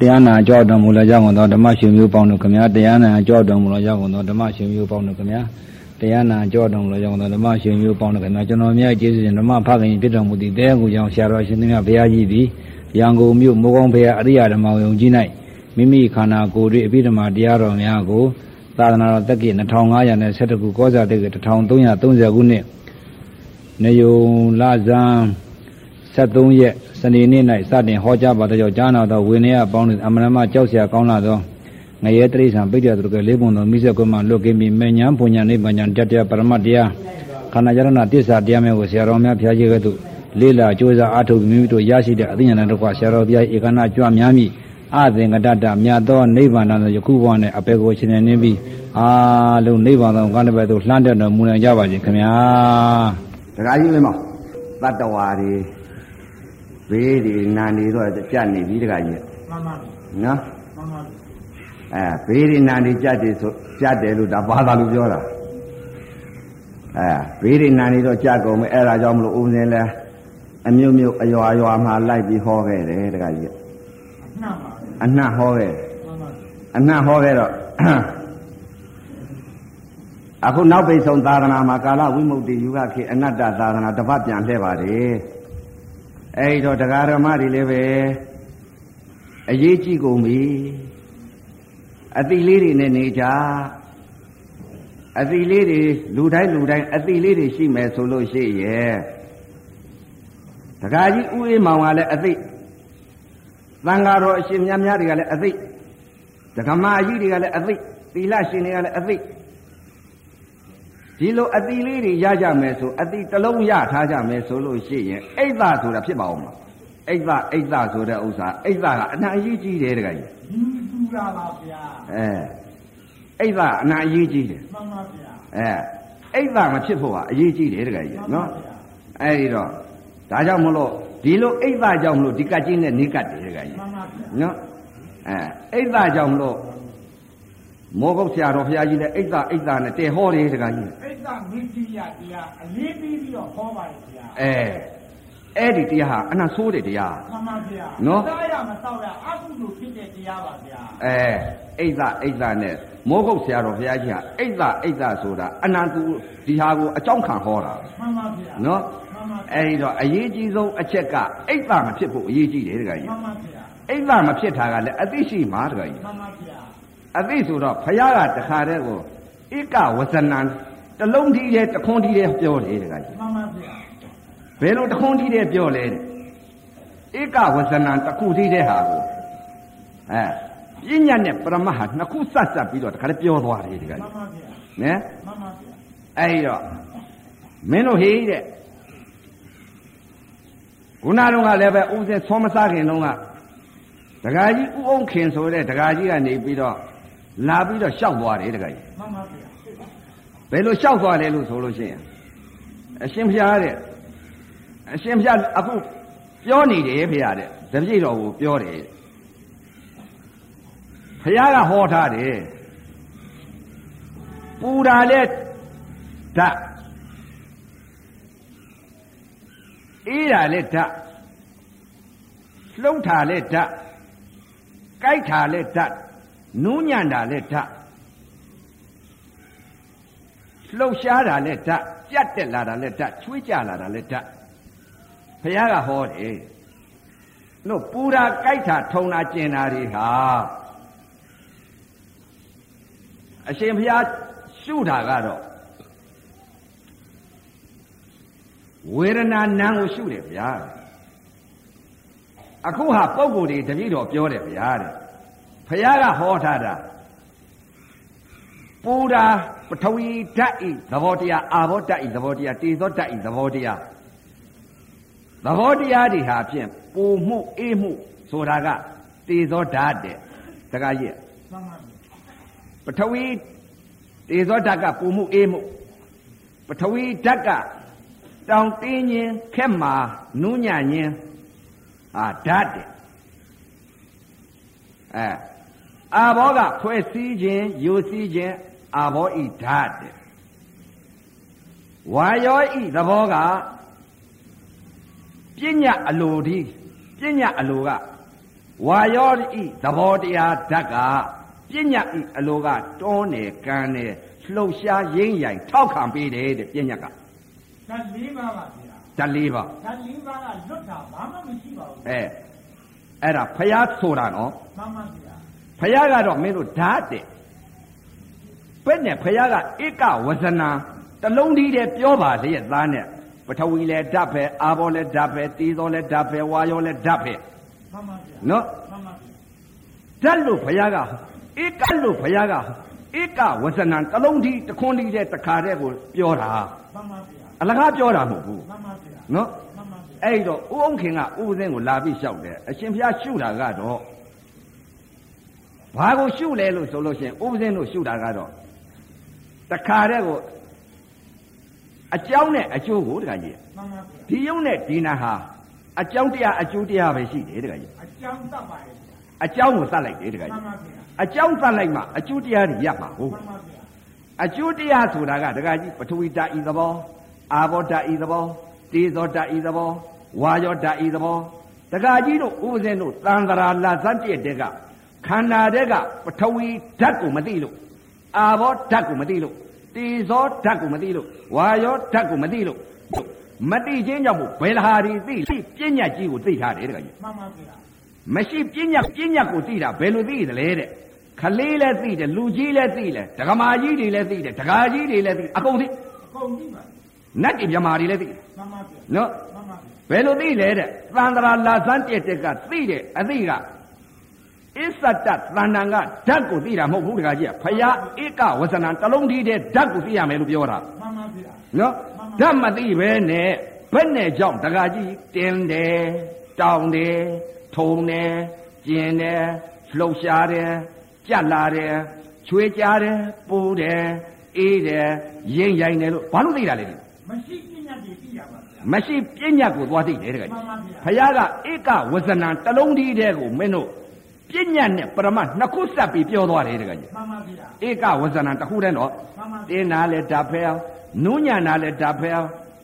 တရားနာကြောက်တော်မူလာကြောက်ကုန်သောဓမ္မရှင်မျိုးပေါင်းတို့ခမညာတရားနာကြောက်တော်မူလာကြောက်ကုန်သောဓမ္မရှင်မျိုးပေါင်းတို့ခမညာတရားနာကြောက်တော်မူလာကြောက်ကုန်သောဓမ္မရှင်မျိုးပေါင်းတို့ခမညာကျွန်တော်မြတ်ကျေးဇူးရှင်ဓမ္မဖခင်ဖြစ်တော်မူသည့်တဲကူကြောင့်ဆရာတော်ရှင်သမြတ်ဘုရားကြီးသည်ရန်ကုန်မြို့မိုးကောင်းဘုရားအရိယဓမ္မဝေုံကြီး၌မိမိခန္ဓာကိုယ်၏အပိဓမ္မာတရားတော်များကိုသာသနာတော်တက္ကီ2512ခုကောဇာတက္ကီ1330ခုနှစ်နေယုံလဇန် 73ရက်စနေနေ့၌စတင်ဟောကြားပါသောကြောင့်ကြားနာတော်ဝေနေယအပေါင်းတို့အမရမကြောက်စရာကောင်းလာသောငရဲတိရစ္ဆာန်ပိဋကသူတို့ကလေးပုံတော်မိဆက်ကွမှလွတ်ကင်းပြီးမေညာပူညာနိဗ္ဗာန်ဉာဏ်တတ္တယပရမတ္တရားခန္ဓာယရဏတစ္ဆာတရားများကိုဆရာတော်များဖျားကြီးကဲ့သို့လေးလာကြိုးစားအားထုတ်ပြီးမိမိတို့ရရှိတဲ့အသိဉာဏ်တို့ကဆရာတော်ဘုရားဧကနာကြွများမိအသင်္ကတတ္တမြတ်သောနိဗ္ဗာန်တော်ယခုဘဝနဲ့အပေကိုရှင်နေနေပြီးအာလုံးနိဗ္ဗာန်တော်ကလည်းပဲသို့လှမ်းတဲ့တော်မူနိုင်ကြပါစေခင်ဗျာ ဒကာကြီးမင်းမောင်တတ္တဝါတွေဘေးတွေနာနေတော့ကြက်နေပြီဒကာကြီး မှန်ပါ နော် မှန်ပါ အဲဘေးတွေနာနေကြက်တယ်ဆိုကြက်တယ်လို့ဒါဘာသာလို့ပြောတာအဲဘေးတွေနာနေတော့ကြက်ကုန်မယ်အဲ့ဒါကြောင့်မလို့ဦးစင်းလဲအမျိုးမျိုးအရွာရွာမှာလိုက်ပြီးဟောခဲ့တယ်ဒကာကြီး နှမ်းပါ အနှံ့ဟောခဲ့တယ် မှန်ပါ အနှံ့ဟောခဲ့တော့ အခုနောက်ပိတ်ဆုံးသာသနာမှာကာလဝိမု ക്തി ယူကခေအနတ္တသာသနာတစ်ပတ်ပြန်လှည့်ပါတယ်အဲဒီတော့တရားဓမ္မတွေလည်းပဲအရေးကြီးကုန်ပြီအတိလေးတွေနဲ့နေကြအတိလေးတွေလူတိုင်းလူတိုင်းအတိလေးတွေရှိမယ်ဆိုလို့ရှိရဲ့တရားကြီးဥအေးမောင်ကလည်းအသိသံဃာတော်အရှင်များများတွေကလည်းအသိ ဒကမာကြီးတွေကလည်းအသိသီလရှင်တွေကလည်းအသိဒီလိုအသိလေးတွေရကြမယ်ဆိုအသိတစ်လုံးရထားကြမယ်ဆိုလို့ရှိရင်အိဋ္ဌဆိုတာဖြစ်ပါအောင်မလားအိဋ္ဌအိဋ္ဌဆိုတဲ့ဥစ္စာအိဋ္ဌကအနာအရေးကြီးတယ်တကကြီး လူလူလာပါဗျာ အဲအိဋ္ဌကအနာအရေးကြီးတယ် မှန်ပါဗျာ အဲအိဋ္ဌမဖြစ်ဖို့ကအရေးကြီးတယ်တကကြီးနော်အဲဒီတော့ဒါကြောင့်မလို့ဒီလိုအိဋ္ဌကြောင့်မလို့ဒီကတ်ကြီးနဲ့နေကတ်တယ်တကကြီး မှန်ပါဗျာ နော်အဲအိဋ္ဌကြောင့်မလို့မောဂုတ်ဆရာတော်ဘုရားကြီးလည်းအိဋ္ဌအိဋ္ဌနဲ့တဲဟောတယ်တခါကြီး အိတ်ကမင်းကြီးရတရားအလေးပေးပြီးတော့ဟောပါလေဗျာ အဲအဲ့ဒီတရားဟာအနာဆိုးတဲ့တရား မှန်ပါဗျာ နော် သားရမတော့ရအကုသို့ဖြစ်တဲ့တရားပါဗျာ အဲအိဋ္ဌအိဋ္ဌနဲ့မောဂုတ်ဆရာတော်ဘုရားကြီးဟာအိဋ္ဌအိဋ္ဌဆိုတာအနာသူဒီဟာကိုအကြောင်းခံဟောတာပဲ မှန်ပါဗျာ နော် မှန်ပါဗျာ အဲဒီတော့အရေးကြီးဆုံးအချက်ကအိဋ္ဌမဖြစ်ဖို့အရေးကြီးတယ်တခါကြီး မှန်ပါဗျာ အိဋ္ဌမဖြစ်တာကလည်းအသိရှိမှာတခါကြီး မှန်ပါဗျာ အသိဆိုတော့ဖယားကတခါတည်းကိုဧကဝဇဏံတလုံးထီးတဲ့တခွန်းထီးတဲ့ပြောတယ်တခါကြီး မှန်ပါဗျာ ဘယ်လိုတခွန်းထီးတဲ့ပြောလဲတဲ့ဧကဝဇဏံတစ်ခုထီးတဲ့ဟာကိုအဲပညာနဲ့ပရမဟာနှစ်ခုစပ်စပ်ပြီးတော့တခါတည်းပြောသွားတယ်တခါကြီးမှန်ပါဗျာ နော် မှန်ပါဗျာ အဲဒီတော့မင်းတို့ဟေးတဲ့ခုနကတော့ကလည်းပဲဥစဉ်သောမစားခင်တော့ကတခါကြီးဥအောင်ခင်ဆိုတဲ့တခါကြီးကနေပြီးတော့လာပြီးတော့ရှောက်သွားတယ်တခါကြီး မှန်ပါဗျာ ဘယ်လိုလျှောက်သွားလဲလို့ဆိုလို့ရှိရင်အရှင်ဘုရားတဲ့အရှင်ဘုရားအခုပြောနေတယ်ဘုရားတဲ့တပည့်တော်ကိုပြောတယ်ဘုရားကဟောထားတယ်ပူတာလဲဓာတ်အေးတာလဲဓာတ်လှုပ်တာလဲဓာတ်ကြိုက်တာလဲဓာတ်နူးညံ့တာလဲဓာတ် လှုပ်ရှားတာလည်းဓာတ်ပြတ်တက်လာတာလည်းဓာတ်ချွေးကြလာတာလည်းဓာတ်ဘုရားကဟောတယ်တို့ပူတာကြိုက်တာထုံတာကျင်တာတွေဟာအရှင်ဘုရားရှုတာကတော့ဝေဒနာနံကိုရှုတယ်ဗျာအခုဟာပုံကိုယ်တွေတပည့်တော်ပြောတယ်ဗျာတဲ့ဘုရားကဟောထားတာ ပူတာပထဝီဓာတ်ဤသဘောတရားအာဘောဓာတ်ဤသဘောတရားတေဇောဓာတ်ဤသဘောတရားသဘောတရားတွေဟာဖြင့်ပူမှုအေးမှုဆိုတာကတေဇောဓာတ်တဲ့တခါကြီး မှန်ပါဗျာ ပထဝီတေဇောဓာတ်ကပူမှုအေးမှုပထဝီဓာတ်ကတောင်တင်းခြင်းခက်မာနုညံ့ခြင်းအာဓာတ်တဲ့အဲအာဘောကဖွဲ့စည်းခြင်းယူစည်းခြင်းအာဘောဤဓာတ်တဲ့ဝါယောဤသဘောကပညာအလိုဒီပညာအလိုက ဝါယောဤသဘောတရားဓာတ်ကပညာဤအလိုကတွန်းနေကန်းနေလှုပ်ရှားရင်းရိုင်ထောက်ခံပေးတယ်တဲ့ပညာက ဓာတ်၄ပါးပါဗျာ ဓာတ်လေးပါ ဓာတ်၄ပါးကလွတ်တာဘာမှမရှိပါဘူး အဲအဲ့ဒါဖယားဆိုတာနော် မှန်ပါဗျာ ဖယားကတော့မင်းတို့ဓာတ်တဲ့ဘယ်နဲ့ဖယားကဧကဝဇနာတစ်လုံးတည်းတည်းပြောပါလေရဲ့သားနဲ့ပထဝီလည်းဓာတ်ပဲအာဘောလည်းဓာတ်ပဲတေဇောလည်းဓာတ်ပဲဝါယောလည်းဓာတ်ပဲ မှန်ပါဗျာ နော် မှန်ပါဗျာ ဓာတ်လို့ဘုရားကဧကလို့ဘုရားကဧကဝဇဏံတလုံးဒီတခွန်းဒီတဲ့တခါတဲ့ကိုပြောတာ မှန်ပါဗျာ အလကားပြောတာမဟုတ်ဘူး မှန်ပါဗျာ နော် မှန်ပါဗျာ အဲ့တော့ဥအောင်ခင်ကဥပဇင်းကိုလာပြီးလျှောက်တယ်အရှင်ဘုရားရှုတာကတော့ဘာကိုရှုလဲလို့ဆိုလို့ရှိရင်ဥပဇင်းတို့ရှုတာကတော့တခါတဲ့ကိုအကြောင်းနဲ့အကျိုးကိုတခါကြီး မှန်ပါဗျာ ဒီယုံနဲ့ဒီနာဟာအကြောင်းတရားအကျိုးတရားပဲရှိတယ်တခါကြီး အကြောင်းတတ်ပါရဲ့ဗျာ အကြောင်းကိုသတ်လိုက်တယ်တခါ မှ ကြီး န်ပါဗျာ အကြောင်းသတ်လိုက်မှအကျိုးတရားတွေရမှာဟုတ် မှန်ပါဗျာ အကျိုးတရားဆိုတာကဒကာကြီးပထဝီဓာတ်ဤသဘောအာဘောဓာတ်ဤသဘောတေဇောဓာတ်ဤသဘောဝါယောဓာတ်ဤသဘောဒကာကြီးတို့ဥပဇင်းတို့တန်တရာလာဇတ်ပြည့်တဲ့ကခန္ဓာတဲ့ကပထဝီဓာတ်ကိုမသိလို့အာဘောဓာတ်ကိုမသိလို့တေဇောဓာတ်ကိုမသိလို့ဝါယောဓာတ်ကိုမသိလို့မသိခြင်းကြောင့်မို့ဘယ်ဟာဒီသိသိပညာကြီးကိုသိထားတယ်ဒကာကြီး မှန်ပါဗျာ မရှိပညာပညာကိုသိတာဘယ်လိုသိသလဲတဲ့ခလေးလည်းသိတယ်လူကြီးလည်းသိတယ်ဒကမာကြီးတွေလည်းသိတယ်ဒကာကြီးတွေလည်းသိအကုန်သိ အကုန်ပြီပါ နတ်ပြည်မြမာတွေလည်းသိတယ် မှန်ပါဗျာ နော် မှန်ပါဗျာ ဘယ်လိုသိလဲတဲ့သန္တရာလာဇန်းပြက်တက်ကသိတယ်အသိကအစ္ဆတတသန္တန်ကဓာတ်ကိုသိတာမဟုတ်ဘူးဒကာကြီးကဖယားဧကဝဇဏံတလုံးဒီတဲ့ဓာတ်ကိုသိရမယ်လို့ပြောတာ မှန်ပါဗျာ နော်ဓာတ်မသိပဲနဲ့ဘယ်နဲ့ကြောင့်ဒကာကြီးတင်းတယ်တောင်းတယ်ထုံတယ်ကျင်တယ်လှုပ်ရှားတယ်ကြက်လာတယ်ချွေးကြတယ်ပူတယ်အေးတယ်ရိမ့်ရိုင်တယ်လို့ဘာလို့သိတာလဲဒီ မရှိပညာတွေသိရပါဗျာ မရှိပညာကိုသွားသိတယ်တကယ် မှန်ပါဗျာ ဘုရားကဧကဝဇဏံတလုံးဒီတဲ့ကိုမင်းတို့ပညာနဲ့ပရမတ်နှစ်ခုဆက်ပြီးပြောသွားတယ်တကယ်ကြီး မှန်ပါဗျာ ဧကဝဇဏံတစ်ခုတည်းနော် မှန်ပါ တင်းနာလဲဓာတ်ဖဲနုညံနာလဲဓာတ်ဖဲ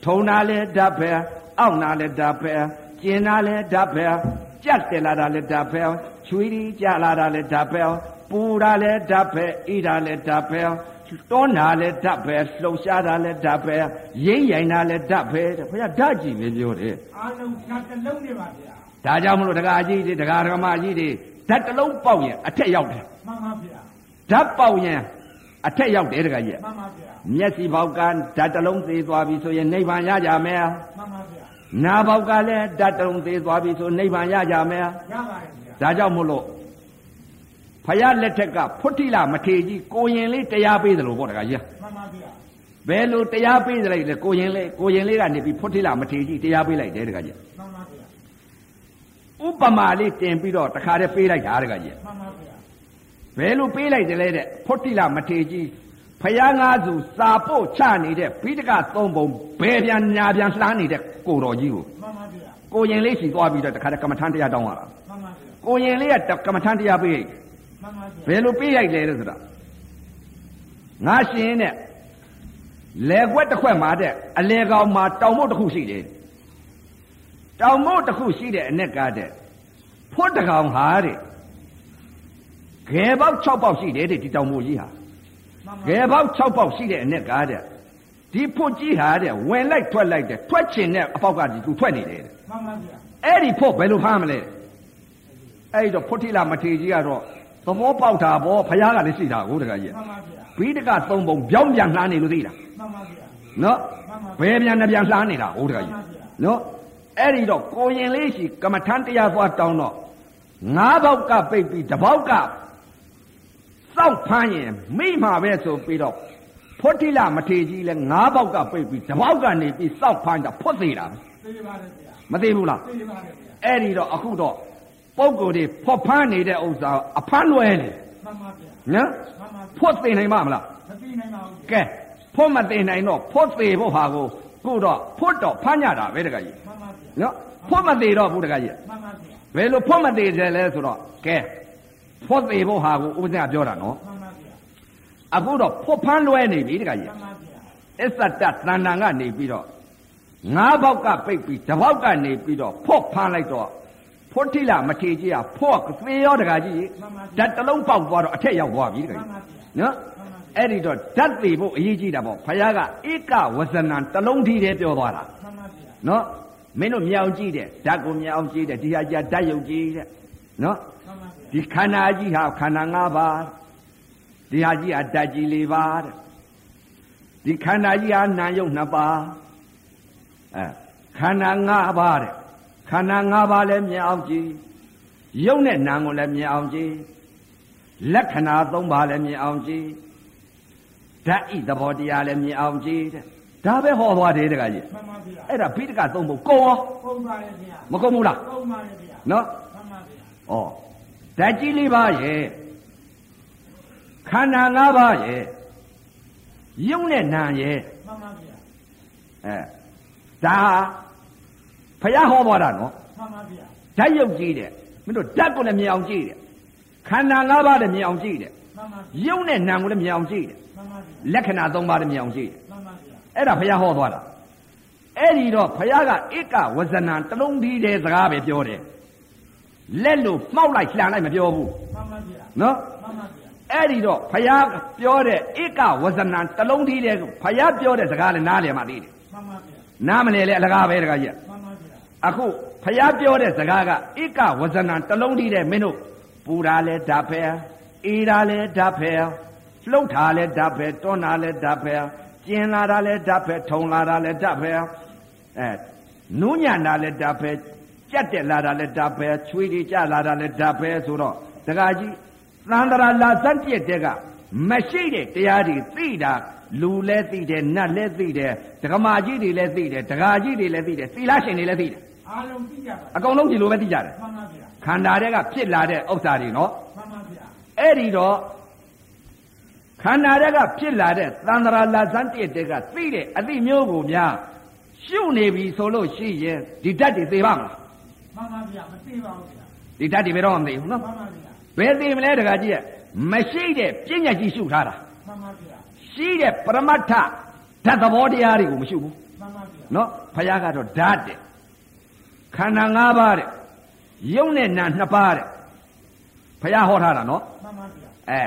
ထုံနာလဲဓာတ်ဖဲအောင့်နာလဲဓာတ်ဖဲကျင်နာလဲဓာတ်ဖဲကြက်တယ်လာတာလဲဓာတ်ဖဲချွေးဒီကြလာတာလဲဓာတ်ဖဲပူတာလဲဓာတ်ဖဲအိတာလဲဓာတ်ဖဲတောနာလဲဓာတ်ဖဲလှုပ်ရှားတာလဲဓာတ်ဖဲရိမ့်ရိုင်တာလဲဓာတ်ဖဲတဲ့ဘုရားဓာတ်ကြီးပဲပြောတယ် အာလုံးဓာတ်တစ်လုံးနေပါဗျာ ဒါကြောင့်မလို့ဒကာကြီးတွေဒကာဒကမကြီးတွေဓာတ်တစ်လုံးပေါက်ရင်အထက်ရောက်တယ် မှန်ပါဗျာ ဓာတ်ပေါက်ရင်အထက်ရောက်တယ်ဒကာကြီးက မှန်ပါဗျာ မျက်စိပေါက်ကဓာတ်တစ်လုံးသေးသွားပြီဆိုရင်နိဗ္ဗာန်ရကြမယ် မှန်ပါဗျာ ။နားပေါက်ကလည်းဓာတ်တစ်လုံးသေးသွားပြီဆိုနိဗ္ဗာန်ရကြမယ် ရပါရဲ့ဗျာ ။ဒါကြောင့်မို့လို့ဖယားလက်ထက်ကဖုတ်တိလမထေရကြီးကိုရင်လေးတရားပေးသလိုပေါ့တခါကြီး မှန်ပါဗျာ ။ဘယ်လိုတရားပေးသလဲလဲကိုရင်လေးကိုရင်လေးကနေပြီးဖုတ်တိလမထေရကြီးတရားပေးလိုက်တယ်တခါကြီး မှန်ပါဗျာ ။ဥပမာလေးတင်ပြီးတော့တခါတည်းပေးလိုက်တာတခါကြီး မှန်ပါဗျာ ။ဘယ်လိုပေးလိုက်တယ်လဲတဲ့ဖုတ်တိလမထေရကြီးဖယားငါးစုစာပို့ချနေတဲ့ဘိဒကသုံးပုံဘယ်ပြန်ညာပြန်လှမ်းနေတဲ့ကိုတော်ကြီးကို မှန်ပါဗျာ ကိုရင်လေးစီသွားပြီးတော့တခါတည်းကမ္မထန်တရားတောင်းရတာ မှန်ပါဗျာ ကိုရင်လေးကတကမ္မထန်တရားပေးရိုက် မှန်ပါဗျာ ဘယ်လိုပေးရိုက်လဲလို့ဆိုတာငါရှင်နဲ့လေခွက်တစ်ခွက်မှာတဲ့အလေကောင်မှာတောင်မုတ်တစ်ခုရှိတယ်တောင်မုတ်တစ်ခုရှိတဲ့အ낵ကားတဲ့ဖွတ်တစ်ကောင်ဟာတဲ့ငယ်ပေါက်6ပေါက်ရှိတယ်တဲ့ဒီတောင်မုတ်ကြီးဟာ မှန်ပါ ငယ်ပေါက်6ပေါက်ရှိတဲ့အ낵ကားတဲ့ဒီဖွတ်ကြီးဟာတဲ့ဝင်လိုက်ထွက်လိုက်တဲ့ထွက်ချင်တဲ့အပေါက်ကဒီသူထွက်နေတယ်တဲ့ မှန်ပါဗျာ အဲ့ဒီဖို့ဘယ်လိုဖမ်းမလဲအဲ့ဒီတော့ဖုတ်တိလမထေရကြီးကတော့သဘောပေါက်တာဗောဖះကလည်းရှိတာကိုတကကြီး မှန်ပါဗျာ ဘိဒကသုံးပုံပြောင်းပြန်လှမ်းနေလို့သိတာ မှန်ပါဗျာ နော် မှဘန်ပါယ်ပြန်နှပြန်လှမ်းနေတာဟုတ်တကကြီး မှန်ပါဗျာ နော်အဲ့ဒီတော့ကိုရင်လေးရှိကမ္မထန်တရားသွားတောင်းတော့ငါးပေါက်ကပိတ်ပြီးတစ်ပေါက်ကစောက်ဖမ်းရင်မိမှာပဲဆိုပြီးတော့ဖုတ်တိလမထေရကြီးလည်းငါးပေါက်ကပိတ်ပြီးတစ်ပေါက်ကနေပြီးစောက်ဖမ်းတာဖွတ်သေးတာပဲ သိရပါတယ်ဗျာ မသိဘူးလား သိရပါတယ်ဗျာ အဲ့ဒီတော့အခုတော့ပုံကိုယ်တွေဖွက်ဖမ်းနေတဲ့ဥစ္စာအဖမ်းလွဲနေ မှန်ပါဗျာ နော် မှန်ပါဗျာ ဖွက်သိနိုင်မှာမလား မသိနိုင်ပါဘူးဗျာ ကဲဖွက်မသိနိုင်တော့ဖွက်သိဖို့ဟာကိုခုတော့ဖွက်တော့ဖမ်းရတာပဲတကကြီး မှန်ပါဗျာ နော်ဖွက်မသိတော့ဘူးတကကြီး မှန်ပါဗျာ ဘယ်လိုဖွက်မသိတယ်လဲဆိုတော့ကဲဖွက်သိဖို့ဟာကိုဦးဇင်းကပြောတာနော် မှန်ပါဗျာ အခုတော့ဖွက်ဖမ်းလွဲနေပြီတကကြီး မှန်ပါဗျာ အစ္ဆတတဏ္ဏကနေပြီးတော့ငါးဘောက်ကပိတ်ပြီးတစ်ဘောက်ကနေပြီးတော့ဖွက်ဖမ်းလိုက်တော့ ဖို့တိလာမထေကြီးอ่ะဖို့ကသေရောတကကြီးဓာတ်တစ်လုံးပေါက်သွားတော့အထက်ရောက်သွားပြီတကကြီးနော်အဲ့ဒီတော့ဓာတ်သေးဖို့အရေးကြီးတာပေါ့ဖခင်ကဧကဝဇဏံတစ်လုံးထီးတယ်ပြောသွားတာ မှန်ပါဗျာ နော်မင်းတို့မြောင်ကြည့်တဲ့ဓာတ်ကိုမြောင်ကြည့်တဲ့ဒီဟာကြဓာတ်ယုတ်ကြည့်တဲ့နော် မှန်ပါဗျာ ဒီခန္ဓာကြီးဟာခန္ဓာ၅ပါးဒီဟာကြီးဟာဓာတ်ကြီး၄ပါးတဲ့ဒီခန္ဓာကြီးဟာနာယုတ်၂ပါးအဲခန္ဓာ၅ပါးတဲ့ခန္ဓာ၅ပါးလည်းမြောင်ကြည့်ယုတ်နဲ့နာကိုလည်းမြောင်ကြည့်လက္ခဏာ၃ပါးလည်းမြေအောင်ကြည့်ဓာတ်ဤသဘောတရားလည်းမြေအောင်ကြည့်တဲ့ဒါပဲဟောသွားတယ်တကကြီး မှန်ပါဗျာ အဲ့ဒါဘိဒကသုံးဖို့ကုန်ရော ပုံပါရဲ့ဗျာ မကုန်ဘူးလား ပုံပါရဲ့ဗျာမှ နော် န်ပါဗျာ ဩဓာတ်ကြီးလေးပါရဲ့ခန္ဓာငါးပါးရဲ့ယုံနဲ့နာရဲ့ မှန်ပါဗျာ အဲဒါဖယားဟောပေါ်တာနော် မှန်ပါဗျာ ဓာတ်ယုတ်ကြီးတဲ့မင်းတို့ဓာတ်ကိုလည်းမြင်အောင်ကြည့်တဲ့ခန္ဓာငါးပါးလည်းမြင်အောင်ကြည့်တဲ့ မှန်ပါဗျာ ယုံနဲ့နာကိုလည်းမြင်အောင်ကြည့်တဲ့ မှန်ပါဗျာ လက္ခဏာသုံးပါးလည်းမြင်အောင်ကြည့်တဲ့ မှန်ပါဗျာ အဲ့ဒါဖယားဟောသွားတာအဲ့ဒီတော့ဖယားကဧကဝဇဏံတစ်လုံးပြီးတဲ့စကားပဲပြောတယ်လက်လို့မှောက်လိုက်လှန်လိုက်မပြောဘူး မှန်ပါဗျာ နော် မှန်ပါဗျာ အဲ့ဒီတော့ဖယားပြောတဲ့ဧကဝဇဏံတစ်လုံးသေးတဲ့ဖယားပြောတဲ့စကားလည်းနားလည်မှသိတယ် မှန်ပါဗျာ နားမလည်လဲအလကားပဲတကားကြီး မှန်ပါဗျာ အခုဖယားပြောတဲ့စကားကဧကဝဇဏံတစ်လုံးသေးတဲ့မင်းတို့ပူတာလဲဓာတ်ဖယ်အေးတာလဲဓာတ်ဖယ်လှုပ်တာလဲဓာတ်ဖယ်တွန်းတာလဲဓာတ်ဖယ်ကျင်လာတာလဲဓာတ်ဖယ်ထုံလာတာလဲဓာတ်ဖယ်အဲနူးညံတာလဲဓာတ်ဖယ်ကြက်တက်လာတာလဲဓာတ်ဖယ်ချွေးတွေကြလာတာလဲဓာတ်ဖယ်ဆိုတော့တကားကြီး သန္တရာလာဇတ်ပြက်တဲ့ကမရှိတဲ့တရားတွေသိတာလူလည်းသိတယ်နတ်လည်းသိတယ်ဒကမာကြီးတွေလည်းသိတယ်ဒကာကြီးတွေလည်းသိတယ်သီလရှင်တွေလည်းသိတယ် အားလုံးသိကြပါ အကုန်လုံးဒီလိုပဲသိကြတယ် မှန်ပါဗျာ ခန္ဓာတွေကဖြစ်လာတဲ့ဥစ္စာတွေနော် မှန်ပါဗျာ အဲ့ဒီတော့ခန္ဓာတွေကဖြစ်လာတဲ့သန္တရာလာဇတ်ပြက်တဲ့ကသိတဲ့အသိမျိုးကိုများရှုနေပြီဆိုလို့ရှိရင်ဒီဓာတ်တွေသိပါမလား မှန်ပါဗျာမသိပါဘူးဗျာ ဒီဓာတ်တွေဘယ်တော့မှမသိဘူးနော် မှန်ပါဗျာ ဘယ်သိမလဲဒကာကြီးကမရှိတဲ့ပညာကြီးရှုထားတာ မှန်ပါဗျာ ရှိတဲ့ပရမတ္ထဓာတ်သဘောတရားတွေကိုမရှိဘူး မှန်ပါဗျာ နော်ဖယားကတော့ဓာတ်တဲ့ခန္ဓာ၅ပါးတဲ့ယုံနဲ့နာနှစ်ပါးတဲ့ဖယားဟောထားတာနော် မှန်ပါဗျာ အဲ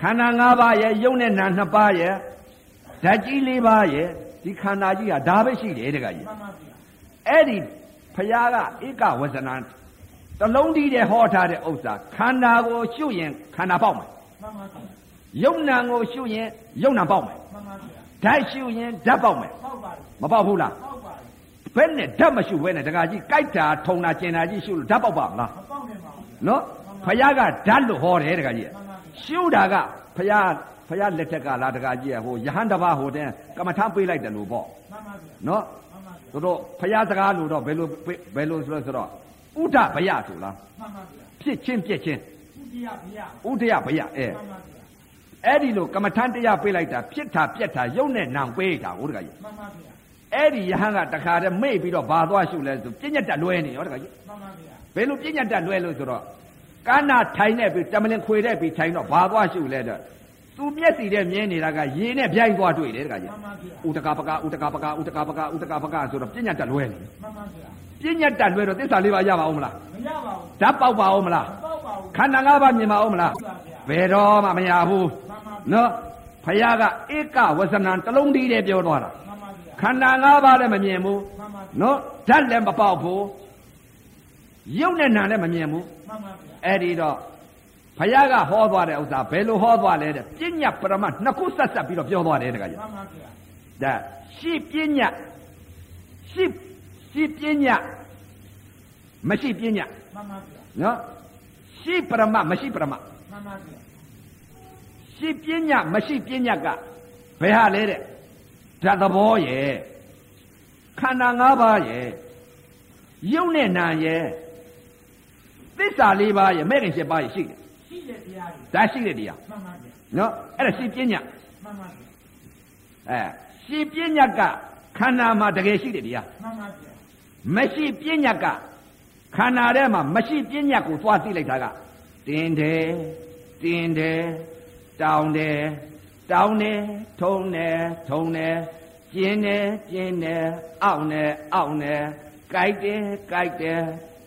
ခန္ဓာ၅ပါးရဲ့ယုံနဲ့နာနှစ်ပါးရဲ့ဓာတ်ကြီး၄ပါးရဲ့ဒီခန္ဓာကြီးဟာဒါပဲရှိတယ်တကကြီး မှန်ပါဗျာ အဲ့ဒီဖယားကဧကဝဇဏံတလုံးတည်းတဲ့ဟောထားတဲ့ဥစ္စာခန္ဓာကိုရှုရင်ခန္ဓာပေါက်မယ် မှန်ပါဗျာ ယုံနာကိုရှုရင်ယုံနာပေါက်မယ် မှန်ပါဗျာ ဓာတ်ရှုရင်ဓာတ်ပေါက်မယ် ပေါက်ပါတယ် မပေါက်ဘူးလား ပေါက်ပါတယ် ဘယ်နဲ့ဓာတ်မရှိဘဲနဲ့တကကြီးကြိုက်တာထုံတာကျင်တာကြီးရှုလို့ဓာတ်ပေါက်ပါမလား မပေါက်နိုင်ပါဘူးဗျာ နော်ဖယားကဓာတ်လို့ဟောတယ်တကကြီး မှန်ပါဗျာ ရှုတာကဖယားဖယားလက်ထက်ကလားတကကြီးကဟိုယဟန်တပါဟိုတန်းကမ္မထမ်းပေးလိုက်တယ်လို့ပေါ့ မှန်ပါဗျာ နော် မှန်ပါဗျာ တို့တော့ဖယားစကားလို့တော့ဘယ်လိုပေးဘယ်လိုဆိုလို့ဆိုတော့ဥဒ္ဒဘယဆိုလား မှန်ပါဗျာ ဖြစ်ချင်းပြက်ချင်း သူတရားဥဒ္ဒဗျာယဘယအဲ မှန်ပါဗျာ အဲ့ဒီလိုကမ္မထမ်းတရားပေးလိုက်တာဖြစ်တာပြက်တာရုပ်နဲ့နာမ်ပေးတာဟိုတကကြီး မှန်ပါဗျာ အဲ့ဒီယဟန်ကတခါတည်းမေ့ပြီးတော့ဘာသွားရှုလဲဆိုပြညတ်တက်လွဲနေရောတကကြီး မှန်ပါဗျာ ဘယ်လိုပညာတတ်လွဲလို့ဆိုတော့ကာနာထိုင်နေပြီတမလင်ခွေတဲ့ပြီထိုင်တော့ဘာသွားရှုလဲတော့သူမျက်စီတဲ့မြင်နေတာကရေနဲ့ပြိုင်သွားတွေ့တယ်တခါကြီး မှန်ပါဗျာ ဥတကပကဥတကပကဥတကပကဥတကပကဆိုတော့ပညာတတ်လွဲနေ မှန်ပါဗျာ ပညာတတ်လွဲတော့သစ္စာလေးပါရပါအောင်မလား မရပါဘူး ဓာတ်ပေါက်ပါအောင်မလား မပေါက်ပါဘူး ခန္ဓာငါးပါးမြင်ပါအောင်မလား ဟုတ်ပါဗျာ ဘယ်တော့မှမရဘူး မှန်ပါဗျာ နော်ဖယားကဧကဝဇဏံတစ်လုံးတည်းတည်းပြောသွားတာ မှန်ပါဗျာ ခန္ဓာငါးပါးလည်းမမြင်ဘူး မှန်ပါဗျာ နော်ဓာတ်လည်းမပေါက်ဘူးရုပ်နဲ့နာလည်းမမြင်ဘူး မှန်ပါဗျာ အဲ့ဒီတော့ဘုရားကဟောသွားတဲ့ဥစ္စာဘယ်လိုဟောသွားလဲတဲ့ပညာပရမတ်နှစ်ခုဆက်ဆက်ပြီးတော့ပြောသွားတယ်တခါကြီး မှန်ပါဗျာ ဒါရှိပညာရှိရှိပညာမရှိပညာ မှန်ပါဗျာ နော်ရှိပရမတ်မရှိပရမတ် မှန်ပါဗျာ ရှိပညာမရှိပညာကဘယ်ဟာလဲတဲ့ဓာတ်သဘောရဲ့ခန္ဓာ၅ပါးရဲ့ယုတ်နဲ့နာရဲ့သစ္စာ၄ပါးရဲ့မဲ့ခင်၈ပါးရဲ့ရှိတယ် ရှိတဲ့တရားကြီး ဒါရှိတဲ့တရား မှန်ပါဗျာ နော်အဲ့ဒါရှိပညာ မှန်ပါဗျာ အဲရှိပညာကခန္ဓာမှာတကယ်ရှိတယ်တရား မှန်ပါဗျာ မရှိပညာကခန္ဓာထဲမှာမရှိပညာကိုသွားသိလိုက်တာကတင်းတယ်တင်းတယ်တောင်းတယ်တောင်းတယ်ထုံတယ်ထုံတယ်ကျင်းတယ်ကျင်းတယ်အောင့်တယ်အောင့်တယ်ကြိုက်တယ်ကြိုက်တယ်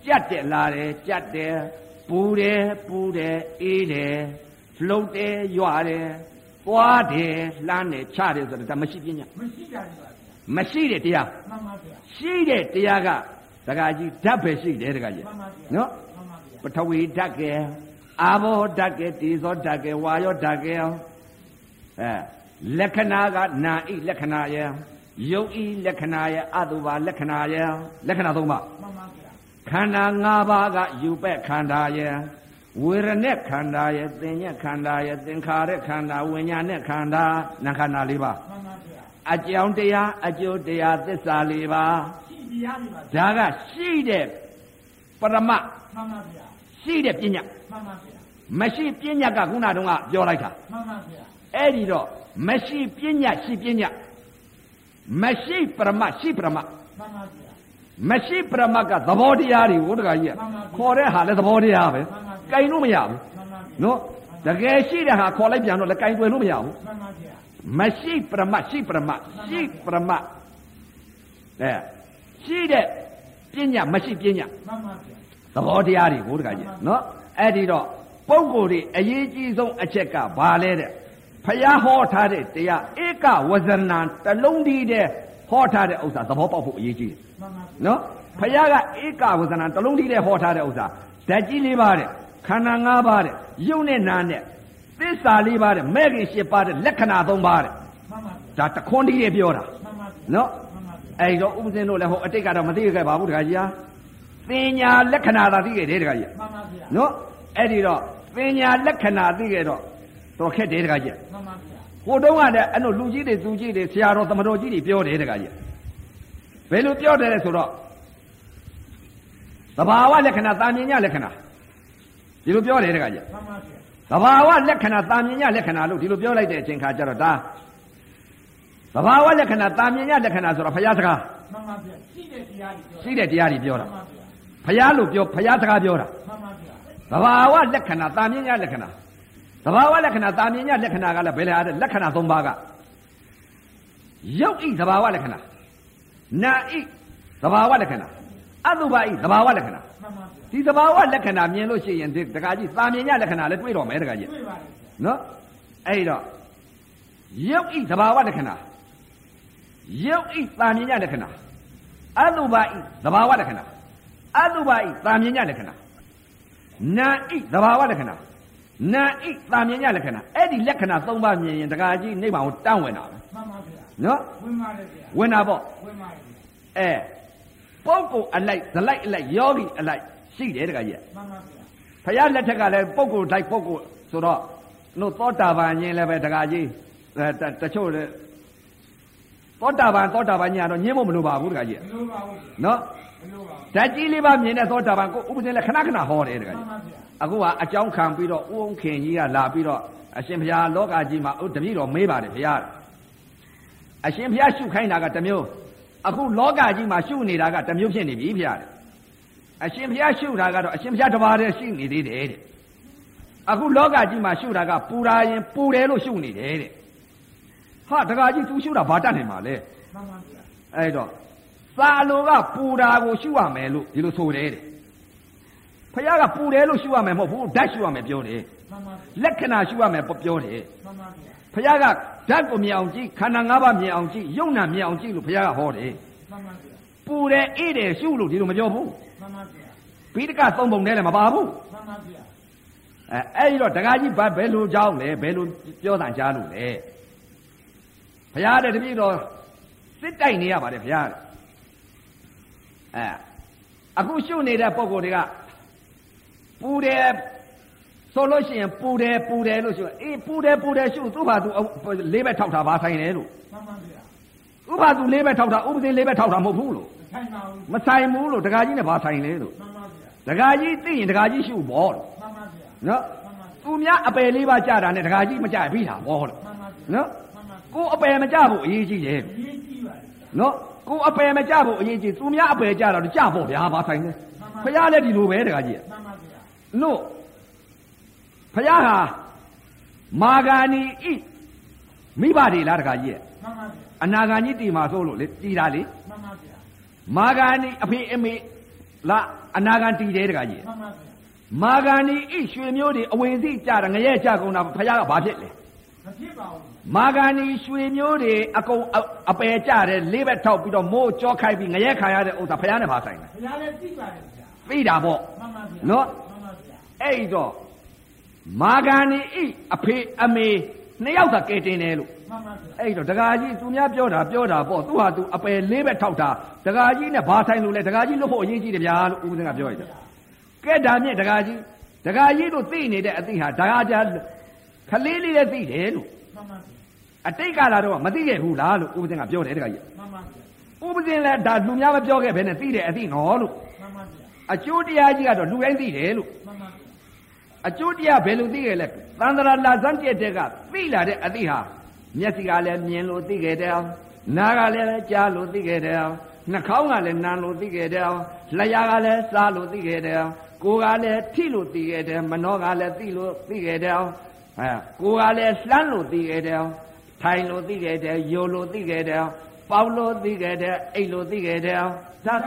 ကြက်တယ်လာတယ်ကြက်တယ်ပူတယ်ပူတယ်အေးတယ်လှုပ်တယ်ရွာတယ်သွားတယ်လှမ်းတယ်ချတယ်ဆိုတာဒါမရှိပညာ မရှိကြဘူးပါဗျာ မရှိတဲ့တရား မှန်ပါဗျာ ရှိတဲ့တရားကဒကာကြီးဓာတ်ပဲရှိတယ်ဒကာကြီး မှန်ပါဗျာ နော် မှန်ပါဗျာ ပထဝီဓာတ်ကဲအာဘောဓာတ်ကဲတေဇောဓာတ်ကဲဝါယောဓာတ်ကဲအဲလက္ခဏာကနာဤလက္ခဏာယယုတ်ဤလက္ခဏာယအတုပါလက္ခဏာယလက္ခဏာသုံးပါ မှန်ပါဗျာ ခန္ဓာ၅ပါးကယူပက်ခန္ဓာယဝေရณะခန္ဓာယသင်ညက်ခန္ဓာယသင်္ခါရခန္ဓာဝิญญาณခန္ဓာနာခန္ဓာ၄ပါး မှန်ပါဗျာ အကြောင်းတရားအကျိုးတရားသစ္စာ၄ပါး ရှိတရားတွေပါဗျာ ဒါကရှိတဲ့ပရမ မှန်ပါဗျာ ရှိတဲ့ပညာ မှန်ပါဗျာ မရှိပညာကခုနတုန်းကပြောလိုက်တာ မှန်ပါဗျာ အဲ့ဒီတော့မရှိပညာရှိပညာမရှိပရမရှိပရမ မှန်ပါဗျာ မရှိပရမကသဘောတရားတွေကိုတခါကြီးက မှန်ပါဗျာ ခေါ်တဲ့ဟာလည်းသဘောတရားပဲ မှန်ပါဗျာ ကင်လို့မရဘူး မှန်ပါဗျာ နော်တကယ်ရှိတဲ့ဟာခေါ်လိုက်ပြန်တော့လည်းကင်တွယ်လို့မရဘူး မှန်ပါဗျာ မရှိပရမရှိပရမရှိပရမအဲရှိတဲ့ပညာမရှိပညာ မှန်ပါဗျာ သဘောတရားတွေကိုတခါကြီးနော်အဲ့ဒီတော့ပုံကိုယ်တွေအရေးကြီးဆုံးအချက်ကဘာလဲတဲ့ဖျားဟောထားတဲ့တရားဧကဝဇဏံတလုံးတည်းတဲ့ဟောထားတဲ့ဥစ္စာသဘောပေါက်ဖို့အရေးကြီးတယ် မှန်ပါဗျာ နော်ဖျားကဧကဝဇဏံတလုံးတည်းတဲ့ဟောထားတဲ့ဥစ္စာဓာတ်ကြီးလေးပါတဲ့ခန္ဓာ၅ပါးတဲ့ရုပ်နဲ့နာနဲ့သစ္စာလေးပါတဲ့မဲ့ခင်၈ပါတဲ့လက္ခဏာ၃ပါတဲ့ မှန်ပါဗျာ ဒါတခွန်းတည်းရဲ့ပြောတာ မှန်ပါဗျာ နော် မှန်ပါဗျာ အဲ့ဒီတော့ဥပဇင်းတို့လည်းဟိုအတိတ်ကတော့မသိခဲ့ပါဘူးတခါကြီးဟာပညာလက္ခဏာသာသိခဲ့တယ်တခါကြီး မှန်ပါဗျာ နော်အဲ့ဒီတော့ပညာလက္ခဏာသိခဲ့တော့တော်ခက်တယ်တခါကြီး မှန်ပါဗျာ ဟိုတုန်းကလည်းအဲ့လိုလူကြီးတွေသူကြီးတွေဆရာတော်သမတော်ကြီးတွေပြောတယ်တခါကြီးဘယ်လိုပြောတယ်လဲဆိုတော့သဘာဝလက္ခဏာတာမြင်ညလက္ခဏာဒီလိုပြောတယ်တခါကြီး မှန်ပါဗျာ သဘာဝလက္ခဏာတာမြင်ညလက္ခဏာလို့ဒီလိုပြောလိုက်တဲ့အချိန်ခါကျတော့ဒါသဘာဝလက္ခဏာတာမြင်ညလက္ခဏာဆိုတော့ဘုရားစကား မှန်ပါဗျာရှိတဲ့တရားတွေပြော ရှိတဲ့တရားတွေပြော မှ တာ န်ပါဘုဗျာရားလို့ပြောဘုရားစကားပြောတာ မှန်ပါဗျာ သဘာဝလက္ခဏာတာမြင်ညလက္ခဏာသဘာဝလက္ခဏာတာမြင်ညလက္ခဏာကလည်းဘယ်လဲအားလက္ခဏာ၃ပါးကရုပ်ဤသဘာဝလက္ခဏာနာဤသဘာဝလက္ခဏာအတုပါဤသဘာဝလက္ခဏာ မှန်ပါဗျာ ဒီသဘာဝလက္ခဏာမြင်လို့ရှိရင်ဒီတကကြီးတာမြင်ညလက္ခဏာလည်းတွေ့တော့မယ်တကကြီး တွေ့ပါတယ်ဗျာ နော်အဲ့တော့ရုပ်ဤသဘာဝလက္ခဏာရုပ်ဤတာမြင်ညလက္ခဏာအတုပါဤသဘာဝလက္ခဏာအတုပါဤတာမြင်ညလက္ခဏာ နာဣသဘာဝလက္ခဏာနာဣသာမြင်ညလက္ခဏာအဲ့ဒီလက္ခဏာ၃ပါးမြင်ရင်တခါကြီးနိဗ္ဗာန်ကိုတန့်ဝင်တာပဲ မှန်ပါဗျာ နော် ဝင်ပါတယ်ဗျာ ဝင်တာပေါ့ ဝင်ပါတယ်ဗျာ အဲပုဂ္ဂိုလ်အလိုက်ဇလိုက်အလိုက်ယောဂီအလိုက်ရှိတယ်တခါကြီး မှန်ပါဗျာ ဘုရားလက်ထက်ကလည်းပုဂ္ဂိုလ်လိုက်ပုဂ္ဂိုလ်ဆိုတော့နို့သောတာပန်ရင်လည်းပဲတခါကြီးအဲတတချို့လည်းသောတာပန်သောတာပန်ညာတော့ညင်းမမလို့ပါဘူးတခါကြီး မလိုပါဘူးဗျာ နော် မလိုပါဘူး ဓာတ်ကြီးလေးပါမြင်တဲ့သောတာပန်ကိုဥပဒေလည်းခဏခဏဟောတယ်တခါကြီးမှန်ပါဗျာ အခုကအကြောင်းခံပြီးတော့ဥုံခင်ကြီးကလာပြီးတော့အရှင်ဘုရားလောကကြီးမှာဥတမိတော်မေးပါတယ်ဘုရားအရှင်ဘုရားရှုခိုင်းတာကတစ်မျိုးအခုလောကကြီးမှာရှုနေတာကတစ်မျိုးဖြစ်နေပြီဘုရားတဲ့အရှင်ဘုရားရှုတာကတော့အရှင်ဘုရားတစ်ပါးတည်းရှိနေသေးတယ်တဲ့အခုလောကကြီးမှာရှုတာကပူရာရင်ပူတယ်လို့ရှုနေတယ်တဲ့ဟာတကာကြီး तू ရှုတာဘာတတ်နိုင်မှာလဲ မှန်ပါဗျာ အဲ့တော့သာလိုကပူတာကိုရှုရမယ်လို့ဒီလိုဆိုတယ်တဲ့ဘုရားကပူတယ်လို့ရှုရမယ်မဟုတ်ဘူးဓာတ်ရှုရမယ်ပြောတယ် မှန်ပါဗျာ လက္ခဏာရှုရမယ်ပြောတယ် မှန်ပါဗျာ ဘုရားကဓာတ်ကိုမြင်အောင်ကြည့်ခန္ဓာ၅ပါးမြင်အောင်ကြည့်ယုံနာမြင်အောင်ကြည့်လို့ဘုရားကဟောတယ် မှန်ပါဗျာ ပူတယ်အေးတယ်ရှုလို့ဒီလိုမပြောဘူး မှန်ပါဗျာ ဘိဒကသုံးပုံနဲ့လည်းမပါဘူး မှန်ပါဗျာ အဲအဲ့ဒီတော့ဒကာကြီးဘာဘယ်လိုကြောင်းလဲဘယ်လိုပြောတာကြားလို့လဲဘုရားတဲ့တပည့်တော်စစ်တိုက်နေရပါတယ်ဘုရားတဲ့အဲအခုရှုနေတဲ့ပုံကိုယ်တွေကပူတယ်ဆိုလို့ရှိရင်ပူတယ်ပူတယ်လို့ရှုအေးပူတယ်ပူတယ်ရှုသူ့ဘာသူလေးဘက်ထောက်တာဘာဆိုင်တယ်လို့ မှန်ပါဗျာ ဥပသူလေးပဲထောက်တာဥပဒေလေးပဲထောက်တာမဟုတ်ဘူးလို့ မထိုင်ပါဘူး မဆိုင်ဘူးလို့ဒကာကြီးနဲ့ဘာဆိုင်လဲလို့ မှန်ပါဗျာ ဒကာကြီးသိရင်ဒကာကြီးရှုဘောလို့ မှန်ပါဗျာ နော် မှန်ပါဗျာ သူများအပယ်လေးပါကြတာနဲ့ဒကာကြီးမကြပြီးတာဘောလို့ မှန်ပါဗျာ နော် မှန်ပါဗျာ ကိုယ်အပယ်မကြဖို့အရေးကြီးတယ် အရေးကြီးပါတယ်ဗျာ နော်ကိုယ်အပယ်မကြဖို့အရေးကြီးသူများအပယ်ကြတာတော့ကြဖို့ဗျာဘာဆိုင်လဲ မှန်ပါ ဖះလည်းဒီလိုပဲဒကာကြီးက မှန်ပါဗျာ နို့ဖះဟာမာဂာနီဤမိဘတွေလားဒကာကြီးက မှန်ပါဗျာ အနာဂါကြီးတီမာဆိုလို့လေတီတာလေ မှန်ပါဗျာ မာဂာနီအဖေအမေလာ အနာဂံတည်တယ်တခါကြီး မှန်ပါမာဂဗျာန်ဒီဣရွှေမျိုးတွေအဝင်စီကြတာငရဲကြကုန်တာဖခင်ကဘာဖြစ်လဲ မဖြစ်ပါဘူး မာဂန်ဒီရွှေမျိုးတွေအကုန်အအပယ်ကြတယ်လေးဘက်ထောက်ပြီးတော့မိုးကြောခိုက်ပြီးငရဲခံရတဲ့ဥစ္စာဖခင်နဲ့ဘာဆိုင်လဲ ဘုရားလည်းသိပါတယ်ဗျာ သိတာပေါ့ မှန်ပါဗျာ နော် မှန်ပါဗျာ အဲ့ဒီတော့မာဂန်ဒီဣအဖေအမေနှစ်ယောက်သာကဲတင်တယ်လို့ မှန်ပါဗျာ အဲ့တော့ဒကာကြီးသူများပြောတာပြောတာပေါ့သူဟာသူအပယ်လေးပဲထောက်တာဒကာကြီးနဲ့ဘာဆိုင်လို့လဲဒကာကြီးလို့ဖို့အရေးကြီးတယ်ဗျာလို့ဦးစင်းကပြောရတယ်ကဲဒါမြင့်ဒကာကြီးဒကာကြီးတို့သိနေတဲ့အသိဟာဒကာကြီးခလေးလေးလည်းသိတယ်လို့ မှန်ပါဗျာ အတိတ်ကလာတော့ကမသိခဲ့ဘူးလားလို့ဦးစင်းကပြောတယ်ဒကာကြီး မှန်ပါဗျာ ဦးစင်းလည်းဒါလူများမပြောခဲ့ဘဲနဲ့သိတယ်အသိနော်လို့ မှန်ပါဗျာ အကျိုးတရားကြီးကတော့လူတိုင်းသိတယ်လို့ မှန်ပါဗျာ အကျိုးတရားဘယ်လိုသိခဲ့လဲသန္တရာလာဇန်ပြည့်တဲ့ကသိလာတဲ့အသိဟာမျက်စိကလည်းမြင်လို့သိခဲ့တယ်နားကလည်းကြားလို့သိခဲ့တယ်နှာခေါင်းကလည်းနားလို့သိခဲ့တယ်လျှာကလည်းစားလို့သိခဲ့တယ်ကိုယ်ကလည်းထိလို့သိခဲ့တယ်မနှောကလည်းသိလို့သိခဲ့တယ်အဲကိုယ်ကလည်းလှမ်းလို့သိခဲ့တယ်ထိုင်လို့သိခဲ့တယ်ယိုလို့သိခဲ့တယ်ပေါက်လို့သိခဲ့တယ်အိတ်လို့သိခဲ့တယ်ဒါသ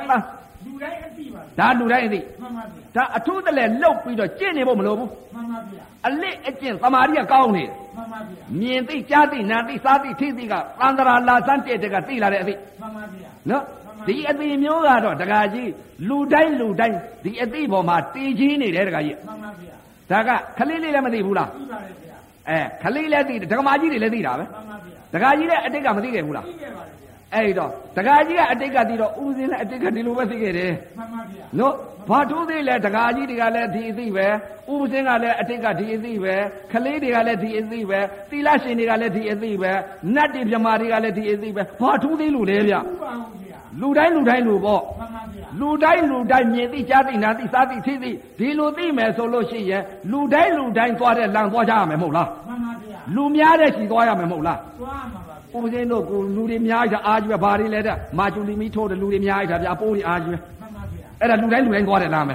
လူတိုင်းအသိပါလေ ဒါလူတိုင်းအသိ မှန်ပါဗျာ ဒါအထူးတလဲလှုပ်ပြီးတော့ကျင့်နေဖို့မလိုဘူး မှန်ပါဗျာ အလစ်အကျင့်သမာဓိကကောင်းနေတယ် မှန်ပါဗျာ မြင်သိကြားသိနာသိစားသိထိသိကသန္တရာလာစမ်းတဲ့တကသိလာတဲ့အသိ မှန်ပါဗျာ နော်ဒီအသိမျိုးကတော့တကကြီးလူတိုင်းလူတိုင်းဒီအသိပေါ်မှာတည်ကြီးနေတယ်တကကြီး မှန်ပါဗျာ ဒါကခလေးလေးလည်းမသိဘူးလား သိပါတယ်ဗျာ အဲခလေးလည်းသိတယ်ဒကမာကြီးတွေလည်းသိတာပဲ မှန်ပါဗျာ တကကြီးလည်းအတိတ်ကမသိခဲ့ဘူးလား သိခဲ့ပါတယ်ဗျာ အဲဒီတော့တကကြီးကအတိတ်ကသိတော့ဥပဇင်းလည်းအတိတ်ကဒီလိုပဲသိခဲ့တယ် မှန်ပါဗျာ နော်ဘာတို့သေးလဲတကာကြီးတွေကလည်းဒီအသိပဲဥပစင်းကလည်းအတိတ်ကဒီအသိပဲခလေးတွေကလည်းဒီအသိပဲသီလရှင်တွေကလည်းဒီအသိပဲနတ်တွေမြမာတွေကလည်းဒီအသိပဲဘာတို့သေးလို့လဲဗျ ဥပါဟုဗျာ လူတိုင်းလူတိုင်းလူပေါ့ မှန်ပါဗျာ လူတိုင်းလူတိုင်းမြင်သိကြားသိနားသိစားသိသိသိဒီလိုသိမယ်ဆိုလို့ရှိရင်လူတိုင်းလူတိုင်းသွားတဲ့လမ်းသွားကြရမယ်မဟုတ်လား မှန်ပါဗျာ လူများတဲ့ခြေသွားရမယ်မဟုတ်လား သွားမှာပါဗျာ ဥပစင်းတို့ကလူတွေများကြအားကြီးပဲဘာတွေလဲတဲ့မာကျူလီမီထိုးတဲ့လူတွေများကြဗျာပိုးတွေအားကြီးပဲ မှန်ပါဗျာ အဲ့ဒါလူတိုင်းလူတိုင်းသွားတဲ့လမ်းပဲ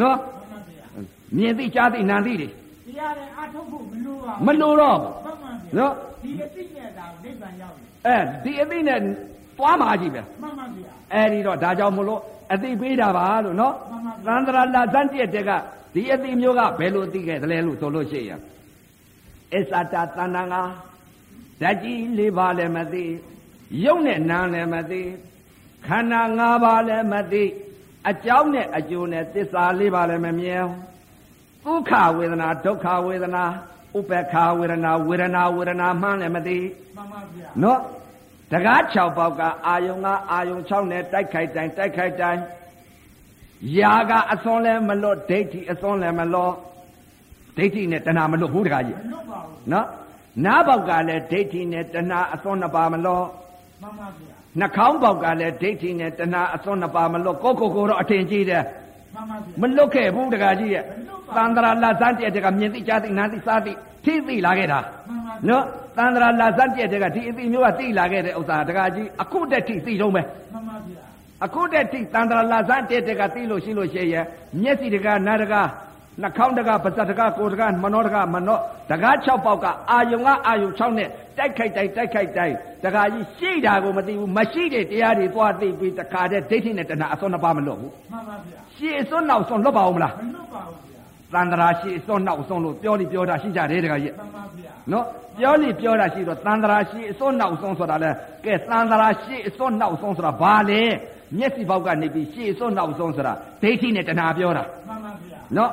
နော် မှန်ပါဗျာ မြင်သိကြားသိနာသိတယ် တရားလည်းအထုတ်ဖို့မလိုပါ မ ဘူး လို့တော့ဘူး မှန်ပါဗျာ နော် ဒီအသိနဲ့သာနိဗ္ဗာန်ရောက်တယ် အဲဒီအသိနဲ့သွားမှာကြီးပဲ မှန်ပါဗျာ အဲဒီတော့ဒါကြောင့်မလို့အသိပေးတာပါလို့နော်သန္တရာလာဇန်တရက်တက်ကဒီအသိမျိုးကဘယ်လိုသိခဲ့သလဲလို့ဆိုလို့ရှိရင်အစ္ဆတာတဏ္ဍငါဓာတ်ကြီး၄ပါးလည်းမသိရုပ်နဲ့နာမ်လည်းမသိခန္ဓာ၅ပါးလည်းမသိအကြောင်းနဲ့အကျိုးနဲ့သစ္စာ၄ပါးလည်းမမြင်ဘူး ဒုက္ခဝေဒနာဒုက္ခဝေဒနာဥပ္ပခာဝေဒနာဝေဒနာဝေဒနာမှန်းလည်းမသိ မှန်ပါဗျာ နော်တကား6ပေါက်ကအာယုံကအာယုံ6နဲ့တိုက်ခိုက်တိုင်းတိုက်ခိုက်တိုင်းယာကအစွန်လည်းမလွတ်ဒိဋ္ဌိအစွန်လည်းမလွတ်ဒိဋ္ဌိနဲ့တဏှာမလွတ်ဘူးတကားကြီး မလွတ်ပါဘူး နော်နားပေါက်ကလည်းဒိဋ္ဌိနဲ့တဏှာအစွန်နှစ်ပါးမလွတ် မှန်ပါဗျာ နှာခေါင်းပေါက်ကလည်းဒိဋ္ဌိနဲ့တဏှာအစွန်နှစ်ပါးမလွတ်ကိုယ်ကိုယ်ကိုယ်တော့အထင်ကြီးတယ် မှန်ပါဗျာ မလွတ်ခဲ့ဘူးတကကြီးရဲ့ မလွတ်ပါသဘူးန္တရာလာဇန်တည့်တဲ့ကမြင်သိကြားသိနားသိစားသိသိသိလာခဲ့တာ မှန်ပါဗျာ နော်သန္တရာလာဇန်တည့်တဲ့ကဒီအသိမျိုးကသိလာခဲ့တဲ့ဥစ္စာတကကြီးအခုတက်ထိသိတော့မယ် မှန်ပါဗျာ အခုတက်ထိသန္တရာလာဇန်တည့်တဲ့ကသိလို့ရှိလို့ရှိရဲ့မျက်စိတကနားတကနှာခေါင်းတကပါးစပ်တကကိုယ်တကမနှောတကမနှောတက6ပေါက်ကအာယုံကအာယုံ6နဲ့တိုက်ခိုက်တိုက်တိုက်ခိုက်တိုက်တကကြီးရှိတာကိုမသိဘူးမရှိတဲ့တရားတွေသွားသိပြီးတခါတည်းဒိဋ္ဌိနဲ့တဏှာအစွန်းနှစ်ပါးမလွတ်ဘူး မှန်ပါဗျာ ရှေ့အစွန်းနောက်အစွန်းလွတ်ပါဦးမလား မလွတ်ပါဘူးဗျာ သန္တရာရှိအစွန်းနောက်အစွန်းလို့ပြောလိပြောတာရှိကြတယ်တခါကြီး မှန်ပါဗျာ နော်ပြောလိပြောတာရှိတော့သန္တရာရှိအစွန်းနောက်အစွန်းဆိုတာလဲကဲသန္တရာရှိအစွန်းနောက်အစွန်းဆိုတာဘာလဲမျက်စိပေါက်ကနေပြီးရှိအစွန်းနောက်အစွန်းဆိုတာဒိဋ္ဌိနဲ့တဏှာပြောတာ မှန်ပါဗျာ နော်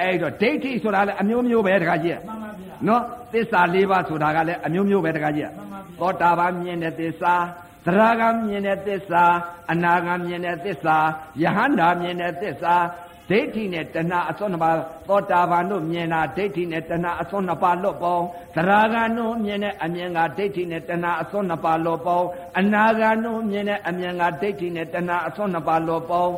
အဲ့တော့ဒိဋ္ဌိဆိုတာလဲအမျိုးမျိုးပဲတခါကြီး မှန်ပါဗျာ နော်သစ္စာ၄ပါးဆိုတာကလည်းအမျိုးမျိုးပဲတခါကြီး မှန်ပါဗျာ သောတာပန်မြင်တဲ့သစ္စာသရဂံမြင်တဲ့သစ္စာအနာဂံမြင်တဲ့သစ္စာယဟန္တာမြင်တဲ့သစ္စာဒိဋ္ဌိနဲ့တဏှာအစွန်းနှစ်ပါးသောတာပန်တို့မြင်တာဒိဋ္ဌိနဲ့တဏှာအစွန်းနှစ်ပါးလွတ်ပေါင်းသရဂံတို့မြင်တဲ့အမြင်ကဒိဋ္ဌိနဲ့တဏှာအစွန်းနှစ်ပါးလွတ်ပေါင်းအနာဂံတို့မြင်တဲ့အမြင်ကဒိဋ္ဌိနဲ့တဏှာအစွန်းနှစ်ပါးလွတ်ပေါင်း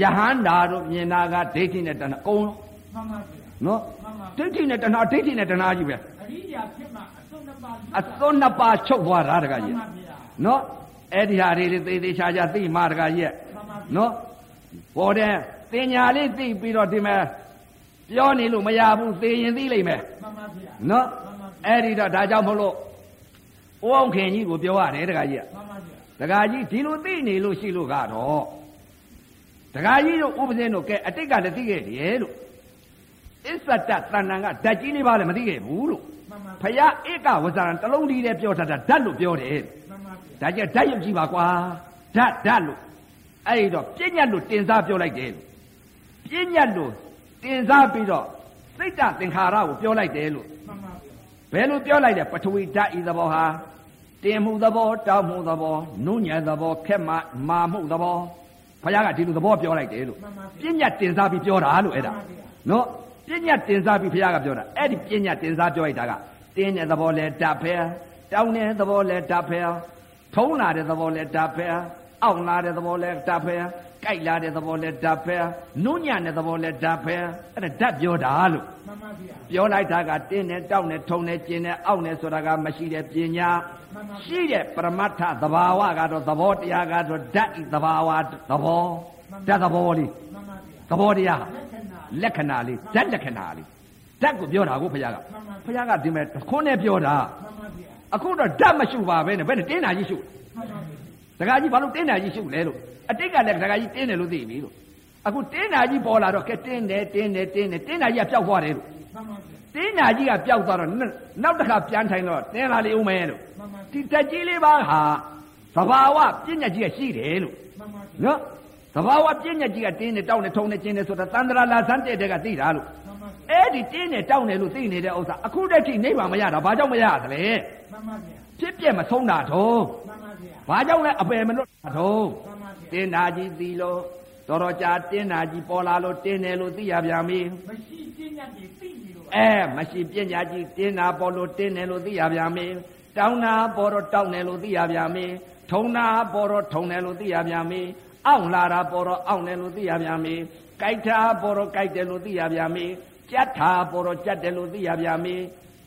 ယဟန္တာတို့မြင်တာကဒိဋ္ဌိနဲ့တဏှာအကုန်လုံး မှန်ပါဗျာ နော် မှန်ပါ ဒိဋ္ဌိနဲ့တဏှာဒိဋ္ဌိနဲ့တဏှာကြီးပဲ အရိယာဖြစ်မှာအဆုံးနှစ်ပါး အစွန်းနှစ်ပါးချုပ်သွားတာတက မှန် ကြီး ပါဗျာ နော်အဲ့ဒီဟာတွေတွေသေသေးချာချာသိမှတကကြီးရဲ့ မှန်ပါဗျာ နော်ပေါ်တယ်တင်ညာလေးသိပြီးတော့ဒီမှာပြောနေလို့မရဘူးသိရင်သိလိမ့်မယ် မှန်ပါဗျာ နော် မှန်ပါဗျာ အဲ့ဒီတော့ဒါကြောင့်မလို့ဦးအောင်ခင်ကြီးကိုပြောရတယ်တကကြီးက မှန်ပါဗျာ တကကြီးဒီလိုသိနေလို့ရှိလို့ကတော့ ဒကာကြီးတို့ဥပဇင်းတို့ကဲအတိတ်ကလည်းသိခဲ့တယ်လို့အစ္ဆတတဏ္ဏကဓာတ်ကြီးလေးပါလည်းမသိခဲ့ဘူးလို့ မှန်ပါ ဖယားဧကဝဇရံတစ်လုံးဒီလည်းပြောထားတာဓာတ်လို့ပြောတယ် မှန်ပါဗျာ ဒါကြက်ဓာတ်ရုပ်ကြည့်ပါကွာဓာတ်ဓာတ်လို့အဲ့ဒီတော့ပြဉ္ညတ်လို့တင်စားပြောလိုက်တယ်လို့ပြဉ္ညတ်လို့တင်စားပြီးတော့စိတ်တသင်္ခါရကိုပြောလိုက်တယ်လို့ မှန်ပါဗျာ ဘယ်လိုပြောလိုက်လဲပထဝီဓာတ်ဤသဘောဟာတင်မှုသဘောတောက်မှုသဘောနုညံသဘောခက်မမာမှုသဘောဘုရားကဒီလိုသဘောပြောလိုက်တယ်လို့ မှန်ပါဗျာ ပြဉ္ညတ်တင်စားပြီးပြောတာလို့အဲ့ဒါ မှန်ပါဗျာ နော်ပြဉ္ညတ်တင်စားပြီးဘုရားကပြောတာအဲ့ဒီပြဉ္ညတ်တင်စားပြောလိုက်တာကတင်းတဲ့သဘောလဲဓာတ်ဖဲတောင်းတဲ့သဘောလဲဓာတ်ဖဲထုံးလာတဲ့သဘောလဲဓာတ်ဖဲအောင့်လာတဲ့သဘောလဲဓာတ်ဖဲကြိုက်လာတဲ့သဘောလဲဓာတ်ဖဲနုညံ့တဲ့သဘောလဲဓာတ်ဖဲအဲ့ဒါဓာတ်ပြောတာလို့ မှန်ပါဗျာ ပြောလိုက်တာကတင်းနဲ့တောက်နဲ့ထုံနဲ့ကျင်နဲ့အောက်နဲ့ဆိုတာကမရှိတဲ့ပညာ မှန်ပါဗျာ ရှိတဲ့ပရမတ္ထသဘာဝကတော့သဘောတရားကတော့ဓာတ်ဤသဘာဝသဘောဓာတ်သဘောလေး မှန်ပါဗျာ သဘောတရား လက္ခလက္ခဏာဏာလေးဓာတ်လက္ခဏာလေးဓာတ်ကိုပြောတာကိုဘုရားက မှန်ပါဘုဗျာရားကဒီမဲ့တစ်ခွန်းနဲ့ပြောတာ မှန်ပါဗျာ အခုတော့ဓာတ်မရှုပါပဲနဲ့ဘယ်နဲ့တင်းတာကြီးရှု မှန်ပါဗျာ ဒကာကြီးဘာလို့တင်းတာကြီးရှုလဲလို့အတိတ်ကလည်းဒကာကြီးတင်းတယ်လို့သိပြီလို့အခုတင်းတာကြီးပေါ်လာတော့ကဲတင်းတယ်တင်းတယ်တင်းတယ်တင်းတာကြီးကပျောက်သွားတယ်လို့ မှန်ပါဗျာ တင်းနာကြီးကပျောက်သွားတော့နှစ်နောက်တစ်ခါပြန်ထိုင်တော့တင်းလာလေဦးမဲလို့ မှန်ပါဗျာ ဒီတက်ကြီးလေးပါဟာသဘာဝပညာကြီးကရှိတယ်လို့ မှန်ပါဗျာ နော်သဘာဝပညာကြီးကတင်းနဲ့တောက်နဲ့ထုံနဲ့ကျင်းနဲ့ဆိုတာသန္တရာလာဇန်တဲ့တဲ့ကသိတာလို့ မှန်ပါဗျာ အဲ့ဒီတင်းနဲ့တောက်နဲ့လို့သိနေတဲ့ဥစ္စာအခုတည်းကနိဗ္ဗာန်မရတာဘာကြောင့်မရသလဲ မှန်ပါဗျာ ဖြစ်ပြက်မဆုံးတာတော့ မှန်ပါဗျာ ဘာကြောင့်လဲအပယ်မလွတ်တာတော့ မှန်ပါဗျာ တင်းနာကြီးသီလို့တော်တော်ကြာတင်းနာကြီးပေါ်လာလို့တင်းတယ်လို့သိရပြန်ပြီ မရှိပညာကြီးသိနေလို့ပါ အဲမရှိပညာကြီးတင်းတာပေါ်လို့တင်းတယ်လို့သိရဗျာမေတောင်းတာပေါ်တော့တောင်းတယ်လို့သိရဗျာမေထုံတာပေါ်တော့ထုံတယ်လို့သိရဗျာမေအောင့်လာတာပေါ်တော့အောင့်တယ်လို့သိရဗျာမေကြိုက်တာပေါ်တော့ကြိုက်တယ်လို့သိရဗျာမေကြက်တာပေါ်တော့ကြက်တယ်လို့သိရဗျာမေ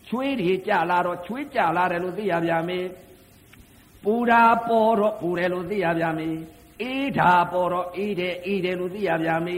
ချွေးတွေကြလာတော့ချွေးကြလာတယ်လို့သိရဗျာမေ ပူတာပေါ်တော့ပူတယ်လို့သိရဗျာမေအေးတာပေါ်တော့အေးတယ်အေးတယ်လို့သိရဗျာမေ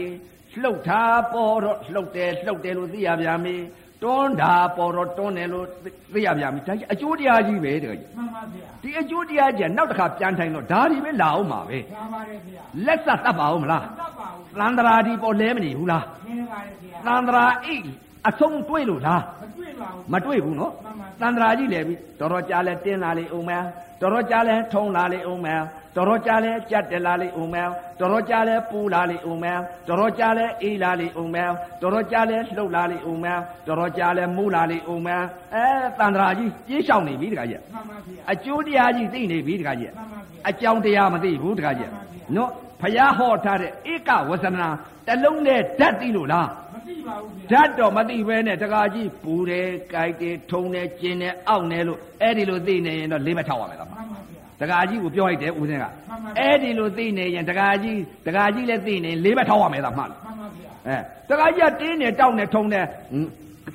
လှုပ်တာပေါ်တော့လှုပ်တယ်လှုပ်တယ်လို့သိရဗျာမေတွန်းတာပေါ်တော့တွန်းတယ်လို့သိသိရဗျာမေဒါကြီးအကျိုးတရားကြီးပဲတကယ်ကြီး မှန်ပါဗျာ ဒီအကျိုးတရားကြီးကနောက်တစ်ခါပြန်ထိုင်တော့ဒါဒီပဲလာအောင်ပါပဲ ဒါပါတယ်ဗျာ လက်ဆက်တတ်ပါအောင်မလား မတတ်ပါဘူး သန္တရာဒီပေါ်လဲမနေဘူးလား နေပါတယ်ဗျာ သန္တရာအိတ်အဆုံးတွေးလို့လား မတွေ့ပါဘူး မတွေ့ဘူးနော် မှန်ပါ တန်တရာကြီးလည်းပြီတော်တော်ကြားလဲတင်းလာလေအောင်မန်းတော်တော်ကြားလဲထုံလာလေအောင်မန်းတော်တော်ကြားလဲကြက်တက်လာလေအောင်မန်းတော်တော်ကြားလဲပူလာလေအောင်မန်းတော်တော်ကြားလဲအေးလာလေအောင်မန်းတော်တော်ကြားလဲလှုပ်လာလေအောင်မန်းတော်တော်ကြားလဲမူးလာလေအောင်မန်းအဲတန်တရာကြီးပြေးရှောင်နေပြီတခါကြီး မှန်ပါဗျာ အကျိုးတရားကြီးသိနေပြီတခါကြီး မှန်ပါဗျာ အကြောင်းတရားမသိဘူးတခါကြီးနော်ဖျားဟောထားတဲ့ဧကဝဇ္ဇနာတစ်လုံးနဲ့ဓာတ်သိလို့လား မသိပါဘူးဗျာဓာတ်တော်မသိပဲနဲ့တကာကြီးပူတယ်၊ကြိုက်တယ်၊ထုံတယ်၊ကျင်တယ်၊အောင့်တယ်လို့အဲ့ဒီလိုသိနေရင်တော့လေးမထောက်ရမယ်လား မှန်ပါဗျာ ။တကာကြီးကိုပြောလိုက်တယ်ဦးစင်းက မှန်ပါဗျာ အဲ့ဒီလိုသိနေရင်တကာကြီးတကာကြီးလည်းသိနေရင်လေးမထောက်ရမယ်လားမှလား မှန်ပါဗျာ ။အဲတကာကြီးကတင်းတယ်တောက်တယ်ထုံတယ်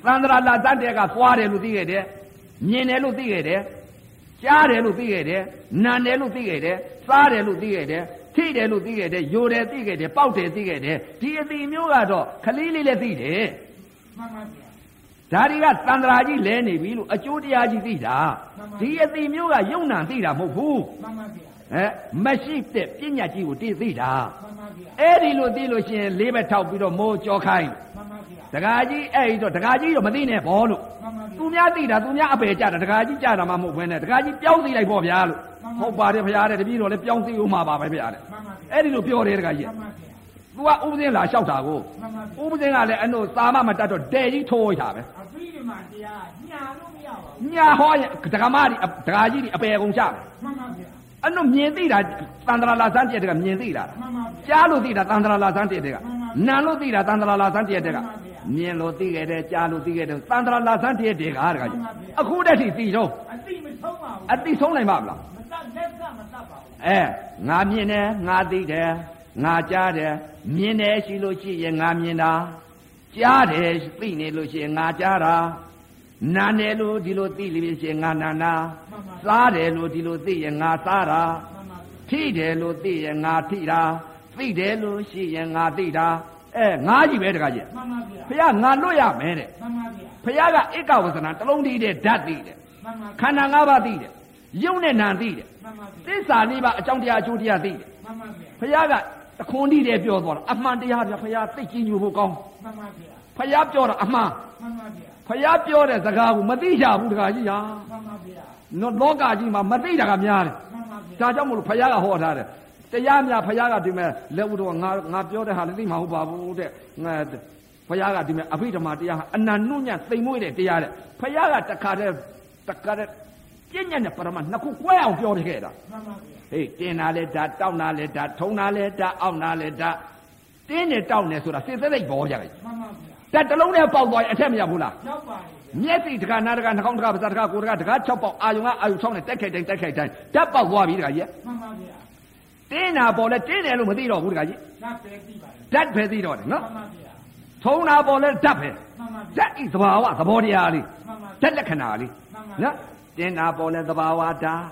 ဟွန်းသန္တရာလာတတ်တဲ့ကသွားတယ်လို့သိခဲ့တယ်။မြင်တယ်လို့သိခဲ့တယ်။ကြားတယ်လို့သိခဲ့တယ်။နာတယ်လို့သိခဲ့တယ်။စားတယ်လို့သိခဲ့တယ်။ထိတယ်လို့သိခဲ့တယ်၊ယိုတယ်သိခဲ့တယ်၊ပေါက်တယ်သိခဲ့တယ်။ဒီအသည့်မျိုးကတော့ခလေးလေးလည်းသိတယ်။ မှန်ပါဗျာ ဒါတွေကသန္တရာကြီးလဲနေပြီလို့အကျိုးတရားကြီးသိတာ မှန်ပါ ဒီအသိမျိုးကယုံနာသိတာမဟုတ်ဘူး မှန်ပါဗျာ အဲမရှိတဲ့ပညာကြီးကိုသိသိတာ မှန်ပါဗျာ အဲ့ဒီလိုသိလို့ရှိရင်လေးဘက်ထောက်ပြီးတော့မိုးကြောခိုင်း မှန်ပါဗျာ ဒကာကြီးအဲ့ဒီတော့ဒကာကြီးတော့မသိနဲ့ဘောလို့ မှန်ပါဗျာ သူများသိတာသူများအပယ်ကြတာဒကာကြီးကြတာမှမဟုတ်ဘဲနဲ့ဒကာကြီးပြောင်းသိလိုက်ပေါ့ဗျာလို့ မှန်ပါ ဟုတ်ပါတယ်ဖရားတဲ့တပည့်တော်လည်းပြောင်းသိဦးမှာပါပဲဖရားတဲ့ မှန်ပါဗျာ အဲ့ဒီလိုပြောတယ်ဒကာကြီး မှန်ပါဗျာ သူကဥပဇင်းလာလျှောက်တာကို မှန်ပါဥပဇဗျာင်းကလည်းအနိုသာမမတတ်တော့ဒဲကြီးထိုးလိုက်တာပဲ အပြီးဒီမှာတရားညာလို့မရပါဘူး ညာဟောရင်ဒကမကြီးဒကာကြီးကြီးအပေကုန်ချမယ် မှန်ပါဗျာ အဲ့တော့မြင်သိတာတန္တရာလာဇန်တည့်တဲ့ကမြင်သိလာတာ မှန်ပါဗျာ ကြားလို့သိတာတန္တရာလာဇန်တည့်တဲ့က မှန်ပါဗျာ နာလို့သိတာတန္တရာလာဇန်တည့်တဲ့က မှန်ပါဗျာ မြင်လို့သိခဲ့တယ်ကြားလို့သိခဲ့တယ်တန္တရာလာဇန်တည့်တဲ့ကတကကြီး မှန်ပါဗျာ အခုတည်းကသိတော့ အသိမဆုံးပါဘူး အတိဆုံးနိုင်ပါမလား မတတ်လက်ကမတတ်ပါဘူး အဲငါမြင်တယ်ငါသိတယ်ငါကြားတယ်မြင်တယ်ရှိလို့ရှိရင်ငါမြင်တာကြားတယ်သိနေလို့ရှိရင်ငါကြားတာနာတယ်လို့ဒီလိုသိလို့ရှိရင်ငါနာနာ မှန်ပါဗျာ စားတယ်လို့ဒီလိုသိရင်ငါစားတာ မှန်ပါဗျာ ထိတယ်လို့သိရင်ငါထိတာသိတယ်လို့ရှိရင်ငါသိတာအဲငါကြီးပဲတခါကြီး မှန်ပါဗျာ ဖះငါလွတ်ရမယ်တဲ့ မှန်ပါဗျာ ဖះကဧကဝဇနာတစ်လုံးတည်းတဲ့ဓာတ်သိတယ် မှန်ပါ ခန္ဓာ၅ပါးသိတယ်ယုံနဲ့နာသိတယ် မှန်ပါဗျာ သစ္စာလေးပါအကြောင်းတရားအကျိုးတရားသိတယ် မှန်ပါဗျာ ဖះက တခွန်းတိတဲ့ပြောသွားတာအမှန်တရားဗျာဖရာသိချင်းညူဖို့ကောင်း မှန်ပါဗျာ ဖရာပြောတာအမှန် မှန်ပါဗျာ ဖရာပြောတဲ့စကားကိုမသိရဘူးတခါကြီးဟာ မှန်ပါဗျာ နော်လောကကြီးမှာမသိတာကများတယ် မှန်ပါဒါဗျာကြောင့်မလို့ဖယားကဟောထားတယ်တရားများဖယားကဒီမဲ့လက်ဦးတော့ငါငါပြောတဲ့ဟာလည်းသိမှာမဟုတ်ပါဘူးတဲ့ငါဖယားကဒီမဲ့အဘိဓမ္မာတရားဟာအနန္နုညသိမ်မွေ့တဲ့တရားတဲ့ဖယားကတခါတည်းတခါတည်းပြဉ္ညာနဲ့ပရမနှစ်ခုကွဲအောင်ပြောခဲ့တာ မှန်ပါဗျာ ဟေးတင်တာလဲဒါတောက်တာလဲဒါထုံတာလဲဒါအောင့်တာလဲဒါတင်းနဲ့တောက်နေဆိုတာစေသက်သက်ဘောကြတယ် မှန်ပါဗျာ တက်တစ်လုံးနဲ့ပေါက်သွားရင်အထက်မရဘူးလား ရောက်ပါလေဗျာ မျက်စိတကနာတကနှာခေါင်းတကပါးစပ်တကကိုယ်တကတက၆ပေါက်အာယုံကအာယုံ၆နဲ့တက်ခိုက်တိုင်းတက်ခိုက်တိုင်းဓာတ်ပေါက်သွားပြီတကကြီး မှန်ပါဗျာ တင်းတာပေါ်လဲတင်းတယ်လို့မသိတော့ဘူးတခါကြီး ဒါပဲသိပါလေ ဓာတ်ပဲသိတော့တယ်နော် မှန်ပါဗျာ ထုံတာပေါ်လဲဓာတ်ပဲ မှန်ပါ ဓာ ဗျာ တ်ဤသဘာဝသဘောတရားလေး မှန်ပါ ဓာ ဗျာ တ်လက္ခဏာလေး မှန်ပါ နော်တင်းတာပေါ်လဲသဘာဝဓာတ်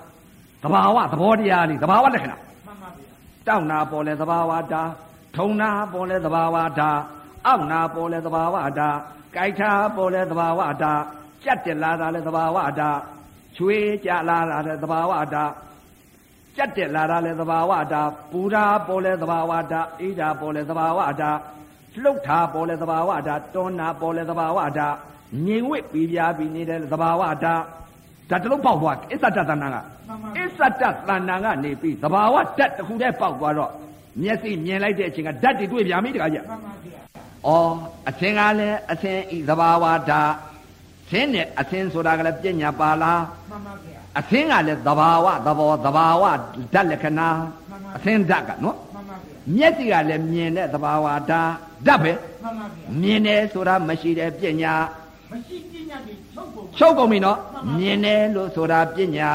သဘာဝသဘောတရားလေးသဘာဝလက္ခဏာ မှန်ပါဗျာ တောက်နာပေါ်လဲသဘာဝဓာတ်ထုံနာပေါ်လဲသဘာဝဓာတ်အောက်နာပေါ်လဲသဘာဝဓာတ်ကြိုက်တာပေါ်လဲသဘာဝဓာတ်ကြက်တက်လာတာလဲသဘာဝဓာတ်ချွေးကြလာတာလဲသဘာဝဓာတ် ကြက်တက်လာတာလဲသဘာဝတာပူတာပေါ်လဲသဘာဝတာအေးတာပေါ်လဲသဘာဝတာလှုပ်တာပေါ်လဲသဘာဝတာတွန်းတာပေါ်လဲသဘာဝတာငြိမ်ဝစ်ပြီးပြားပြီးနေတယ်သဘာဝတာဒါတလုံးပေါက်သွားအစ္ဆတသဏ္ဍာန်ကအစ္ဆတသဏ္ဍာန်ကနေပြီးသဘာဝဓာတ်တစ်ခုတည်းပေါက်သွားတော့မျက်စိမြင်လိုက်တဲ့အချိန်ကဓာတ်တွေတွေ့ပြန်ပြီတခါကျ မှန်ပါဗျာ ဩအသင်ကလည်းအသင်ဤသဘာဝဓာတ်သင်နဲ့အသင်ဆိုတာကလည်းပညာပါလား မှန်ပါဗျာ အသင်ကလည်းသဘာဝသဘောသဘာဝဓာတ်လက္ခဏာ မှန်ပါ အသင်ဓာတ်ကနော် မှန်ပါဗျာ မျက်စိကလည်းမြင်တဲ့သဘာဝဓာတ်ဓာတ်ပဲ မှန်ပါဗျာ မြင်တယ်ဆိုတာမရှိတဲ့ပညာ မရှိပညာတွေချုပ်ကုန် ချုပ်ကုန်ပြီနော်မြင်တယ်လို့ဆိုတာပညာ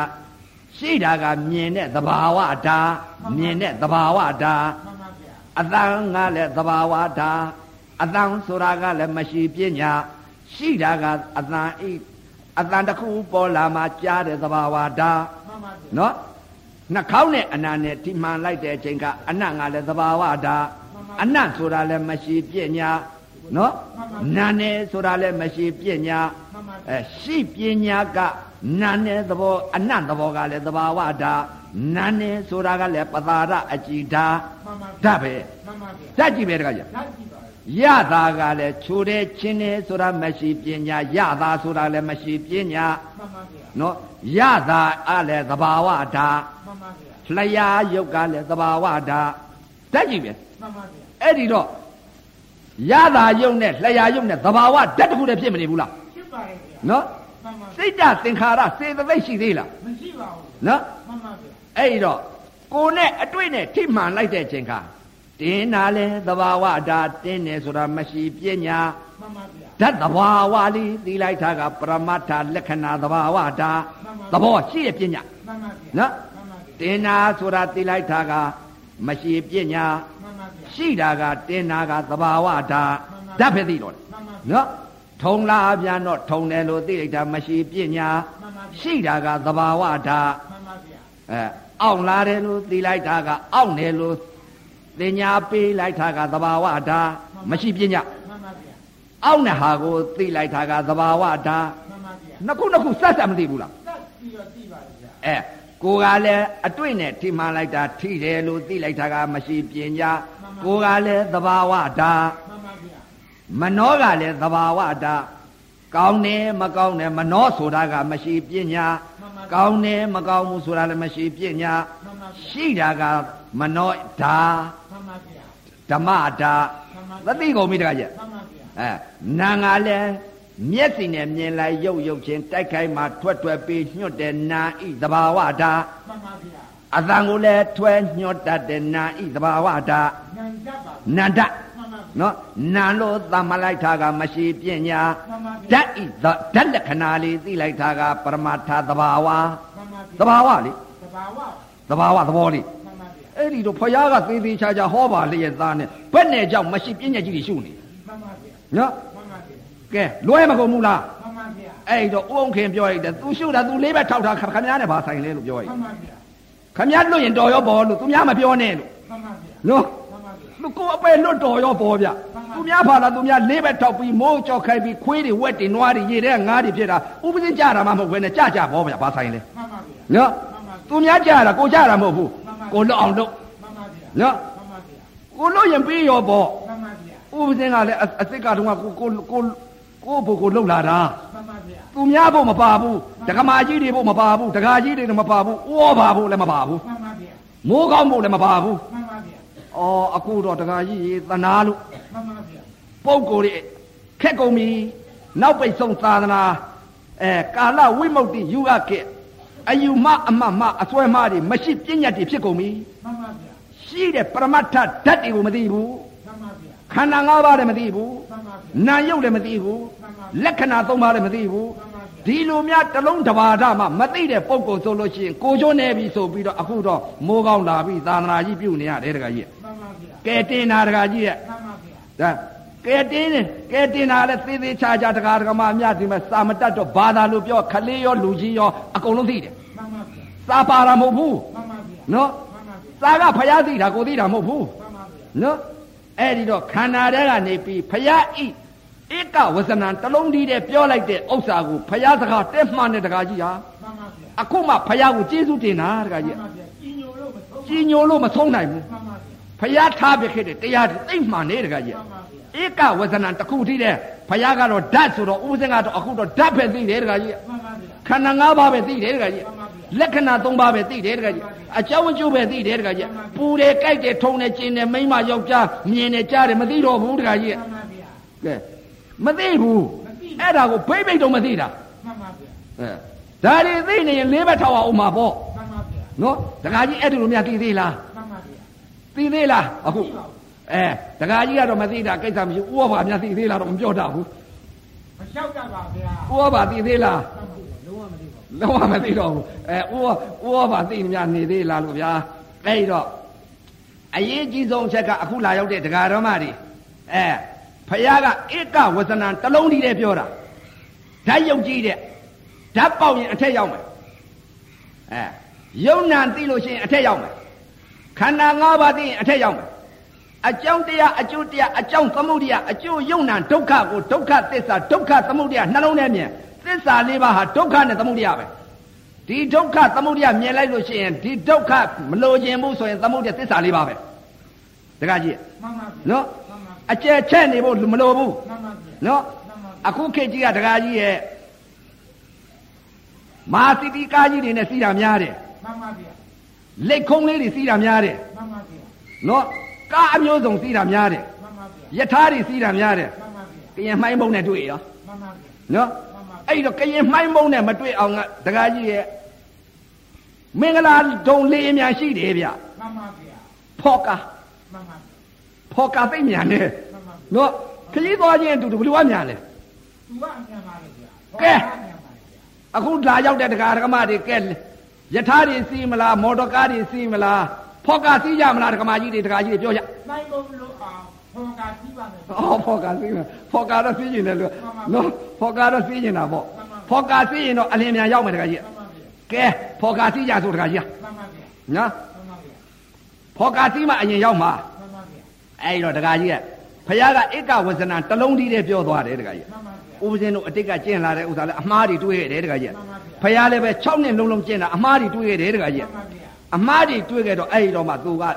ရှိတာကမြင်တဲ့သဘာဝဓာတ်မြင်တဲ့သဘာဝဓာတ် မှန်ပါဗျာ အတန်ကလည်းသဘာဝဓာတ်အတန်ဆိုတာကလည်းမရှိပညာရှိတာကအတန်ဤအတန်တစ်ခုပေါ်လာမှကြားတဲ့သဘာဝဓာတ် မှန်ပါဗျာ နော်နှာခေါင်းနဲ့အနာနဲ့ထိမှန်လိုက်တဲ့အချိန်ကအနံ့ကလည်းသဘာဝဓာတ်အနံ့ဆိုတာလည်းမရှိပညာနော်နာနဲ့ဆိုတာလည်းမရှိပညာ မှန်ပါဗျာ အဲရှိပညာကနာနဲ့သဘောအနံ့သဘောကလည်းသဘာဝဓာတ်နာနဲ့ဆိုတာကလည်းပသာရအကြည်ဓာတ် မှန်ပါ ဓာ ဗျာ တ်ပဲ မှန်ပါဓာဗျာတ်ကြည့်ပဲတခါကြ လိုက်ကြည့်ပါလေ ရတာကလည်းခြိုတဲ့ချင်းနေဆိုတာမရှိပညာရတာဆိုတာလည်းမရှိပညာ မှန်ပါဗျာ နော်ရတာအလည်းသဘာဝဓာတ် မှန်ပါဗျာ လျာယုတ်ကလည်းသဘာဝဓာတ်ဓာတ်ကြည့်ပဲ မှန်ပါဗျာ အဲ့ဒီတော့ရတာယုတ်နဲ့လျာယုတ်နဲ့သဘာဝဓာတ်တစ်ခုတည်းဖြစ်မနေဘူးလား ဖြစ်ပါလေဗျာ နော် မှန်ပါဗျာ စိတ်ဓာတ်သင်္ခါရစေတသိက်ရှိသေးလား မရှိပါဘူးဗျာ နော် မှန်ပါဗျာ အဲ့ဒီတော့ကိုယ်နဲ့အတွေ့နဲ့ထိမှန်လိုက်တဲ့အချိန်ကတင်းတာလဲသဘာဝဓာတ်တင်းတယ်ဆိုတာမရှိပညာ မှန်ပါဗျာ ဓာတ်သဘာဝလေးသိလိုက်တာကပရမတ္ထလက္ခဏာသဘာဝဓာတ် မှ သ န်ပါ ဘောရှိရပညာ မှန်ပါဗျာ နော် မှန်ပါဗျာ တင်းတာဆိုတာသိလိုက်တာကမရှိပညာ မှန်ပါဗျာ ရှိတာကတင်းတာကသဘာဝဓာတ် မှ ဓာ န် တ် ပါ ပဲသိတော့တယ် မှန်ပါဗျာ နော်ထုံလာပြန်တော့ထုံတယ်လို့သိလိုက်တာမရှိပညာ မှန်ပါဗျာ ရှိတာကသဘာဝဓာတ် မှန်ပါဗျာ အဲအောင့်လာတယ်လို့သိလိုက်တာကအောင့်တယ်လို့တင်ညာပေးလိုက်တာကသဘာဝဓာတ်မရှိပညာ မှန်ပါဗျာ အောင့်တဲ့ဟာကိုသိလိုက်တာကသဘာဝဓာတ် မှန်ပါဗျာ နှစ်ခုနှစ်ခုဆက်ဆက်မသိဘူးလား တက်ပြီးတော့ကြည့်ပါလေဗျာ အဲကိုယ်ကလည်းအတွေ့နဲ့ထိမှန်လိုက်တာထိတယ်လို့သိလိုက်တာကမရှိပညာကိုယ်ကလည်းသဘာဝဓာတ် မှန်ပါဗျာ မနှောကလည်းသဘာဝဓာတ်ကောင်းတယ်မကောင်းတယ်မနှောဆိုတာကမရှိပညာ မှန်ပါဗျာ ကောင်းတယ်မကောင်းဘူးဆိုတာလည်းမရှိပညာ မှန်ပါဗျာ ရှိတာကမနှောဓာတ် မှန်ပါဗျာ ဓမ္မတာ မှန်ပါ သ ဗျာ တိကုန်ပြီတခါကျ မှန်ပါဗျာ အဲနာငါလဲမျက်စိနဲ့မြင်လိုက်ရုပ်ရုပ်ချင်းတိုက်ခိုက်မှထွက်ထွက်ပြီးညွတ်တဲ့နာဤသဘာဝဓာတ် မှန်ပါဗျာ အသံကိုလည်းထွဲညွတ်တတ်တဲ့နာဤသဘာဝဓာတ် နံကြပါ နန္ဒ မှန်ပါဗျာ နော်နာလို့သတ်မလိုက်တာကမရှိပညာ မှန်ပါ ဓာ ဗျာ တ်ဤဓာဓာတ်လက္ခဏာလေးသိလိုက်တာကပရမတ္ထသဘာဝ မှန်ပါဗျာ သဘာဝလေ သဘာဝ သဘာဝသဘောလေး မှန်ပါဗျာ အဲ့ဒီတော့ဖယားကသေးသေးချာချာဟောပါလျက်သားနဲ့ဘယ်နဲ့ကြောင့်မရှိပညာကြီးတွေရှုနေ မှန်ပါဗျာ နော် မှန်ပါဗျာ ကဲလွဲမကုန်ဘူးလား မှန်ပါဗျာ အဲ့တော့ဥုံခင်ပြောရည်တဲ့သူရှုတာသူလေးပဲထောက်တာခမည်းနဲ့ဘာဆိုင်လဲလို့ပြောရည် မှန်ပါဗျာ ခမည်းလွတ်ရင်တော်ရောပေါ်လို့သူများမပြောနဲ့လို့ မှန်ပါဗျာ နော် မှန်ပါဗျာ သူကိုယ်အပဲလွတ်တော်ရောပေါ်ဗျသူများဖာလာသူများလေးပဲထောက်ပြီးမိုးကြောက်ခိုင်းပြီးခွေးတွေဝက်တွေနွားတွေရေတဲ့ငါးတွေဖြစ်တာဥပဒေကြတာမှမဟုတ်ဘဲနဲ့ကြကြပေါ်ဗျဘာဆိုင်လဲ မှန်ပါဗျာ နော်သူများကြတာကိုကြတာမဟုတ်ဘူးကိုလွတ်အောင်လုပ် မှန်ပါဗျာ နော် မှန်ပါဗျာ ကိုလွတ်ရင်ပေးရောပေါ့ မှန်ပါဗျာ ဥပဇင်းကလည်းအအစ်စ်ကတော့ကကိုကိုကိုကိုဘို့ကိုလှုပ်လာတာ မှန်ပါဗျာ သူများဖို့မပါဘူးဒကမာကြီးတွေဖို့မပါဘူးဒကာကြီးတွေလည်းမပါဘူးဥောပါဖို့လည်းမပါဘူး မှန်ပါဗျာ မိုးကောင်းဖို့လည်းမပါဘူး မှန်ပါဗျာ အော်အခုတော့ဒကာကြီးရေသနာလို့ မှန်ပါဗျာ ပုံကိုယ်တွေခက်ကုန်ပြီနောက်ပိတ်ဆုံးသာသနာအဲကာလဝိမု ക്തി ယူရခဲ့အယူမအမတ်မအစွဲမတွေမရှိပညာတွေဖြစ်ကုန်ပြီ မှန်ပါဗျာ ရှိတဲ့ပရမတ္ထဓာတ်တွေကိုမသိဘူး မှန်ပါဗျာ ခန္ဓာ၅ပါးလည်းမသိဘူး မှန်ပါဗျာ နာယုတ်လည်းမသိဘူးလက္ခဏာ၃ပါးလည်းမသိဘူး မှန်ပါဗျာ ဒီလိုများတလုံးတစ်ပါးဒါမှမသိတဲ့ပုံကိုလ်ဆိုလို့ရှိရင်ကိုကျွန်းနေပြီဆိုပြီးတော့အခုတော့မိုးကောင်းလာပြီသာသနာကြီးပြုနေရတယ်တကကြီး မှန်ပါဗျာ ကဲတင်တာတကကြီးရဲ့ မှန်ပါဗျာ ဒါကဲတင်တယ်ကဲတင်တာလည်းသေသေးချာချာတကာတကမအများဒီမှာစာမတတ်တော့ဘာသာလို့ပြောခလေးရောလူကြီးရောအကုန်လုံးသိတယ် မှန်ပါဗျာ စာပါတာမဟုတ်ဘူး မှန်ပါဗျာ နော် မှန်ပါဗျာ စာကဖျားသိတာကိုသိတာမဟုတ်ဘူး မှန်ပါဗျာ နော်အဲ့ဒီတော့ခန္ဓာထဲကနေပြီးဖျားဤဧကဝဇဏံတလုံးဒီတဲ့ပြောလိုက်တဲ့ဥစ္စာကိုဖျားစကားတက်မှန်တဲ့တကကြီးဟာ မှန်ပါဗျာ အခုမှဖယားကိုကျေးဇူးတင်တာတခါ မှ ကြီး န်ပါဗျာကြီးညိုလို့မဆုံး ကြီးညိုလို့မဆုံးနိုင်ဘူး မှန်ပါဖဗျာယားထားပြခဲ့တဲ့တရားတွေသိမ့်မှန်နေတခါကြီး မှန်ပါဗျာ ဧကဝဇဏံတစ်ခုထိတဲ့ဖယားကတော့ဓာတ်ဆိုတော့ဥပဇင်ကတော့အခုတော့ဓာတ်ပဲသိတယ်တခါကြီး မှန်ပါဗျာ ခန္ဓာ၅ပါးပဲသိတယ်တခါကြီးလက္ခဏာ၃ပါးပဲသိတယ်တခါကြီးအကြောင်းအကျိုးပဲသိတယ်တခါကြီးပူတယ်ကြိုက်တယ်ထုံတယ်ကျင်တယ်မိမ့်မယောက်ျားမြင်တယ်ကြားတယ်မသိတော့ဘူးတခါကြီး မှန်ပါဗကဲျာမသိဘူးအဲ့ဒါကိုဘိမ့်ဘိမ့်တော့မသိတာ မှန်ပါဗျာ အဲဒါတွေသိနေရင်လေးဘက်ထောက်အောင်မှာပေါ့ မှန်ပါဗျာ နော်ဒကာကြီးအဲ့ဒီလိုများသိသေးလား မှန်ပါဗျာ သိသေးလားအခုအဲဒကာကြီးကတော့မသိတာကိစ္စမရှိဘူးဥပ္ပါများသိသေးလားတော့မပြောတာဘူး မလျှောက်ကြပါဗျာ ဥပ္ပါသိသေးလား မှန်ပါဗျာလုံးဝမသိလုံးဝမသိပါဘူးတော့ဘူးအဲဥပ္ပါဥပ္ပါသိနေများနေသေးလားလို့ဗျာအဲ့ဒီတော့အရေးကြီးဆုံးအချက်ကအခုလာရောက်တဲ့ဒကာတော်မတွေအဲဖယားကဧကဝဇဏံတစ်လုံးတည်းတည်းပြောတာဓာတ်ယုတ်ကြီးတဲ့ဓာတ်ပေါက်ရင်အထက်ရောက်မယ်အဲယုံနံသိလို့ရှိရင်အထက်ရောက်မယ် ခန္ဓာ၅ပါးသိရင်အထက်ရောက်မယ်အကြောင်းတရားအကျိုးတရားအကြောင်းသမုဒ္ဒရာအကျိုးယုံနာဒုက္ခကိုဒုက္ခသစ္စာဒုက္ခသမုဒ္ဒရာနှလုံးထဲမြင်သစ္စာလေးပါးဟာဒုက္ခနဲ့သမုဒ္ဒရာပဲဒီဒုက္ခသမုဒ္ဒရာမြင်လိုက်လို့ရှိရင်ဒီဒုက္ခမလိုချင်ဘူးဆိုရင်သမုဒ္ဒရာသစ္စာလေးပါးပဲတခါကြီး မှန်ပါဗျာ နော် မှန်ပါ အကျယ်ချက်နေဖို့မလိုဘူး မှန်ပါဗျာ နော်အခုခေတ်ကြီးကတခါကြီးရဲ့မာသီတီကားကြီးတွေနဲ့စီးတာများတယ် မှန်ပါဗျာ လက်ခုံးလေးတွေစီးတာများတယ် မှန်ပါဗျာ နော်ကားအမျိုးစုံစီးတာများတယ် မှန်ပါဗျာ ယထာတွေစီးတာများတယ် မှန်ပါဗျာ ကရင်မှိုင်းမုံနဲ့တွေ့ရော မှန်ပါဗျာ နော် မှန်ပါဗျာ အဲ့တော့ကရင်မှိုင်းမုံနဲ့မတွေ့အောင်ကဒကာကြီးရဲ့မင်္ဂလာဒုံလေးအများရှိတယ်ဗျ မှန်ပါဗျာ ဖော်ကာ မှန်ပါဗျာ ဖော်ကာသိမ့်မြန်တယ် မှန်ပါဗျာ နော်ခကြီးသွားခြင်းအတူတူဘယ်လိုကမြန်လဲ သူကအမြန်ပါလေဗျာ ကဲ အမြန်ပါလေဗျာ အခုလာရောက်တဲ့ဒကာဒကမတွေကဲယထာတွေစီးမလားမော်တော်ကားတွေစီးမလားဖော်ကာစီးကြမလားဒကမကြီးတွေဒကာကြီးတွေပြောကြ နိုင်ကုန်လို့အောင်ဖော်ကာကြည့်ပါမယ်ဗျာ အော်ဖော်ကာစီးမလားဖော်ကာတော့စီးကျင်တယ်လို့ မှန်ပါ နော်ဖော်ကာတော့စီးကျင်တာပေါ့ဖော်ကာစီးရင်တော့အလင်းမြန်ရောက်မယ်ဒကာကြီး မှန်ပါဗျာ ကဲဖော်ကာစီကြဆိုတခါကြီး မှန်ပါဗျာ နော် မှန်ပါဗျာ ဖော်ကာစီမှအရင်ရောက်မှာ မှန်ပါဗျာ အဲ့ဒီတော့တခါကြီးကဖခင်ကဧကဝဇဏတလုံးတည်းတည်းပြောသွားတယ်တခါကြီး မှန်ပါဥပဇဗျာင်းတို့အတိတ်ကကျင့်လာတဲ့ဥစ္စာလည်းအမှားတွေတွေ့ရတယ်တခါကြီး မှန်ပါဖခဗျာင်လည်းပဲ6နှစ်လုံးလုံးကျင့်တာအမှားတွေတွေ့ရတယ်တခါကြီး မှန်ပါဗျာ အမှားတွေတွေ့ခဲ့တော့အဲ့ဒီတော့မှသူကဩ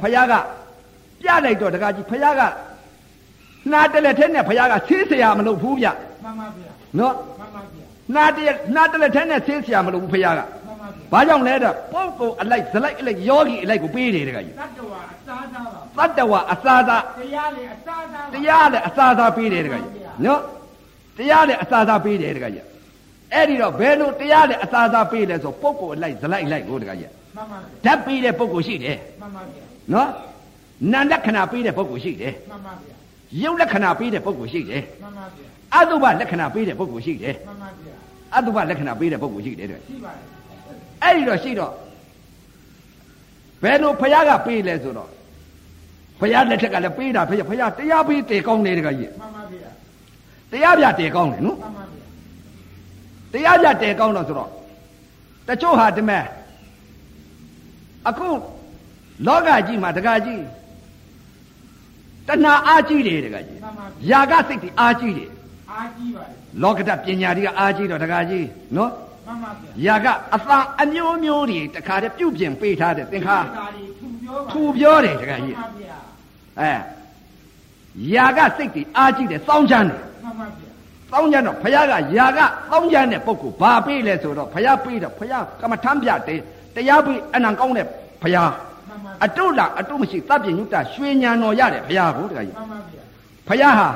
ဖခင်ကပြလိုက်တော့တခါကြီးဖခင်ကနှာတလက်ထဲနဲ့ဖခင်ကဆေးဆရာမလုပ်ဘူးဗျ မှန်ပါဗျာ နော် မှန်ပါဗျာ နှာတလက်နှာတလက်ထဲနဲ့ဆေးဆရာမလုပ်ဘူးဖခင်က မှန်ပါဘာဗျာကြောင့်လဲတော့ပုပ်ကုံအလိုက်ဇလိုက်အလိုက်ယောဂီအလိုက်ကိုပေးတယ်တခါကြီး တတ္တဝါအစားတတ္တဝအစာသားပါသာ တရားလေအစားသားပါ တရားလည်းအစာသာပေးတယ်တခါကြီးနော်တရားလည်းအစာသာပေးတယ်တခါကြီးအဲ့ဒီတော့ဘယ်လိုတရားလည်းအစာသာပေးလဲဆိုပုပ်ကုံအလိုက်ဇလိုက်အလိုက်ကိုတခါကြီး မှန်ပါဗျာ ဓာတ်ပေးတဲ့ပုပ်ကုံရှိတယ် မှန်ပါဗျာ နော်နာမ်လက္ခဏာပေးတဲ့ပုပ်ကုံရှိတယ် မှန်ပါဗျာ ရုပ်လက္ခဏာပေးတဲ့ပုပ်ကုံရှိတယ် မှန်ပါဗျာ အတုပလက္ခဏာပေးတဲ့ပုပ်ကုံရှိတယ် မှန်ပါဗျာ အတုပလက္ခဏာပေးတဲ့ပုပ်ကုံရှိတယ်တခါကြီး ရှိပါလေ အဲ့ဒီတော့ရှိတော့ဘယ်လိုဖယားကပေးလဲဆိုတော့ဖယားလက်ထက်ကလည်းပေးတာဖယားဖယားတရားပေးတေကောင်းတယ်တခါကြီး မှန်ပါဗျာ တရားပြတေကောင်းတယ်နော် မှန်ပါတဗျာရားပြတေကောင်းတော့ဆိုတော့တချို့ဟာဒီမဲ့အခုလောကကြီးမှာတခါကြီးတဏှာအားကြီးတယ်တခါကြီး မှန်ပါဗျာ ຢာကစိတ်တွေအားကြီးတယ် အားကြီးပါလေ လောကဓာတ်ပညာတွေကအားကြီးတော့တခါကြီးနော် မှန်ပါဗျာ ຢာကအသံအမျိုးမျိုးတွေတခါတည်းပြုတ်ပြင်ပေးထားတဲ့သင်္ခါ ဒီ ထူပြောတယ်တခါကြီး ပါဗျာ ဒ အဲယာကစိတ်တွေအားကြီးတယ်စောင်းချမ်းတယ် မှန်ပါဗျာ တောင်းကြတော့ဖះကယာကတောင်းကြတဲ့ပုဂ္ဂိုလ်ဘာပေးလဲဆိုတော့ဖះပေးတော့ဖះကမ္မထမ်းပြတယ်တရားပေးအနံကောင်းတဲ့ဖះ မှန်ပါ အတုလာအတုမရှိတပ်ပြညုတ္တရွှေညာတော်ရတယ်ဖះကိုတခါကြီး မှန်ပါဗျာ ဖះဟာ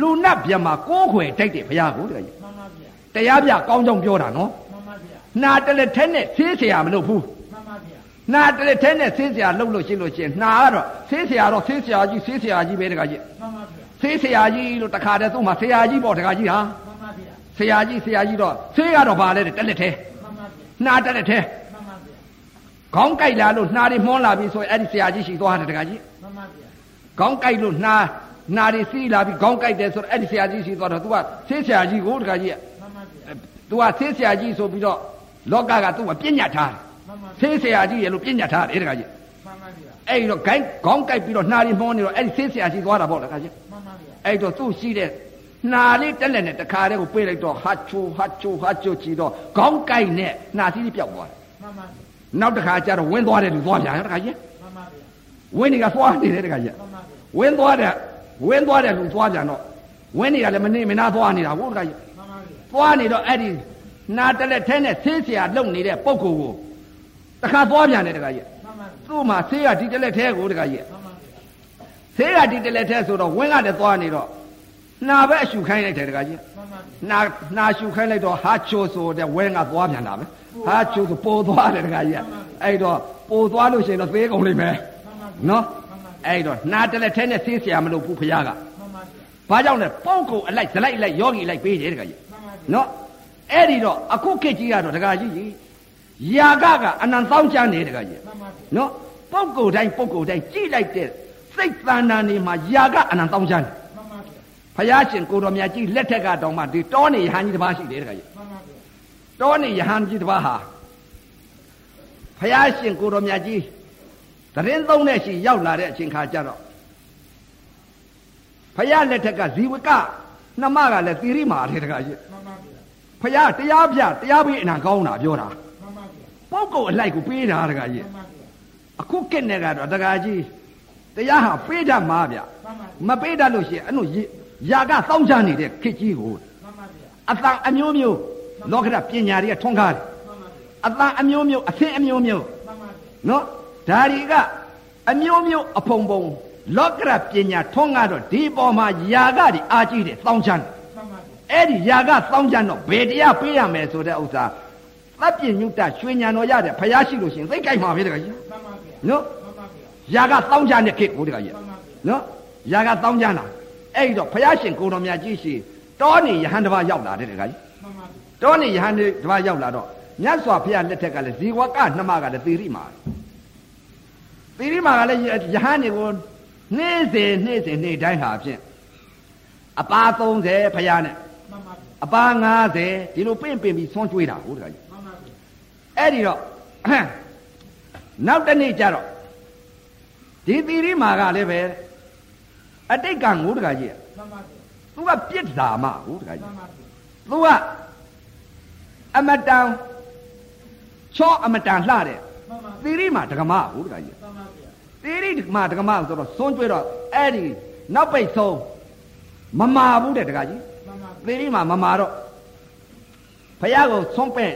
လူနတ်ပြန်မှာကိုးခွေတိုက်တယ်ဖះကိုတခါကြီး မှန်ပါဗျာ တရားပြကောင်းကြောင်ပြောတာနော် မှန်ပါဗျာ နာတလက်ထဲနဲ့ဆေးเสียမလို့ဘူး မှန်ပါဗျာ နာတလက်ထဲနဲ့ဆေးเสียလှုပ်လို့ရှိလို့ရှိရင်နာကတော့ဆေးเสียတော့ဆေးเสียကြီးဆေးเสียကြီးပဲတခါကြီး မှန်ပါဗျာ ဆေးเสียကြီးလို့တခါတည်းသူ့မှာเสียကြီးပေါ့တခါကြီးဟာ မှန်ပါဗျာ ဆရာကြီးဆရာကြီးတော့ဆေးရတော့ပါလဲတဲ့တက်လက်ထဲ မှန်ပါဗျာ နှာတက်လက်ထဲ မှန်ပါဗျာ ခေါင်းကိုက်လာလို့နှာတွေမှွန်းလာပြီဆိုရင်အဲ့ဒီဆရာကြီးရှိသွားတယ်တကကြီး မှန်ပါဗျာ ခေါင်းကိုက်လို့နှာနှာတွေစီးလာပြီခေါင်းကိုက်တယ်ဆိုတော့အဲ့ဒီဆရာကြီးရှိသွားတော့ तू ကဆေးဆရာကြီးကိုတကကြီးက မှန်ပါဗျာ तू ကဆေးဆရာကြီးဆိုပြီးတော့လောကက तू ကပြညတ်ထား မှန်ပါ တယ်ဆေးဆရာကြီးရလို့ပြညတ်ထားတယ်တကကြီး မှန်ပါဗျာ အဲ့ဒီတော့ဂိုင်းခေါင်းကိုက်ပြီးတော့နှာတွေမှွန်းနေတော့အဲ့ဒီဆေးဆရာကြီးသွားတာပေါ့တကကြီး မှန်ပါဗျာ အဲ့တော့သူ့ရှိတဲ့နာလေးတက်လက်နဲ့တခါတည်းကိုပြေးလိုက်တော့ဟာချိုဟာချိုဟာချိုချီတော့ခေါင်းကိုက်နဲ့နှာစီးလေးပြောက်သွားတယ် မှန်ပါဗျာ နောက်တစ်ခါကျတော့ဝင်းသွားတယ်လူသွားပြန်ရတခါကြီး မှန်ပါဗျာ ဝင်းတွေကသွားနေတယ်တခါကြီး မှန်ပါဗျာ ဝင်းသွားတယ်ဝင်းသွားတယ်လူသွားပြန်တော့ဝင်းတွေကလည်းမနေမနာသွားနေတာဟုတ်တခါကြီး မှန်ပါဗျာ သွားနေတော့အဲ့ဒီနာတလက်ထဲနဲ့ဆေးเสียလုံနေတဲ့ပုံကိုယ်ကိုတခါသွားပြန်တယ်တခါကြီး မှန်သူ့ပါဗျာမှာဆေးကဒီတလက်ထဲကိုတခါကြီး မှန်ပါဗျာ ဆေးကဒီတလက်ထဲဆိုတော့ဝင်းကလည်းသွားနေတော့နာပဲအရှူခိုင်းလိုက်တယ်တခါကြီး မှန်ပါဗျာ နာနာရှူခိုင်းလိုက်တော့ဟာချိုဆိုတဲ့ဝင်းကသွားပြန်တာပဲဟာချိုဆိုပိုသွားတယ်တခါကြီးအဲ့တော့ပိုသွားလို့ရှိရင်တော့သေးကုန်လိမ့်မယ် မှန်ပါဗျာ နော်အဲ့တော့နာတလက်ထဲနဲ့ဆေးเสียမလို့ဘူးဖရားက မှန်ပါဘာဗျာကြောင့်လဲပုံကုန်အလိုက်ဇလိုက်အလိုက်ယောဂီအလိုက်ပေးတယ်တခါကြီး မှန်ပါဗျာ နော်အဲ့ဒီတော့အခုခေတ်ကြီးကတော့တခါကြီးကြီးယာကကအနံသောင်းချမ်းနေတခါကြီး မှန်ပါဗျာ နော်ပုံကုန်တိုင်းပုံကုန်တိုင်းကြိလိုက်တဲ့စိတ်သဏ္ဍာန်တွေမှာယာကအနံသောင်းချမ်းနေ မှန်ပါဖဗျာရားရှင်ကိုတော်မြတ်ကြီးလက်ထက်ကတောင်မှဒီတောနေရဟန်းကြီးတစ်ပါးရှိတယ်တခါကြီး မှန်ပါဗျာ တောနေရဟန်းကြီးတစ်ပါးဟာဖရားရှင်ကိုတော်မြတ်ကြီးသတရင်သုံးနဲ့ရှိရောက်လာတဲ့အချိန်ခါကျတော့ ဖယားလက်ထက်ကဇီဝကနှမကလည်းသီရိမာတဲ့တကကြီး မှန်ပါဖဗျာယားတရားပြတရားပေးအနာကောင်းတာပြောတာ မှပုန်ပါဗျာပ်ကုတ်အလိုက်ကိုပေးတာတကကြီး မှန်ပါဗျာ အခုကက်နေကတော့တကကြီးတရားဟာပေးတတ်မှာဗျ မှန်မပါဗျာပေးတတ်လို့ရှိရင်အဲ့လိုရာကတောင်းချနေတဲ့ခစ်ကြီးကို မှန်ပါဗျာ အတန်အမျိုးမျိုးလောကဓာတ်ပညာတွေကထွန်းကားတယ် မှန်အပါဗျာတန်အမျိုးမျိုးအသင်အမျိုးမျိုး မှန်ပါဗျာ နော်ဒါတွေကအမျိုးမျိုးအဖုံဖုံလောကရပညာထွန်းကားတော့ဒီပေါ်မှာယာကတွေအားကြီးတယ်တောင်းချမ်းတယ် မှန်ပါဗျာ အဲ့ဒီယာကတောင်းချမ်းတော့ဘယ်တရားပေးရမယ်ဆိုတဲ့ဥစ္စာသဗ္ဗညုတရွှေညာတော်ရတယ်ဖျားရှိလို့ရှရင်သိကြိုက်မှာပဲတကကြီး မှန်ပါဗျာ နော် မှန်ပါယာဗျာကတောင်းချမ်းတဲ့ခေတ်ကိုတကကြီး မှန်ပါဗျာ နော်ယာကတောင်းချမ်းလာအဲ့ဒီတော့ဖျားရှင်ကိုတော်မြတ်ကြီးရှိတောနေယဟန်တစ်ပါးရောက်လာတယ်တကကြီး မှန်ပါဗျာ တောနေယဟန်တစ်ပါးရောက်လာတော့မြတ်စွာဘုရားလက်ထက်ကလည်းဇီဝကနှမကလည်းသေရိမာ သီရိမာကလည်းယဟန်တွေကိုနေ့စဉ်နေ့စဉ်နေ့တိုင်းဟာဖြင့်အပါ30ဖရားနဲ့ မှန်ပါဗျာ အပါ90ဒီလိုပင့်ပင်ပြီးဆွန့်ကျွေးတာဟုတ်တကကြီး မှန်ပါဗျာ အဲ့ဒီတော့အဟံနောက်တစ်နေ့ကျတော့ဒီသီရိမာကလည်းပဲအတိတ်ကငိုးတကကြီးက မှန်ပါဗျာ သူကပြစ်တာမဟုတ်တက မှ ကြီး န်ပါဗျာ သူကအမတန်ချောအမတန်လှတဲ့ မှန်ပါဗျာ သီရိမာဒကမဟုတ်တကကြီး မှန်ပါဗျာ တိရိဓမ္မဓမ္မဆိုတော့ဆုံးကျွဲတော့အဲ့ဒီနောက်ပိတ်ဆုံးမမာဘူးတဲ့တကကြီး မှန်ပါဗျာ တိရိမှာမမာတော့ဖယားကိုဆုံးပင့်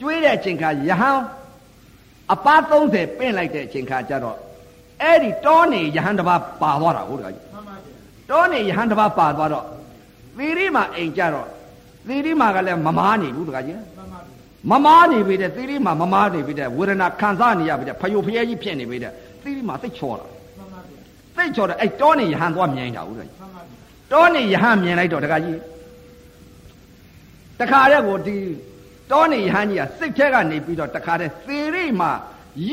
ကျွေးတဲ့အချိန်ခါယဟန်အပါ30ပင့်လိုက်တဲ့အချိန်ခါကျတော့အဲ့ဒီတောနေယဟန်တစ်ပါးပါသွားတာဟုတ်တကကြီး မှန်ပါဗျာ တောနေယဟန်တစ်ပါးပါသွားတော့တိရိမှာအိမ်ကျတော့တိရိမှာကလည်းမမာနေဘူးတကကြီး မှန်မပါဗျာမာနေပြီတဲ့တိရိမှာမမာနေပြီတဲ့ဝေဒနာခံစားနေရပြီတဲ့ဖယုတ်ဖျဲကြီးဖြစ်နေပြီတဲ့တိရိမှာသိချောတာ မှန်ပါဗျာ သိတ်ချော်တယ်အဲ့တောနေယဟန်သွားမြင်တာဟုတ်တယ် မှန်ပါဗျာ တောနေယဟန်မြင်လိုက်တော့တခါကြီးတခါတည်းကိုဒီတောနေယဟန်ကြီးကစိတ်ထဲကနေပြီးတော့တခါတည်းသေရိမှာ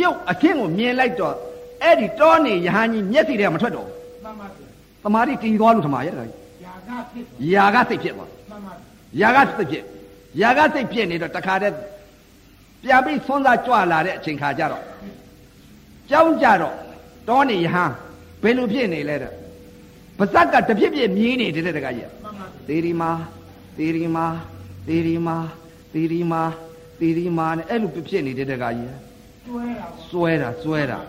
ရုပ်အချင်းကိုမြင်လိုက်တော့အဲ့ဒီတောနေယဟန်ကြီးမျက်စိထဲကမထွက်တော့ဘူး မှန်ပါဗျာ တမာတိတည်သွားလို့ထမာရဲ့တခါကြီး ယာကဖြစ်ပါ ယာကစိတ်ဖြစ်သွားယာမှန်ပါဗျာကစိတ်ဖြစ်ယာကစိတ်ဖြစ်နေတော့တခါတည်းပြန်ပြီးသွန်းစားကြွလာတဲ့အချိန်ခါကျတော့ကြောင်းကြတော့တောနေယဟန်ဘယ်လိုဖြစ်နေလဲတဲ့ပါဇက်ကတပြစ်ပြစ်မြည်နေတယ်တဲ့တခါကြီးက မှန်ပါဗျာ သေရီမာသေရီမာသေရီမာသေရီမာသေရီမာနဲ့အဲ့လိုဖြစ်နေတဲ့တကကြီး ကျွဲတာပေါ့ စွဲတာစွဲတာ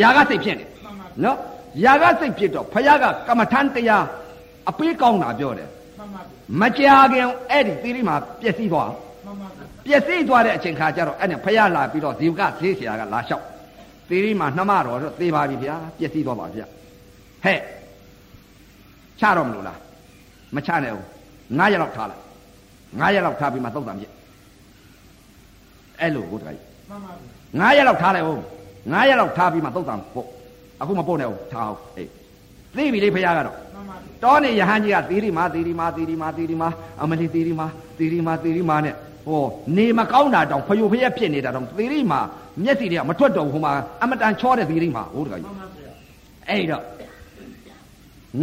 ຢာကစိတ်ဖြစ်နေ မှန်ပါဗျာ နော် ຢာကစိတ်ဖြစ်တော့ဖယားကကမ္မထန်တရားအပေးကောင်းတာပြောတယ် မှန်ပါပြီ မကြခင်အဲ့ဒီသီရိမှာပျက်စီးသွား မှန်ပါပြီ ပျက်စီးသွားတဲ့အချိန်ခါကျတော့အဲ့နဲ့ဖယားလာပြီးတော့ဇီဝကဈေးဆရာကလာလျှောက်သီရိမှာနှမတော်တော့သေပါပြီဗျာပျက်စီးသွားပါဗျာဟဲ့ချတော့မလို့လားမချနိုင်ဘူးငါးရက်လောက်ထားလိုက်ငါးရက်လောက်ထားပြီးမှသုတ်တံပြစ်အဲ့လိုဟုတ်တယ် မှန်ပါပြီ ငါးရက်လောက်ထားလိုက်ဦးငါးရက်လောက်ထားပြီးမှသုတ်တံပို့အခုမပို့နဲ့ဦးထားအောင်အေးသိပြီလေဖခင်ကတော့ မှန်ပါပြီ တောနေယဟန်ကြီးကသီရိမာသီရိမာသီရိမာသီရိမာအမလီသီရိမာသီရိမာသီရိမာနဲ့ဟောနေမကောင်းတာတောင်ဖယိုဖရက်ဖြစ်နေတာတောင်သီရိမာမျက်စီတွေကမထွက်တော့ဘူးဟိုမှာအမတန်ချောတဲ့သီရိမာဟုတ်တယ်က မှ ကြီး န်ပါပြီ အဲ့တော့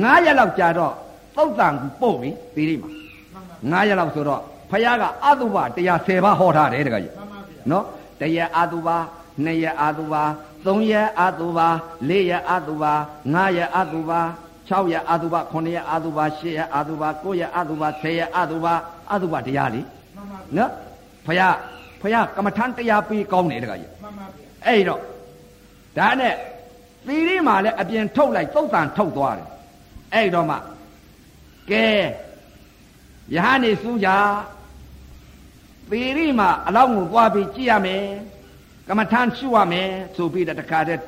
ငါးရက်လောက်ကြာတော့သုတ်တံပို့ပြီသီရိမာ မှန်ပါ ငါးရက်လောက်ဆိုတော့ဖခင်ကအတုပတရား10ပါးဟောထားတယ်တကကြီး မှန်ပါပြီ နော်တရက်အာသူပါနှစ်ရက်အာသူပါသုံးရက်အာသူပါလေးရက်အာသူပါငါးရက်အာသူပါ6ရက်အာသူပါ9ရက်အာသူပါ10ရက်အာသူပါ9ရက်အာသူပါ10ရက်အာသူပါအာသူပါတရားလေ မှန်ပါပြီ နော်ဖယားဖယားကမ္မထန်တရားပေးကောင်းတယ်တခါကြီး မှန်ပါပြီ အဲ့တော့ဒါနဲ့သီရိမှာလည်းအပြင်ထုတ်လိုက်သုတ်တန်ထုတ်သွားတယ်အဲ့တော့မှကဲယဟန်နေစူးကြ ပေရိမှာအလောင်းကိုသွားပြီးကြည့်ရမယ်ကမ္မထန်ရှုရမယ်ဆိုပြီးတော့တခါတည်း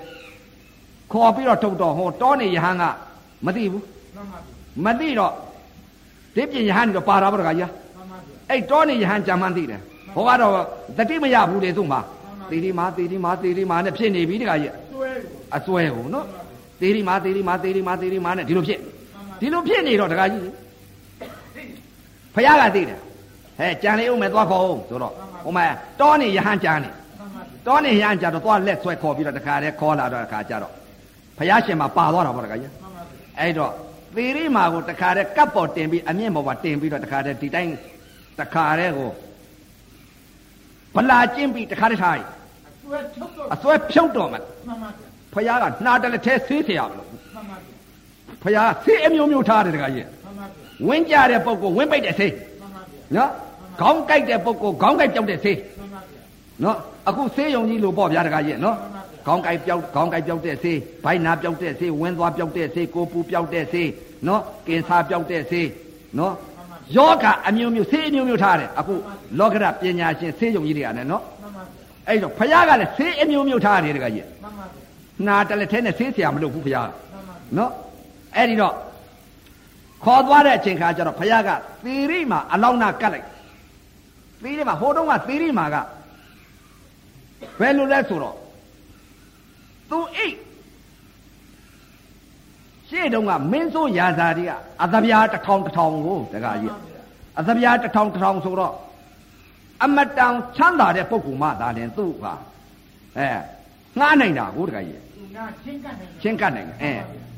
ခေါ်ပြီးတော့ထုတ်တော့ဟောတောနေယဟန်ကမသိဘူး မှန်မပါပြီသိတော့ဒီပြင်ယဟန်ကတော့ပါတာပေါ့တခါကြီးက မှန်ပါပြီ အဲ့တောနေယဟန်ကြာမှန်းသိတယ်ဟောကတော့တတိမရဘူးလေသူ့မှာသီရိမာသီရိမာသီရိမာနဲ့ဖြစ်နေပြီတခါကြီး သွဲကို အစွဲဟိုနော်သီရိမာသီရိမာသီရိမာသီရိမာနဲ့ဒီလိုဖြစ် မှန်ပါ ဒီလိုဖြစ်နေတော့တခါကြီးဖယားကသိတယ်ဟဲ့ကြံလေးဦးမယ်သွားခေါ်ဦးဆိုတော့ဟိုမှာတောနေယဟန်ကြံနေ မှန်ပါပြီ တောနေယဟန်ကြတော့သွားလက်ဆွဲခေါ်ပြီးတော့တခါတည်းခေါ်လာတော့တခါကြတော့ဖယားရှင်မှာပါသွားတာပေါ့တခါကြီး မှန်ပါပြီ အဲ့တော့သေရီမာကိုတခါတည်းကပ်ပေါ်တင်ပြီးအမြင့်ပေါ်မှာတင်ပြီးတော့တခါတည်းဒီတိုင်းတခါတည်းကိုဗလာကျင်းပြီးတခါတည်းထားရင် အသွဲထုတ်တော့ အစွဲဖြုတ်တော်မှာ မှန်ပါပြီ ဖယားကနှာတလက်သေးဆေးထရမလို့ မှန်ပါပြီ ဖယားဆေးအမျိုးမျိုးထားတယ်တခါကြီး မှန်ပါပြီ ဝင်းကြတဲ့ပုံကိုဝင်းပိတ်တဲ့ဆေး မှန်ပါပြီ နော်ခေါင်းကြိုက်တဲ့ပုဂ္ဂိုလ်ခေါင်းကြိုက်ကြောက်တဲ့ဆေး မှန်ပါပြီ နော်အခုဆေးရုံကြီးလို့ပေါ့ဗျာတခါကြီးနော်ခေါင်းကြိုက်ကြောက်ခေါင်းကြိုက်ကြောက်တဲ့ဆေးဘိုင်းနာကြောက်တဲ့ဆေးဝင်းသွားကြောက်တဲ့ဆေးကိုယ်ပူကြောက်တဲ့ဆေးနော်ကင်ဆာကြောက်တဲ့ဆေးနော်ယောဂအမျိုးမျိုးဆေးအမျိုးမျိုးထားတယ်အခုလောကရပညာရှင်ဆေးရုံကြီးတွေကလည်းနော် မှန်ပါပြီ အဲ့တော့ဖယားကလည်းဆေးအမျိုးမျိုးထားတယ်တခါကြီး မှန်ပါပြီ နာတလက်ထဲနဲ့ဆေးဆရာမလုပ်ဘူးဖယားက မှန်ပါပြီ နော်အဲ့ဒီတော့ခေါ်သွားတဲ့အချိန်ခါကျတော့ဘုရားကသီရိမာအလောင်းနာကတ်လိုက်သီရိမာဟိုတုန်းကသီရိမာကဘယ်လိုလဲဆိုတော့သူအိတ်ရှေ့တုန်းကမင်းစိုးရာဇာတွေကအသပြားတစ်ထောင်တစ်ထောင်ကိုတခါကြီးကအသပြားတစ်ထောင်တစ်ထောင်ဆိုတော့အမတန်ချမ်းသာတဲ့ပုဂ္ဂိုလ်မှသာလျှင်သူ့ကအဲငှားနိုင်တာကိုတခါကြီး သူနာချင်းကနေ ရှင်းကတ်နိုင်တယ်အဲ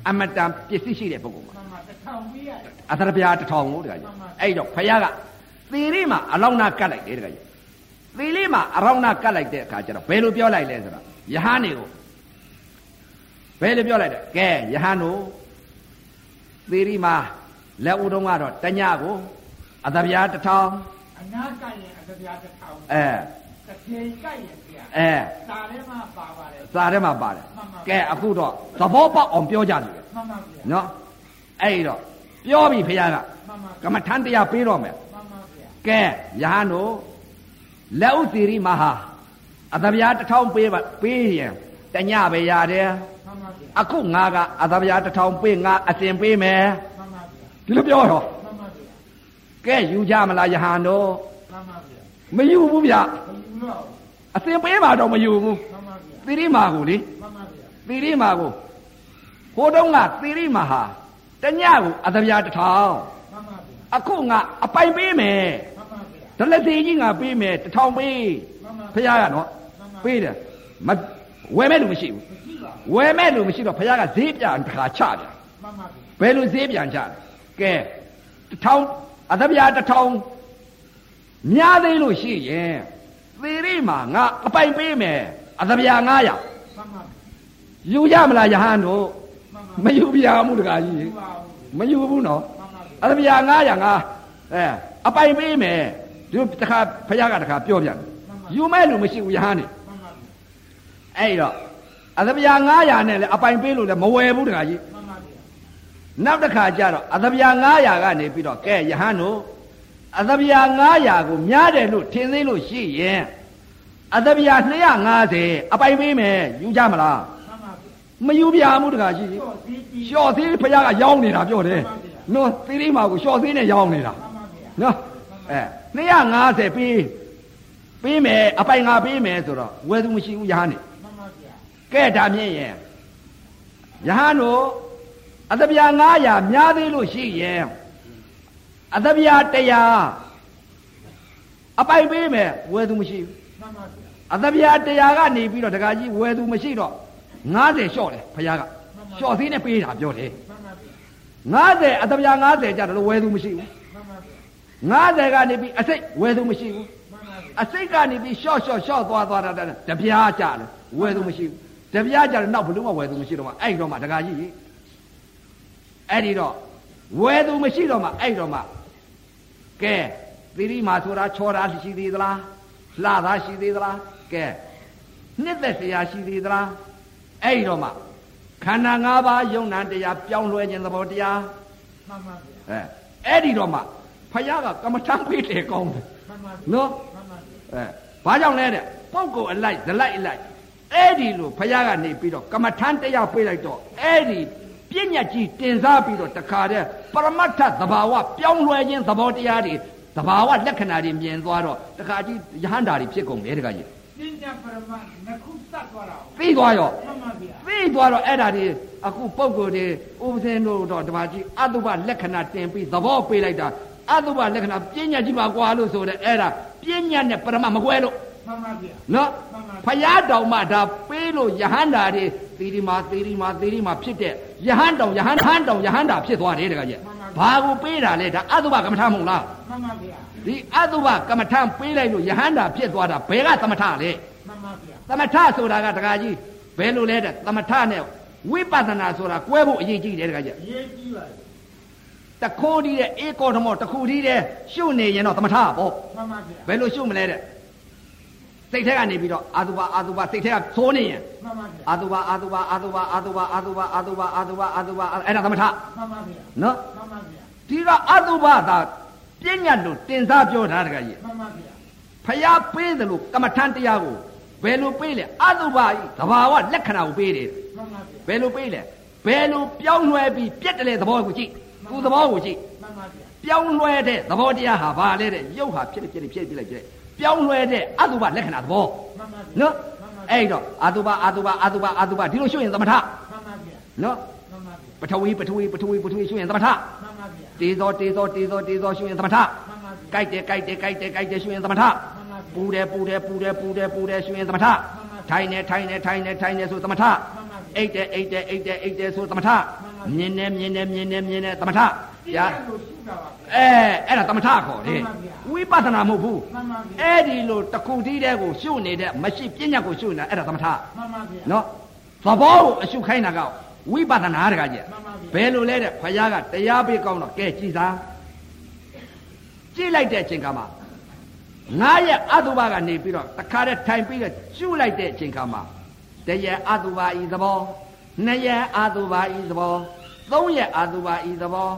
အမတန်ပစ္စည်းရှိတဲ့ပုဂ္ဂိုလ်မှာ မှန်ပါတစ်ထောင်ပေးရတယ် အသရပြားတစ်ထောင်ကိုတခါကြီးအဲ့တော့ဖယားကသီရိမှာအလောင်းနာကတ်လိုက်တယ်တခါကြီးသီရိမှာအလောင်းနာကတ်လိုက်တဲ့အခါကျတော့ဘယ်လိုပြောလိုက်လဲဆိုတော့ယဟန်နေကိုဘယ်လိုပြောလိုက်လဲကဲယဟန်တို့သီရိမှာလက်ဦးတုံးကတော့တညကိုအသရပြားတစ်ထောင် အနာကရင်အတရားတစ်ထောင် အဲ တစ်ချိန်ကရင်တရား အဲ ဒါထဲမှာပါပါတယ် စာထဲမှာပါတယ်ကဲအခုတော့သဘောပေါက်အောင်ပြောကြတယ် မှန်ပါဗျာ နော်အဲ့တော့ပြောပြီဖယားက မှန်ပါ ကမ္မထန်တရားပေးတော့မယ် မှန်ပါဗျာ ကဲယဟန်တို့လက်ဥသီရိမဟာအသဗျာတစ်ထောင်ပေးပါပေးရင်တညပဲရတယ် မှန်ပါဗျာ အခုငါကအသဗျာတစ်ထောင်ပေးငါအတင်ပေးမယ် မှန်ပါဗျာ ဒီလိုပြောတော့ မှန်ပါဗျာ ကဲယူကြမလားယဟန်တို့ မှန်ပါဗျာ မယူဘူးဗျ ဘယ်လိုလဲ အတင်ပေးပါတော့မယူဘူး မှန်ပါဗျာ သီရိမာကိုလေ မှန်ပါဗျာ သီရိမာကိုဟိုတုန်းကသီရိမာဟာတညကိုအသဗျာတစ်ထောင် မှန်ပါဗျာ အခုငါအပိုင်ပေးမယ် မှန်ပါဗျာ ဒလက်သေးကြီးငါပေးမယ်တစ်ထောင်ပေး မှန်ပါ ဖះကနော်ပေးတယ်မဝယ်မဲ့လူမရှိဘူး မရှိပါ ဝယ်မဲ့လူမရှိတော့ဖះကဈေးပြန်တစ်ခါချပြန် မှန်ပါဗျာ ဘယ်လိုဈေးပြန်ချလဲကဲတစ်ထောင်အသပြာတစ်ထောင်များသေးလို့ရှိရင်သေရိမှာငါအပိုင်ပေးမယ်အသပြာ900 မှန်ပါဗျာ ယူရမလားယဟန်တို့ မှန်ပါ မယူပြမှုတကားကြီး ဘူးပါဘူး မယူဘူးနော် မှန်ပါဗျာ အသပြာ900ငါအဲအပိုင်ပေးမယ်ဒီတစ်ခါဖះကတစ်ခါပြောပြန်တယ်ယူမဲ့လူမရှိဘူးယဟန်နေ မှန်ပါဗျာ အဲ့တော့ အသမယာ900နဲ့လည်းအပိုင်ပေးလို့လည်းမဝယ်ဘူးတခါကြီး မှန်ပါဗျာ နောက်တစ်ခါကျတော့အသမယာ900ကနေပြီးတော့ကဲယဟန်တို့အသမယာ900ကိုများတယ်လို့ထင်သေးလို့ရှိရင်အသမယာ250အပိုင်ပေးမယ်ယူကြမလား မှမန်ပါဗျာယူပြဘူးတခါကြီး ကျော်စီးပြီး လျှော့သေးဖခင်ကရောင်းနေတာပြောတယ်နော်သေးလေးမှာကိုလျှော့သေးနဲ့ရောင်းနေတာ မှန်ပါဗျာ နော်အဲ250ပေးပေးမယ်အပိုင်ငါပေးမယ်ဆိုတော့ဝယ်သူမရှိဘူးယဟန်နေ မှန်ပါဗျာ ကဲဒါမြင်ရင်ယဟန်တို့အသပြာ900များသေးလို့ရှိရင်အသပြာ100အပိုင်ပေးမယ်ဝယ်သူမရှိဘူး မှန်ပါဗျာ အသပြာ100ကနေပြီးတော့တကကြီးဝယ်သူမရှိတော့90လျှော့တယ်ဖခင်ကလျှော့သေးနဲ့ပေးတာပြောတယ် မှန်ပါဗျ90ာအတပြာ90ကြတယ်လို့ဝယ်သူမရှိဘူး မှန်ပါဗျာ 90ကနေပြီးအစိတ်ဝယ်သူမရှိဘူး မှန်ပါဗျာ အစိတ်ကနေပြီးရှော့ရှော့ရှော့သွားသွားတာတာတပြားကြတယ်ဝယ်သူမရှိဘူးတပြားကြတယ်နောက်ဘလို့မဝယ်သူမရှိတော့မှအဲ့တော့မှတကာကြီးအဲ့ဒီတော့ဝယ်သူမရှိတော့မှအဲ့တော့မှကဲသီရိမာဆိုတာချော်တာရှိသေးသလားလှတာရှိသေးသလားကဲနှစ်သက်စရာရှိသေးသလားအဲ့ဒီတော့မှခန္ဓာ၅ပါးယုံနာတရားပြောင်းလဲခြင်းသဘောတရား မှန်ပါဗျာ အဲအဲ့ဒီတော့မှဖယားကကမ္မထမ်းပေးတယ်ကောင်းတယ် မှန်ပါဗျာ နော် မှန်ပါဗျအဲာဘာကြောင့်လဲတဲ့ပုဂ္ဂိုလ်အလိုက်ဇလိုက်အလိုက်အဲ့ဒီလိုဖယားကနေပြီးတော့ကမ္မထမ်းတရားပေးလိုက်တော့အဲ့ဒီပညာကြီးတင်စားပြီးတော့တခါတည်းပရမတ္ထသဘာဝပြောင်းလဲခြင်းသဘောတရားတွေသဘာဝလက္ခဏာတွေမြင်သွားတော့တခါကြီးယဟန္တာတွေဖြစ်ကုန်တယ်တခါကြီး ပြင်းပြပရမနှစ်ခုသတ်သွားတာကို ပြီးသွားရော မှန်ပါဗျာ သိသွားတော့အဲ့ဒါဒီအခုပုံကိုယ်ဒီဥပဇင်းတို့တော့တပါကြီးအတုပလက္ခဏာတင်ပြီးသဘောပေးလိုက်တာအတုပလက္ခဏာပညာကြီးပါကွာလို့ဆိုတဲ့အဲ့ဒါပညာနဲ့ပရမမကွဲလို့ မှန်ပါဗျာ နော် မှန်ဖပါယားတော်မှဒါပေးလို့ယဟန္တာတွေသီရိမာသီရိမာသီရိမာဖြစ်တဲ့ယဟန်တော်ယဟန်ဟန်တော်ယဟန္တာဖြစ်သွားတယ်တကကြီးဘာကိုပေးတာလဲဒါအတုပကမ္မထမဟုတ်လား မှန်ပါဗျာ ဒီအတုပကမ္မထပေးလိုက်လို့ယဟန္တာဖြစ်သွားတာဘယ်ကသမထလဲ မှန်ပါဗျာ သမထဆိုတာကတခါကြီးဘယ်လိုလဲတဲ့သမထနဲ့ဝိပဿနာဆိုတာကွဲဖို့အရေးကြီးတယ်တခါကြီး ရေးကြည့်ပါလေ တခိုးဒီတဲ့အေကောဓမောတခုဒီတဲ့ရှုနေရင်တော့သမထပေါ့ မှန်ပါဗျာ ဘယ်လိုရှုမလဲတဲ့စိတ်ထဲကနေပြီးတော့အာတုဘအာတုဘစိတ်ထဲကသိုးနေရင် မှန်ပါဗျာ အာတုဘအာတုဘအာတုဘအာတုဘအာတုဘအာတုဘအာတုဘအာတုဘအဲ့ဒါသမထ မှန်ပါဗျာ နော် မှန်ပါဗျာ ဒီတော့အာတုဘသာပညာလို့တင်စားပြောတာတခါကြီး မှန်ပါဗျာ ဖျားပေးတယ်လို့ကမ္မထန်တရားကိုဘယ်လိုပေးလဲအာတုဘဤသဘာဝလက္ခဏာကိုပေးတယ် မှန်ပါဗျာ ဘယ်လိုပေးလဲဘယ်လိုပြောင်းလဲပြီးပြက်တယ်လေသဘောကိုကြည့်သူသဘောကိုကြည့် မှန်ပါဗျာ ပြောင်းလဲတဲ့သဘောတရားဟာဘာလဲတဲ့ရုပ်ဟာဖြစ်နေဖြစ်နေဖြစ်နေဖြစ်နေဖြစ်နေပြောင်းလဲတဲ့အတုပလက္ခဏာသဘော မှန်ပါဗျာ နော် မှန်ပါဗျာ အဲ့တော့အတုပအတုပအတုပအတုပဒီလိုရှုရင်သမထ မှန်ပါဗျာ နော် မှန်ပါဗျာ ပထဝီပထဝီပထဝီပထဝီရှုရင်သမထ မှန်ပါဗျာ တေသောတေသောတေသောတေသောရှုရင်သမထ မှန်ပါဗျာ ကြိုက်တယ်ကြိုက်တယ်ကြိုက်တယ်ကြိုက်တယ်ရှုရင်သမထ မှန်ပါ ပူတဗျာယ်ပူတယ်ပူတယ်ပူတယ်ပူတယ်ရှုရင်သမထထိုင်နေထိုင်နေထိုင်နေထိုင်နေဆိုသမထ အိတ်တဲ့အိတ်တဲ့အိတ်တဲ့အိတ်တဲ့ဆိုသမထမြင်နေမြင်နေမြင်နေမြင်နေသမထ ပြ ရာ န်လို့ရှိတာပါဗျာ အဲအဲ့ဒါသမထခေါ်တယ် မှန်ပါဗျာ ဝိပဿနာမဟုတ်ဘူး မှန်ပါဗျာ အဲ့ဒီလိုတခုတည်းတဲ့ကိုရှုနေတဲ့မရှိပညာကိုရှုနေတာအဲ့ဒါသမထ မှန်ပါဗျာ နော်သဘောကိုအရှုခိုင်းတာကဝိပဿနာတကကြီး မှန်ပါဗျာ ဘယ်လိုလဲတဲ့ဖယားကတရားပေးကောင်းတော့ကဲကြည်စားကြည်လိုက်တဲ့အချိန်ကမှငါရဲ့အတုပကနေပြီးတော့တခါတည်းထိုင်ပြီးတော့ကျူးလိုက်တဲ့အချိန်ခါမှာတရေအတုပဤသဘောနှစ်ရေအတုပဤသဘောသုံးရေအတုပဤသဘော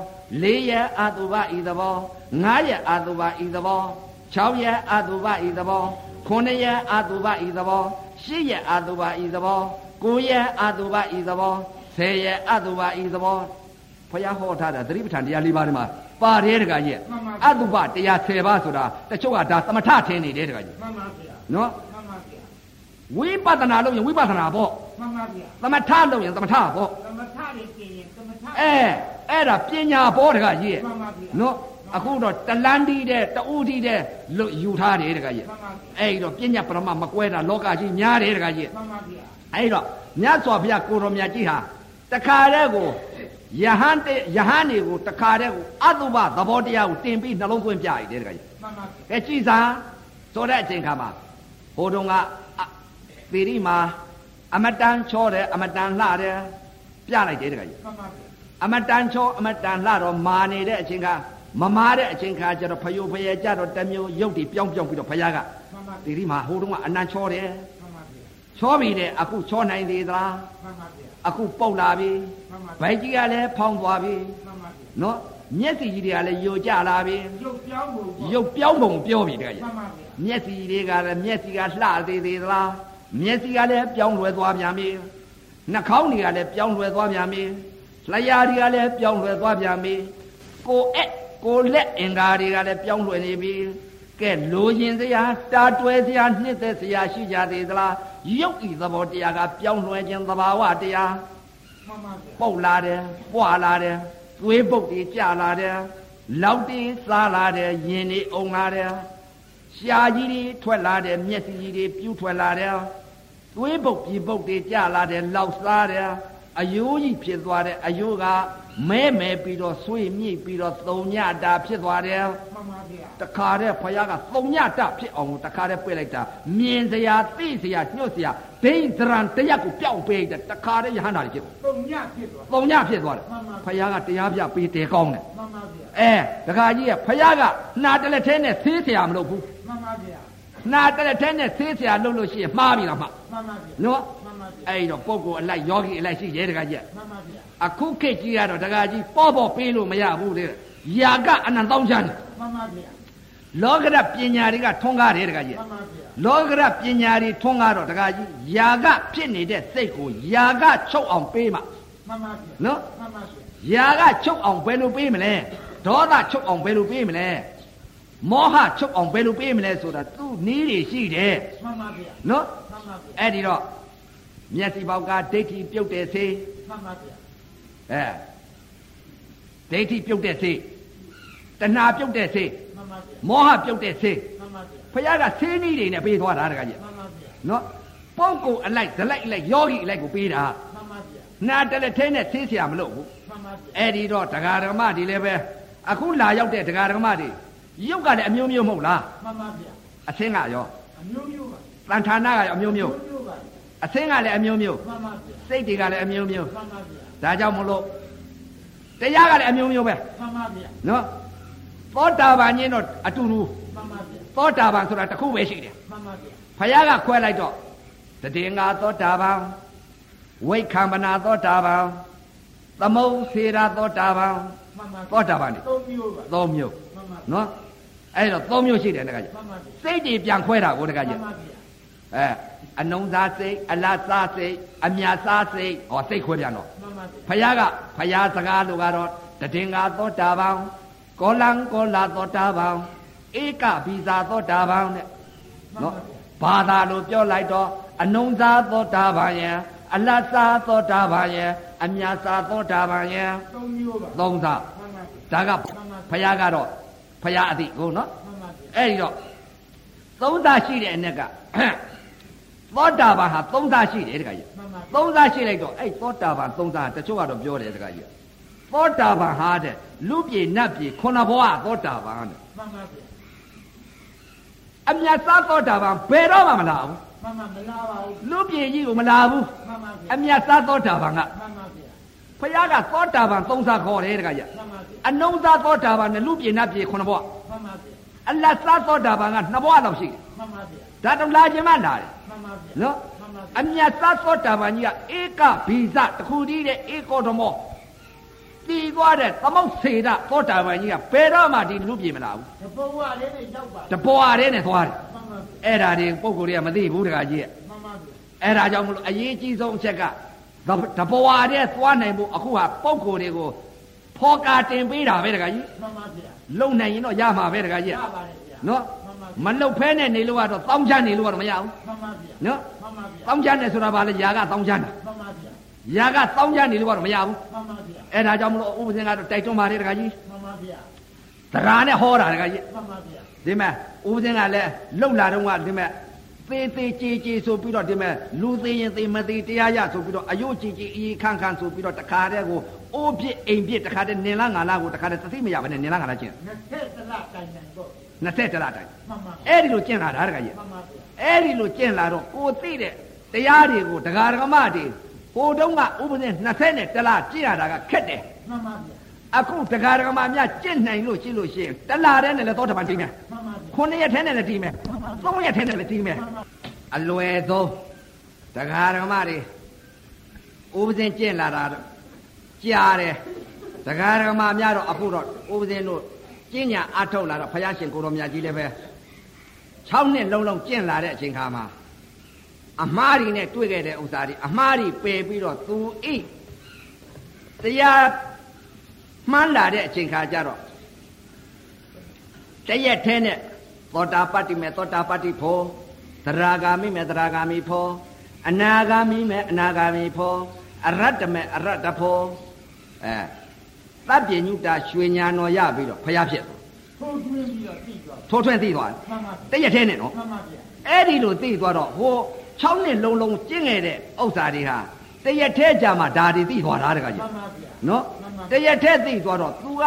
လေးရေအတုပဤသဘောငါးရေအတုပဤသဘော၆ရေအတုပဤသဘောခုနှစ်ရေအတုပဤသဘောရှစ်ရေအတုပဤသဘောကိုယ်ရေအတုပဤသဘောဆယ်ရေအတုပဤသဘောဖယားဟောထားတာသတိပဋ္ဌာန်တရား၄ပါးထဲမှာပါတယ်တကကြီး မှန်ပါဗျာ အတုပတရား10ပါးဆိုတာတချို့ကဒါသမထထင်နေတယ်တကကြီး မှန်ပါဗျာ နော် မှန်ပါဗျာ ဝိပဿနာလုပ်ရင်ဝိပဿနာပေါ့ မှန်ပါဗျာ သမထလုပ်ရင်သမထပေါ့ သမထတွေပြင်ရင်သမထ အဲအဲ့ဒါပညာပေါ့တခါကြီးရဲ့ မှန်ပါဗျာမှန် နော်အခုတော့တလန်းတီးတဲ့တဦးတီးတဲ့လွတ်ယူထားတယ်တခါကြီး ပါဗျာ အဲ့တော့ပညာပရမမကွဲတာလောကကြီးများတယ်တခါကြီး မှန်ပါဗျာ အဲ့တော့မြတ်စွာဘုရားကိုတော်မြတ်ကြီးဟာတခါတည်းကိုယဟန်တဲ့ယဟန်တွေကိုတခါတည်းကိုအတုပသဘောတရားကိုတင်ပြီးနှလုံးသွင်းပြရတယ်တခါကြီး မှန်ပါဗျာ ကဲကြည်စာဆိုတဲ့အချိန်ခါမှာဟိုတုန်းကအသီရိမှာအမတန်ချောတယ်အမတန်လှတယ်ပြလိုက်တယ်တခါကြီး မှန်ပါဗျာ အမတန်ချောအမတန်လှတော့မာနေတဲ့အချိန်ခါမမာတဲ့အချိန်ခါကျတော့ဖယိုဖယဲကျတော့တစ်မျိုးရုပ်တွေပြောင်းပြောင်းပြီးတော့ဖယားက မှန်ပါဗျာ သီရိမှာဟိုတုန်းကအနံချောတယ် မှန်ပါဗျာ ချ ချောပြီတဲ့အခုချောနိုင်သေးသလား မှန်ပါဗျာ အခုပုတ်လာပြီ မှန်ပါ ဗိုက်ကြီးကလည်းဖောင်းသွားပြီ မှန်ပါဗျာ နော်မျက်စိကြီးတွေကလည်းယိုကျလာပြီ ရုပ်ပြောင်းပုံပေါ့ ရုပ်ပြောင်းပုံပြောပြီတကယ်ကြီး မှန်ပါဗျာ မျက်စီတွေကလည်းမျက်စီကလှသေးသေးသလားမျက်စီကလည်းပြောင်းလွယ်သွားပြန်ပြီနှာခေါင်းတွေကလည်းပြောင်းလွယ်သွားပြန်ပြီလျှာတွေကလည်းပြောင်းလွယ်သွားပြန်ပြီကိုယ်အဲ့ကိုယ်လက်အင်္ဂါတွေကလည်းပြောင်းလွယ်နေပြီကဲလိုရင်စရာတာတွယ်စရာနှစ်သက်စရာရှိကြသေးသလားရုပ်ဤသဘောတရားကပြောင်းလွယ်ခြင်းသဘာဝတရား မှန်ပါပုဗျာတ်လာတယ်ပွာလာတယ်သွေးပုတ်တွေကျလာတယ်လောက်တွေစားလာတယ်ရင်တွေအုံလာတယ်ရှားကြီးတွေထွက်လာတယ်မျက်စိကြီးတွေပြူးထွက်လာတယ်သွေးပုတ်ပြေပုတ်တွေကျလာတယ်လောက်စားတယ်အယိုးကြီးဖြစ်သွားတယ်အယိုးကမဲမဲပြီးတော့ဆွေးမြိတ်ပြီးတော့သုံညတာဖြစ်သွားတယ် မှန်ပါဗျာ တခါတဲ့ဖယားကသုံညတာဖြစ်အောင်ကိုတခါတဲ့ပြစ်လိုက်တာမြင်စရာသိစရာညှို့စရာဒိဋ္ဌရံတရက်ကိုပျောက်ပေးတယ်တခါတဲ့ယဟန္တာတွေဖြစ်သွားတယ် ပုံညဖြစ်သွား ပုံညဖြစ်သွားတယ် မှန်ပါဖဗျာယားကတရားပြပေးတယ်ကောင်းတယ် မှန်ပါဗျာ အဲဒကာကြီးကဖယားကနှာတလက်ထဲနဲ့သေးဆရာမလုပ်ဘူး မှန်ပါဗျာ နှာတလက်ထဲနဲ့သေးဆရာလုပ်လို့ရှိရင်မှားပြီလားမှား မှန်ပါဗျာ နော် မှန်ပါဗျာ အဲ့တော့ပုဂ္ဂိုလ်အလိုက်ယောဂီအလိုက်ရှိရဲဒကာကြီးက မှန်ပါဗျာ အခုခေတ်ကြီးကတော့ဒကာကြီးပေါ့ပေါ့ပေးလို့မရဘူးလေယာကအနံတောင်းချမ်းတယ် မှန်ပါဗျာ လောကရပညာတွေကထွန်းကားတယ်ဒကာကြီးက မှန်ပါဗျာ လောကရပညာတွေထွန်းကားတော့ဒကာကြီးယာကဖြစ်နေတဲ့စိတ်ကိုယာကချုပ်အောင်ပေးမှ မှန်ပါဗျာ နော် မှန်ပါဗျာ ရာကချုပ်အောင်ဘယ်လိုပေးမလဲဒေါသချုပ်အောင်ဘယ်လိုပေးမလဲမောဟချုပ်အောင်ဘယ်လိုပေးမလဲဆိုတာသူ့နည်းတွေရှိတယ် မှန်ပါဗျာ နော် မှန်ပါဗျာ အဲ့ဒီတော့မျက်စိပေါက်ကဒိဋ္ဌိပြုတ်တဲ့စေ မှန်ပါဗျာ အဲဒိဋ္ဌိပြုတ်တဲ့စေတဏှာပြုတ်တဲ့စေ မှန်ပါဗျာ မောဟပြုတ်တဲ့စေ မှန်ပါဗျာ ဖခင်ကစေနည်းတွေနဲ့ပေးသွားတာတကကြီး မှန်ပါဗျာ နော်ပုဂ္ဂိုလ်အလိုက်ဇလိုက်အလိုက်ယောဂီအလိုက်ကိုပေးတာ မှန်ပါဗျာ နာတလက်ထဲနဲ့သိเสียမလို့ဘူး မှန်ပါဗျာ အဲ့ဒီတော့ဒကာဓမ္မဒီလည်းပဲအခုလာရောက်တဲ့ဒကာဓမ္မဒီရုပ်ကလည်းအမျိုးမျိုးမဟုတ်လား မှန်ပါဗျာ အသင်းကရော အမျိုးမျိုးပါ တန်ဌာနကရောအမျိုး အ မျိုး မျိုးမျိုးပါ အသင်းကလည်းအမျိုးမျိုး မှန်ပါဗျာ စိတ်တွေကလည်းအမျိုးမျိုး မှန်ပါဗျာ ဒါကြောင့်မလို့တရားကလည်းအမျိုးမျိုးပဲ မှန်ပါဗျာ နော်သောတာပန်ညင်းတော့အတူတူ မှန်ပါဗျာ သောတာပန်ဆိုတာတစ်ခုပဲရှိတယ် မှန်ပါဗျာ ဖယားကခွဲလိုက်တော့တည်ငါသောတာပန်ဝိခံပနာသောတာပန်သမုံစေရာသောတာပန် မှန်ပါဗျာ သောတာပန် သုံးမျိုးပါ သုံးမျိုး မှန်ပါဗျာ နော်အဲ့တော့သုံးမျိုးရှိတယ်တခါကြီး မှန်ပါဗျာ စိတ်တွေပြန်ခွဲတာကိုတက မှ ကြီး န်ပါဗျာ အဲအနုံစားစိတ်အလားစားစိတ်အမြတ်စားစိတ်ဟောစိတ်ခွဲပြန်တော့ မှန်ပါဖဗျာယားကဖယားစကားလိုကတော့တတင်္ဂါသောတာပန်ကောလံကောလာသောတာပန်ဧကဗီဇာသောတာပန်တဲ့နော်ဘာသာလိုပြောလိုက်တော့အနုံစားသောတာပန်ယံအလားစားသောတာပန်ယံအမြတ်စားသောတာပန်ယံ သုံးမျိုးပါ သုံးစား မှန်ပါဗျာ ဒါကဖယားကတော့ဖယားအတိကိုနော် မှန်ပါဗျာ အဲ့ဒီတော့သုံးသားရှိတဲ့အ ਨੇ က သောတာပန်ဟာသုံးသားရှိတယ်တခါကြီး မှန်ပါဗျာ သုံးသားရှိလိုက်တော့အဲ့သောတာပန်သုံးသားတချို့ကတော့ပြောတယ်တခါကြီးသောတာပန်ဟာတဲ့လူပြေနတ်ပြေခုနစ်ဘဝသောတာပန်တဲ့ မှန်ပါဗျာ အမြတ်စားသောတာပန်ဘယ်တော့မှမလာဘူး မှန်ပါမလားပါဘူး လူပြေကြီးကိုမလာဘူး မှန်ပါဗျာ အမြတ်စားသောတာပန်က မှန်ပါဗျာ ဖယားကသောတာပန်သုံးသားခေါ်တယ်တခါကြီး မှန်ပါဗျာ အနုံသားသောတာပန်နဲ့လူပြေနတ်ပြေခုနစ်ဘဝ မှန်ပါဗျာ အလတ်စားသောတာပန်ကနှစ်ဘဝလောက်ရှိ မှန်ပါဗျာ တယ်ဒါတော့လာခြင်းမလာတယ် မှန်ပါဗျာ နော် မှန်ပါ အ ဗျာ မြတ်သားသောတာပန်ကြီးကဧကဗီဇတခုတည်းတဲ့ဧကောဓမောတည်သွားတဲ့သမုတ်စေတသောတာပန်ကြီးကဘယ်တော့မှဒီလူပြေမလာဘူး တပုတ်ဝလေးတွေရောက်ပါ တပွားတည်းနဲ့သွားတယ် မှန်ပါဗျာ အဲ့ဒါတွေပုံကိုယ်တွေကမသိဘူးတခါကြီးက မှန်ပါဗျာ အဲ့ဒါကြောင့်မလို့အရေးကြီးဆုံးအချက်ကတပတပွားတည်းသွားနိုင်ဖို့အခုဟာပုံကိုယ်တွေကိုဖော်ကာတင်ပေးတာပဲတခါကြီး မှန်ပါဗျာ လုံနိုင်ရင်တော့ရမှာပဲတခါကြီး ရ က ပါတယ်ဗျာ နော် မှန်ပါ မလုံဖဲနဲ့နေလို့ကတော့တောင်းချမ်းနေလို့ကတော့မရဘူး မှန်ပါဗျာ နော် မှန်ပါဗျာ တောင်းချမ်းနေဆိုတာဘာလဲຢာကတောင်းချမ်းတာ မှန်ပါဗျာ ຢာကတောင်းချမ်းနေလို့ကတော့မရဘူး မှန်ပါဗျာ အဲ့ဒါကြောင့်မလို့ဥပဇင်ကတော့တိုက်တွန်းပါတယ်တခါကြီး မှန်ပါဗျာ သရာနဲ့ဟောတာတခါကြီး မှန်ပါဗျာ ဒီမဲ့ဥပဇင်ကလည်းလှုပ်လာတော့ကဒီမဲ့သေးသေးကြေးကြေးဆိုပြီးတော့ဒီမဲ့လူသေးရင်သေးမသေးတရားရဆိုပြီးတော့အယုတ်ကြေးကြေးအေးခန့်ခန့်ဆိုပြီးတော့တခါတည်းကိုအိုးပြစ်အိမ်ပြစ်တခါတည်းနင်လားငါလားကိုတခါတည်းသတိမရဘဲနဲ့နင်လားငါလားကျင့် နှစ်ဆက်သလားတိုင်နိုင်တော့ 20တလားတိုင်း မှန်ပါ အဲ့ဒီလိုကျင့်လာတာတခါကြီး မှန်ပါဗျာ အဲ့ဒီလိုကျင့်လာတော့ကိုသိတဲ့တရားတွေကိုဒကာဒကမတွေဟိုတုန်းကဥပဇင်20နဲ့တလားကျင့်ရတာကခက်တယ် မှန်ပါဗျာ အခုတရားဓမ္မများကြင့်နိုင်လို့ရှိလို့ရှိရင်တလာတဲ့နဲ့လည်းသောတာပန်တိမယ် မှန်ပါဗျာ ခုနှစ်ရက်ထဲနဲ့လည်းတိမယ်သုံးရက်ထဲနဲ့လည်းတိမယ်အလွယ်ဆုံး တရားဓမ္မတွေဥပဇင်ကျင့်လာတာတော့ကြားတယ်တရားဓမ္မများတော့အခုတော့ဥပဇင်တို့ကျင့်ညာအထုတ်လာတော့ဘုရားရှင်ကိုတော်မြတ်ကြီးလည်းပဲ6နှစ်လုံးလုံးကျင့်လာတဲ့အချိန်ခါမှာအမားတွေနဲ့တွေ့ခဲ့တဲ့ဥစ္စာတွေအမားတွေပယ်ပြီးတော့သူဤတရားမှန်းလာတဲ့အချိန်ခါကျတော့ တရက်ထဲနဲ့သောတာပတ္တိမေသောတာပတ္တိဖောသရဂါမိမေသရဂါမိဖောအနာဂါမိမေအနာဂါမိဖောအရတ္တမေအရတ္တဖောအဲတပ်ပညုတာရွှေညာတော်ရပြီးတော့ဖျားဖြစ်သွား ထိုးသွင်းပြီးတော့တိသွား ထိုးထွင်းသိသွားတယ် မှန်ပါဗျာ တရက်ထဲနဲ့နော် မှန်ပါဗျာ အဲ့ဒီလိုသိသွားတော့ဟို6နှစ်လုံးလုံးကျင့်ခဲ့တဲ့ဥစ္စာတွေဟာတရက်ထဲကြာမှဒါတွေသိသွားတာတခါ မှ ကြီး န်ပါဗျာ နော် မှန်ပါ တရက်ထဲသိသွားတော့ तू က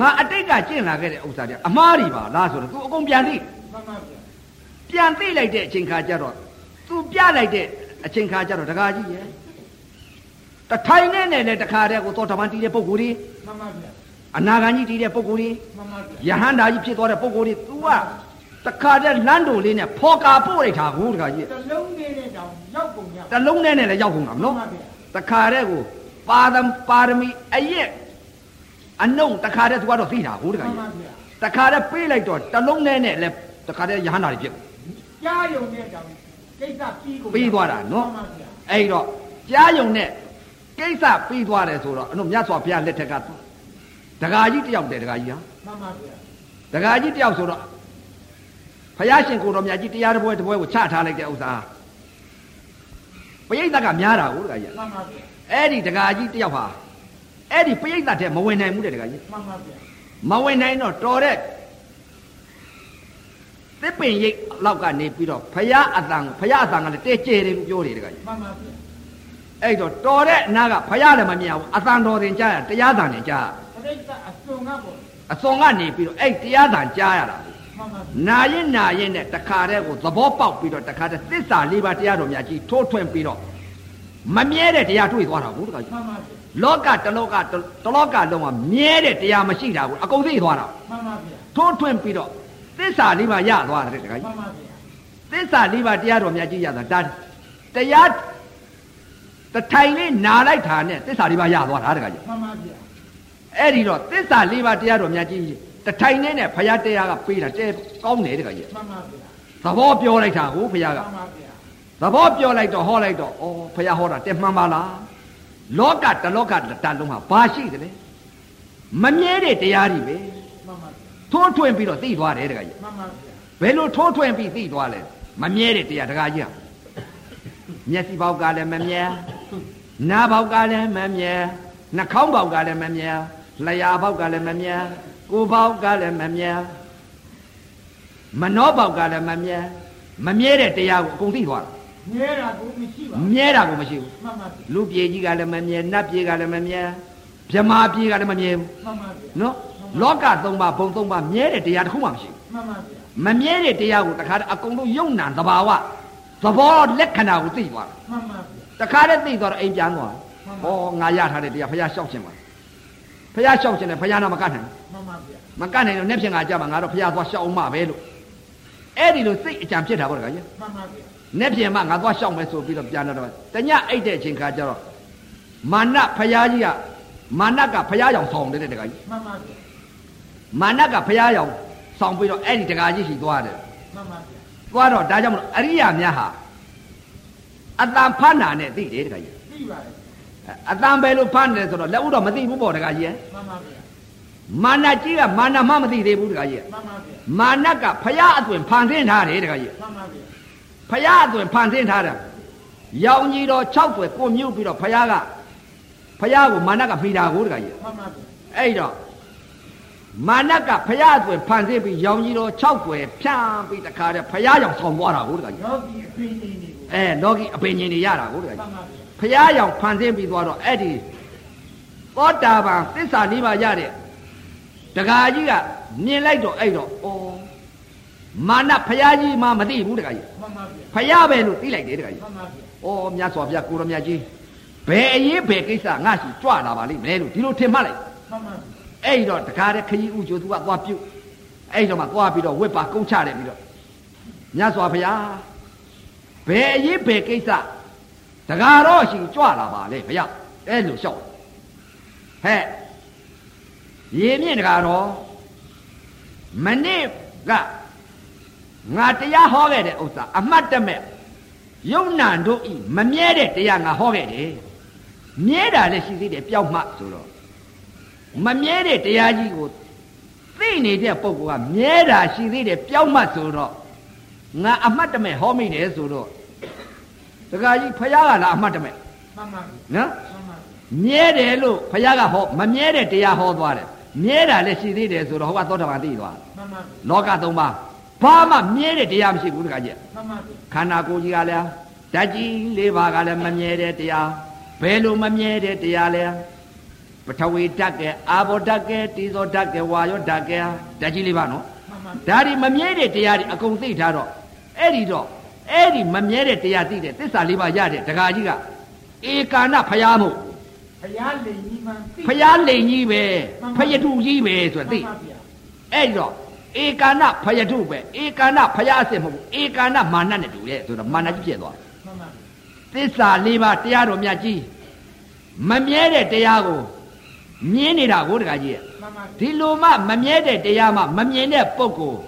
ငါအတိတ်ကကျင့်လာခဲ့တဲ့ဥစ္စာတွေအမှားတွေပါလားဆိုတော့ तू အကုန်ပြန်သိ မှန်ပါဗျာ ပြန်သိလိုက်တဲ့အချိန်ခါကျတော့သူပြလိုက်တဲ့အချိန်ခါကျတော့တခါကြီးရယ်တထိုင်နဲ့နဲ့လည်းတခါတည်းကိုသောတပန်တီးတဲ့ပုံကိုယ်ကြီး မှန်ပါဗျာ အနာဂံကြီးတီးတဲ့ပုံကိုယ်ကြီး မှန်ပါယဗျာဟန္တာကြီးဖြစ်သွားတဲ့ပုံကိုယ်ကြီး तू ကတခါတည်းလမ်းတို့လေးနဲ့ဖော်ကာပို့လိုက်တာကိုတခါကြီး တလုံးလေးနဲ့တောင်ရောက်ကုန်ရ တလုံးနဲ့နဲ့လည်းရောက်ကုန်တာမ မှန် နော် ပါဗျာ တခါတည်းကိုပါဒံပါရမီအရက်အနှုံတခါတည်း तू ကတော့သိတာကိုတ မှ ခါ န် ကြီး ပါဗျာ တခါတည်းပေးလိုက်တော့တလုံးနဲ့နဲ့လည်းတခါတည်းယဟန္တာကြီးဖြစ်ကုန် ကြားယုံနဲ့တောင်ကိစ္စပြီးကုန် ပြီးသွားတာနော် မှန်ပါဗျာ အဲ့တော့ကြားယုံနဲ့ကိစ္စပြီးသွားတယ်ဆိုတော့အဲ့တော့မြတ်စွာဘုရားလက်ထက်ကဒကာကြီးတယောက်တည်းဒကာကြီးဟာ မှန်ပါဗျာ ဒကာကြီးတယောက်ဆိုတော့ဘုရားရှင်ကိုတော်မြတ်ကြီးတရားတစ်ပွဲတစ်ပွဲကိုချထားလိုက်တဲ့ဥစ္စာပရိသတ်ကများတာကိုဒကာကြီး မှန်ပါဗျာ အဲ့ဒီဒကာကြီးတယောက်ဟာအဲ့ဒီပရိသတ်တဲ့မဝင်နိုင်ဘူးတဲ့ဒကာကြီး မှန်ပါဗျာ မဝင်နိုင်တော့တော်တဲ့သစ်ပင်ရိပ်လောက်ကနေပြီးတော့ဘုရားအတန်ကိုဘုရားအတန်ကလည်းတဲကျဲတယ်လို့ပြောတယ်ဒကာကြီး မှန်ပါဗျာ အဲ့တော့တော်တဲ့အနာကဖရလည်းမမြင်ဘူးအတန်တော်တင်ကြားရတရားတန်တင်ကြားရ ပြိဿအစုံကပေါ့ အစွန်ကနေပြီးတော့အဲ့တရားတန်ကြားရတာ မှန်ပါဗျာ နာရင်နာရင်နဲ့တခါတည်းကိုသဘောပေါက်ပြီးတော့တခါတည်းသစ္စာလေးပါးတရားတော်များကြီးထိုးထွင်းပြီးတော့မမြဲတဲ့တရားတွေ့သွားတာဘူးတခါကြီး မှန်ပါဗျာ လောကတစ်လောကတစ်တစ်လောကလုံးကမြဲတဲ့တရားမရှိတာကိုအကုန်သိသွားတာ မှန်ပါဗျာ ထိုးထွင်းပြီးတော့သစ္စာလေးပါးရသွားတယ်တခါကြီး မှန်ပါဗျာ သစ္စာလေးပါးတရားတော်များကြီးရတာဒါတရားတထိုင်လေးနာလိုက်တာနဲ့သစ္စာလေးပါးရသွားတာတခါကြီး မှန်ပါဗျာ အဲ့ဒီတော့သစ္စာလေးပါးတရားတော်များကြီးတထိုင်နဲ့နဲ့ဘုရားတရားကပေးတာတဲကောင်းတယ်တခါကြီး မှန်ပါဗျာ သဘောပြောလိုက်တာကိုဘုရားက မှန်ပါဗျာ သဘောပြောလိုက်တော့ဟောလိုက်တော့ဩဘုရားဟောတာတဲမှန်ပါလားလောကတလောကတလုံးဟာဘာရှိသလဲမမြဲတဲ့တရားတွေပဲ မှန်ပါဗျာ ထိုးထွင်းပြီးတော့သိသွားတယ်တခါကြီး မှန်ပါဗျာ ဘယ်လိုထိုးထွင်းပြီးသိသွားလဲမမြဲတဲ့တရားတခါကြီးဟာမျက်စိပေါက်ကလည်းမမြဲနားပေါက်ကလည်းမမြဲနှာခေါင်းပေါက်ကလည်းမမြဲလျှာပေါက်ကလည်းမမြဲကိုယ်ပေါက်ကလည်းမမြဲမနှောပေါက်ကလည်းမမြဲမမြဲတဲ့တရားကိုအကုန်သိသွားတာ ငဲတာကိုမရှိပါ မြဲတာကိုမရှိဘူး ဘူးမှန်ပါဗျာ လူပြေကြီးကလည်းမမြဲနတ်ပြေကလည်းမမြဲဗြဟ္မာပြေကလည်းမမြဲဘူး မှန်ပါဗျာ နော်လောကသုံးပါးဘုံသုံးပါးမြဲတဲ့တရားတစ်ခုမှမရှိဘူး မှန်ပါဗျာ မမြဲတဲ့တရားကိုတခါတည်းအကုန်လုံးယုံနံသဘာဝသဘောလက္ခဏာကိုသိသွားတာ မှန်ပါဗျာ တခါတည်းသိသွားတော့အိမ်ပြန်သွား မှန်ပါ ဟောငါရထားတဲ့တရားဖះရှောက်ခြင်းပါဖះရှောက်ခြင်းနဲ့ဖះနာမကတ်နိုင် မှန်ပါဗျာ မကတ်နိုင်တော့နေ့ဖြင့်ငါကြမှာငါတော့ဖះသွားရှောက်အောင်မပဲလို့အဲ့ဒီလိုစိတ်အကြံဖြစ်တာပေါ့တခါကြီး မှန်ပါဗျာ နေ့ဖြင့်မှငါသွားရှောက်မယ်ဆိုပြီးတော့ပြန်တော့တညအိတ်တဲ့အချိန်ခါကျတော့မာနဖះကြီးကမာနကဖះရောင်ဆောင်တယ်တဲ့တခါကြီး မှန်ပါဗျာ မာနကဖះရောင်ဆောင်ပြီးတော့အဲ့ဒီတခါကြီးရှိသွားတယ် မှန်ပါဗျာ သွားတော့ဒါကြောင့်မလို့အရိယာများဟာအတန်ဖဏာနဲ့သိတယ်တခါကြီး သိပါတယ် အတန်ပဲလို့ဖမ်းတယ်ဆိုတော့လက်ဦးတော့မသိဘူးပေါ့တခါကြီးရဲ့ မှန်ပါဗျာ မာနကြီးကမာနမှမသိသေးဘူးတခါကြီးရဲ့ မှန်ပါဗျာ မာနကဖရာအသွင်ဖန်ဆင်းထားတယ်တခါကြီး မှန်ပါဗျာ ဖရာအသွင်ဖန်ဆင်းထားတယ်ရောင်ကြီးတော်6ပွဲကိုမြုပ်ပြီးတော့ဖရာကဖရာကိုမာနကဖိတာကိုတခါကြီး မှန်ပါဗျာ အဲ့တော့မာနကဖရာအသွင်ဖန်ဆင်းပြီးရောင်ကြီးတော်6ပွဲဖြန့်ပြီးတခါတည်းဖရာရောင်ဆောင်သွားတာကိုတခါကြီး ယောဂီအပင်နေနေကို အဲလောကီအပင်ရှင်တွေရတာကိုတခါကြီးမှန်ပါဗျာ ဖရာရောင်ဖန်ဆင်းပြီးသွားတော့အဲ့ဒီသောတာပန်သစ္စာလေးပါရတဲ့တခါကြီးကမြင်လိုက်တော့အဲ့တော့ဩမာနဖရာကြီးမှမသိဘူးတခါကြီး မှန်ပါဗျာ ဖရာပဲလို့သိလိုက်တယ်တခါကြီး မှန်ပါဗျာ ဩမြတ်စွာဘုရားကိုရမြတ်ကြီးဘယ်အရေးဘယ်ကိစ္စငါရှိကြွလာပါလိမ့်မယ်လို့ဒီလိုထင်မှတ်လိုက် မှန်ပါဗျာ အဲ့တော့တခါတည်းခကြီးဥကျိုးသူကသွားပြုတ်အဲ့တော့မှသွားပြီးတော့ဝက်ပါကုန်းချတယ်ပြီးတော့မြတ်စွာဘုရားဘ ဘယ်အရေးဘယ်ကိစ္စတကားတော့ရှင်ကြွလာပါလေဘုရားအဲ့လိုလျှောက်ဟဲ့ရေမြင့်တကားတော့မနေ့ကငါတရားဟောခဲ့တဲ့ဥစ္စာအမှတ်တမဲ့ယုံနာတို့ဤမမြဲတဲ့တရားငါဟောခဲ့တယ်မြဲတာလည်းရှိသေးတယ်ပျောက်မှဆိုတော့မမြဲတဲ့တရားကြီးကို သိနေတဲ့ပုံကမြဲတာရှိသေးတယ်ပြောက်မှတ်ဆိုတော့ငါအမှတ်တမဲ့ဟောမိတယ်ဆိုတော့တခါကြီးဖယားကလားအမှတ်တမဲ့ မှန်ပါပြီ နော် မှန်ပါပြီ မြဲတယ်လို့ဖယားကဟောမမြဲတဲ့တရားဟောသွားတယ်မြဲတာလည်းရှိသေးတယ်ဆိုတော့ဟောကသောတာပန်သိသွားတယ် မှန်ပါပြီ လောကသုံးပါးဘာမှမြဲတဲ့တရားမရှိဘူးတခါကြီး မှန်ပါပြီ ခန္ဓာကိုယ်ကြီးကလည်းဓာတ်ကြီးလေးပါးကလည်းမမြဲတဲ့တရားဘယ်လိုမမြဲတဲ့တရားလဲပထဝီဓာတ်ကဲအာဘောဓာတ်ကဲတိဇောဓာတ်ကဲဝါယောဓာတ်ကဲဓာတ်ကြီးလေးပါနော် မှန်ပါပြီ ဒါဒီမမြဲတဲ့တရားတွေအကုန်သိထားတော့အဲ့ဒီတော့အဲ့ဒီမမြဲတဲ့တရားသိတဲ့သစ္စာလေးပါရတဲ့ဒကာကြီးကဧကာဏဖျားမို့ ဘုရားလိန်ကြီးမှန်သိ ဖျားလိန်ကြီးပဲဖယတုကြီးပဲဆိုတော့သိ မှန်ပါဗျာ အဲ့ဒီတော့ဧကာဏဖယတုပဲဧကာဏဖျားအစစ်မဟုတ်ဘူးဧကာဏမာနနဲ့တူရဲ့ဆိုတော့မာနကြီးဖြစ်သွားတယ် မှန်ပါသပြီစ္စာလေးပါတရားတော်မြတ်ကြီးမမြဲတဲ့တရားကိုမြင်နေတာကိုဒကာကြီးရဲ့ မှန်ပါပြီ ဒီလိုမှမမြဲတဲ့တရားမှမမြင်တဲ့ပုဂ္ဂိုလ်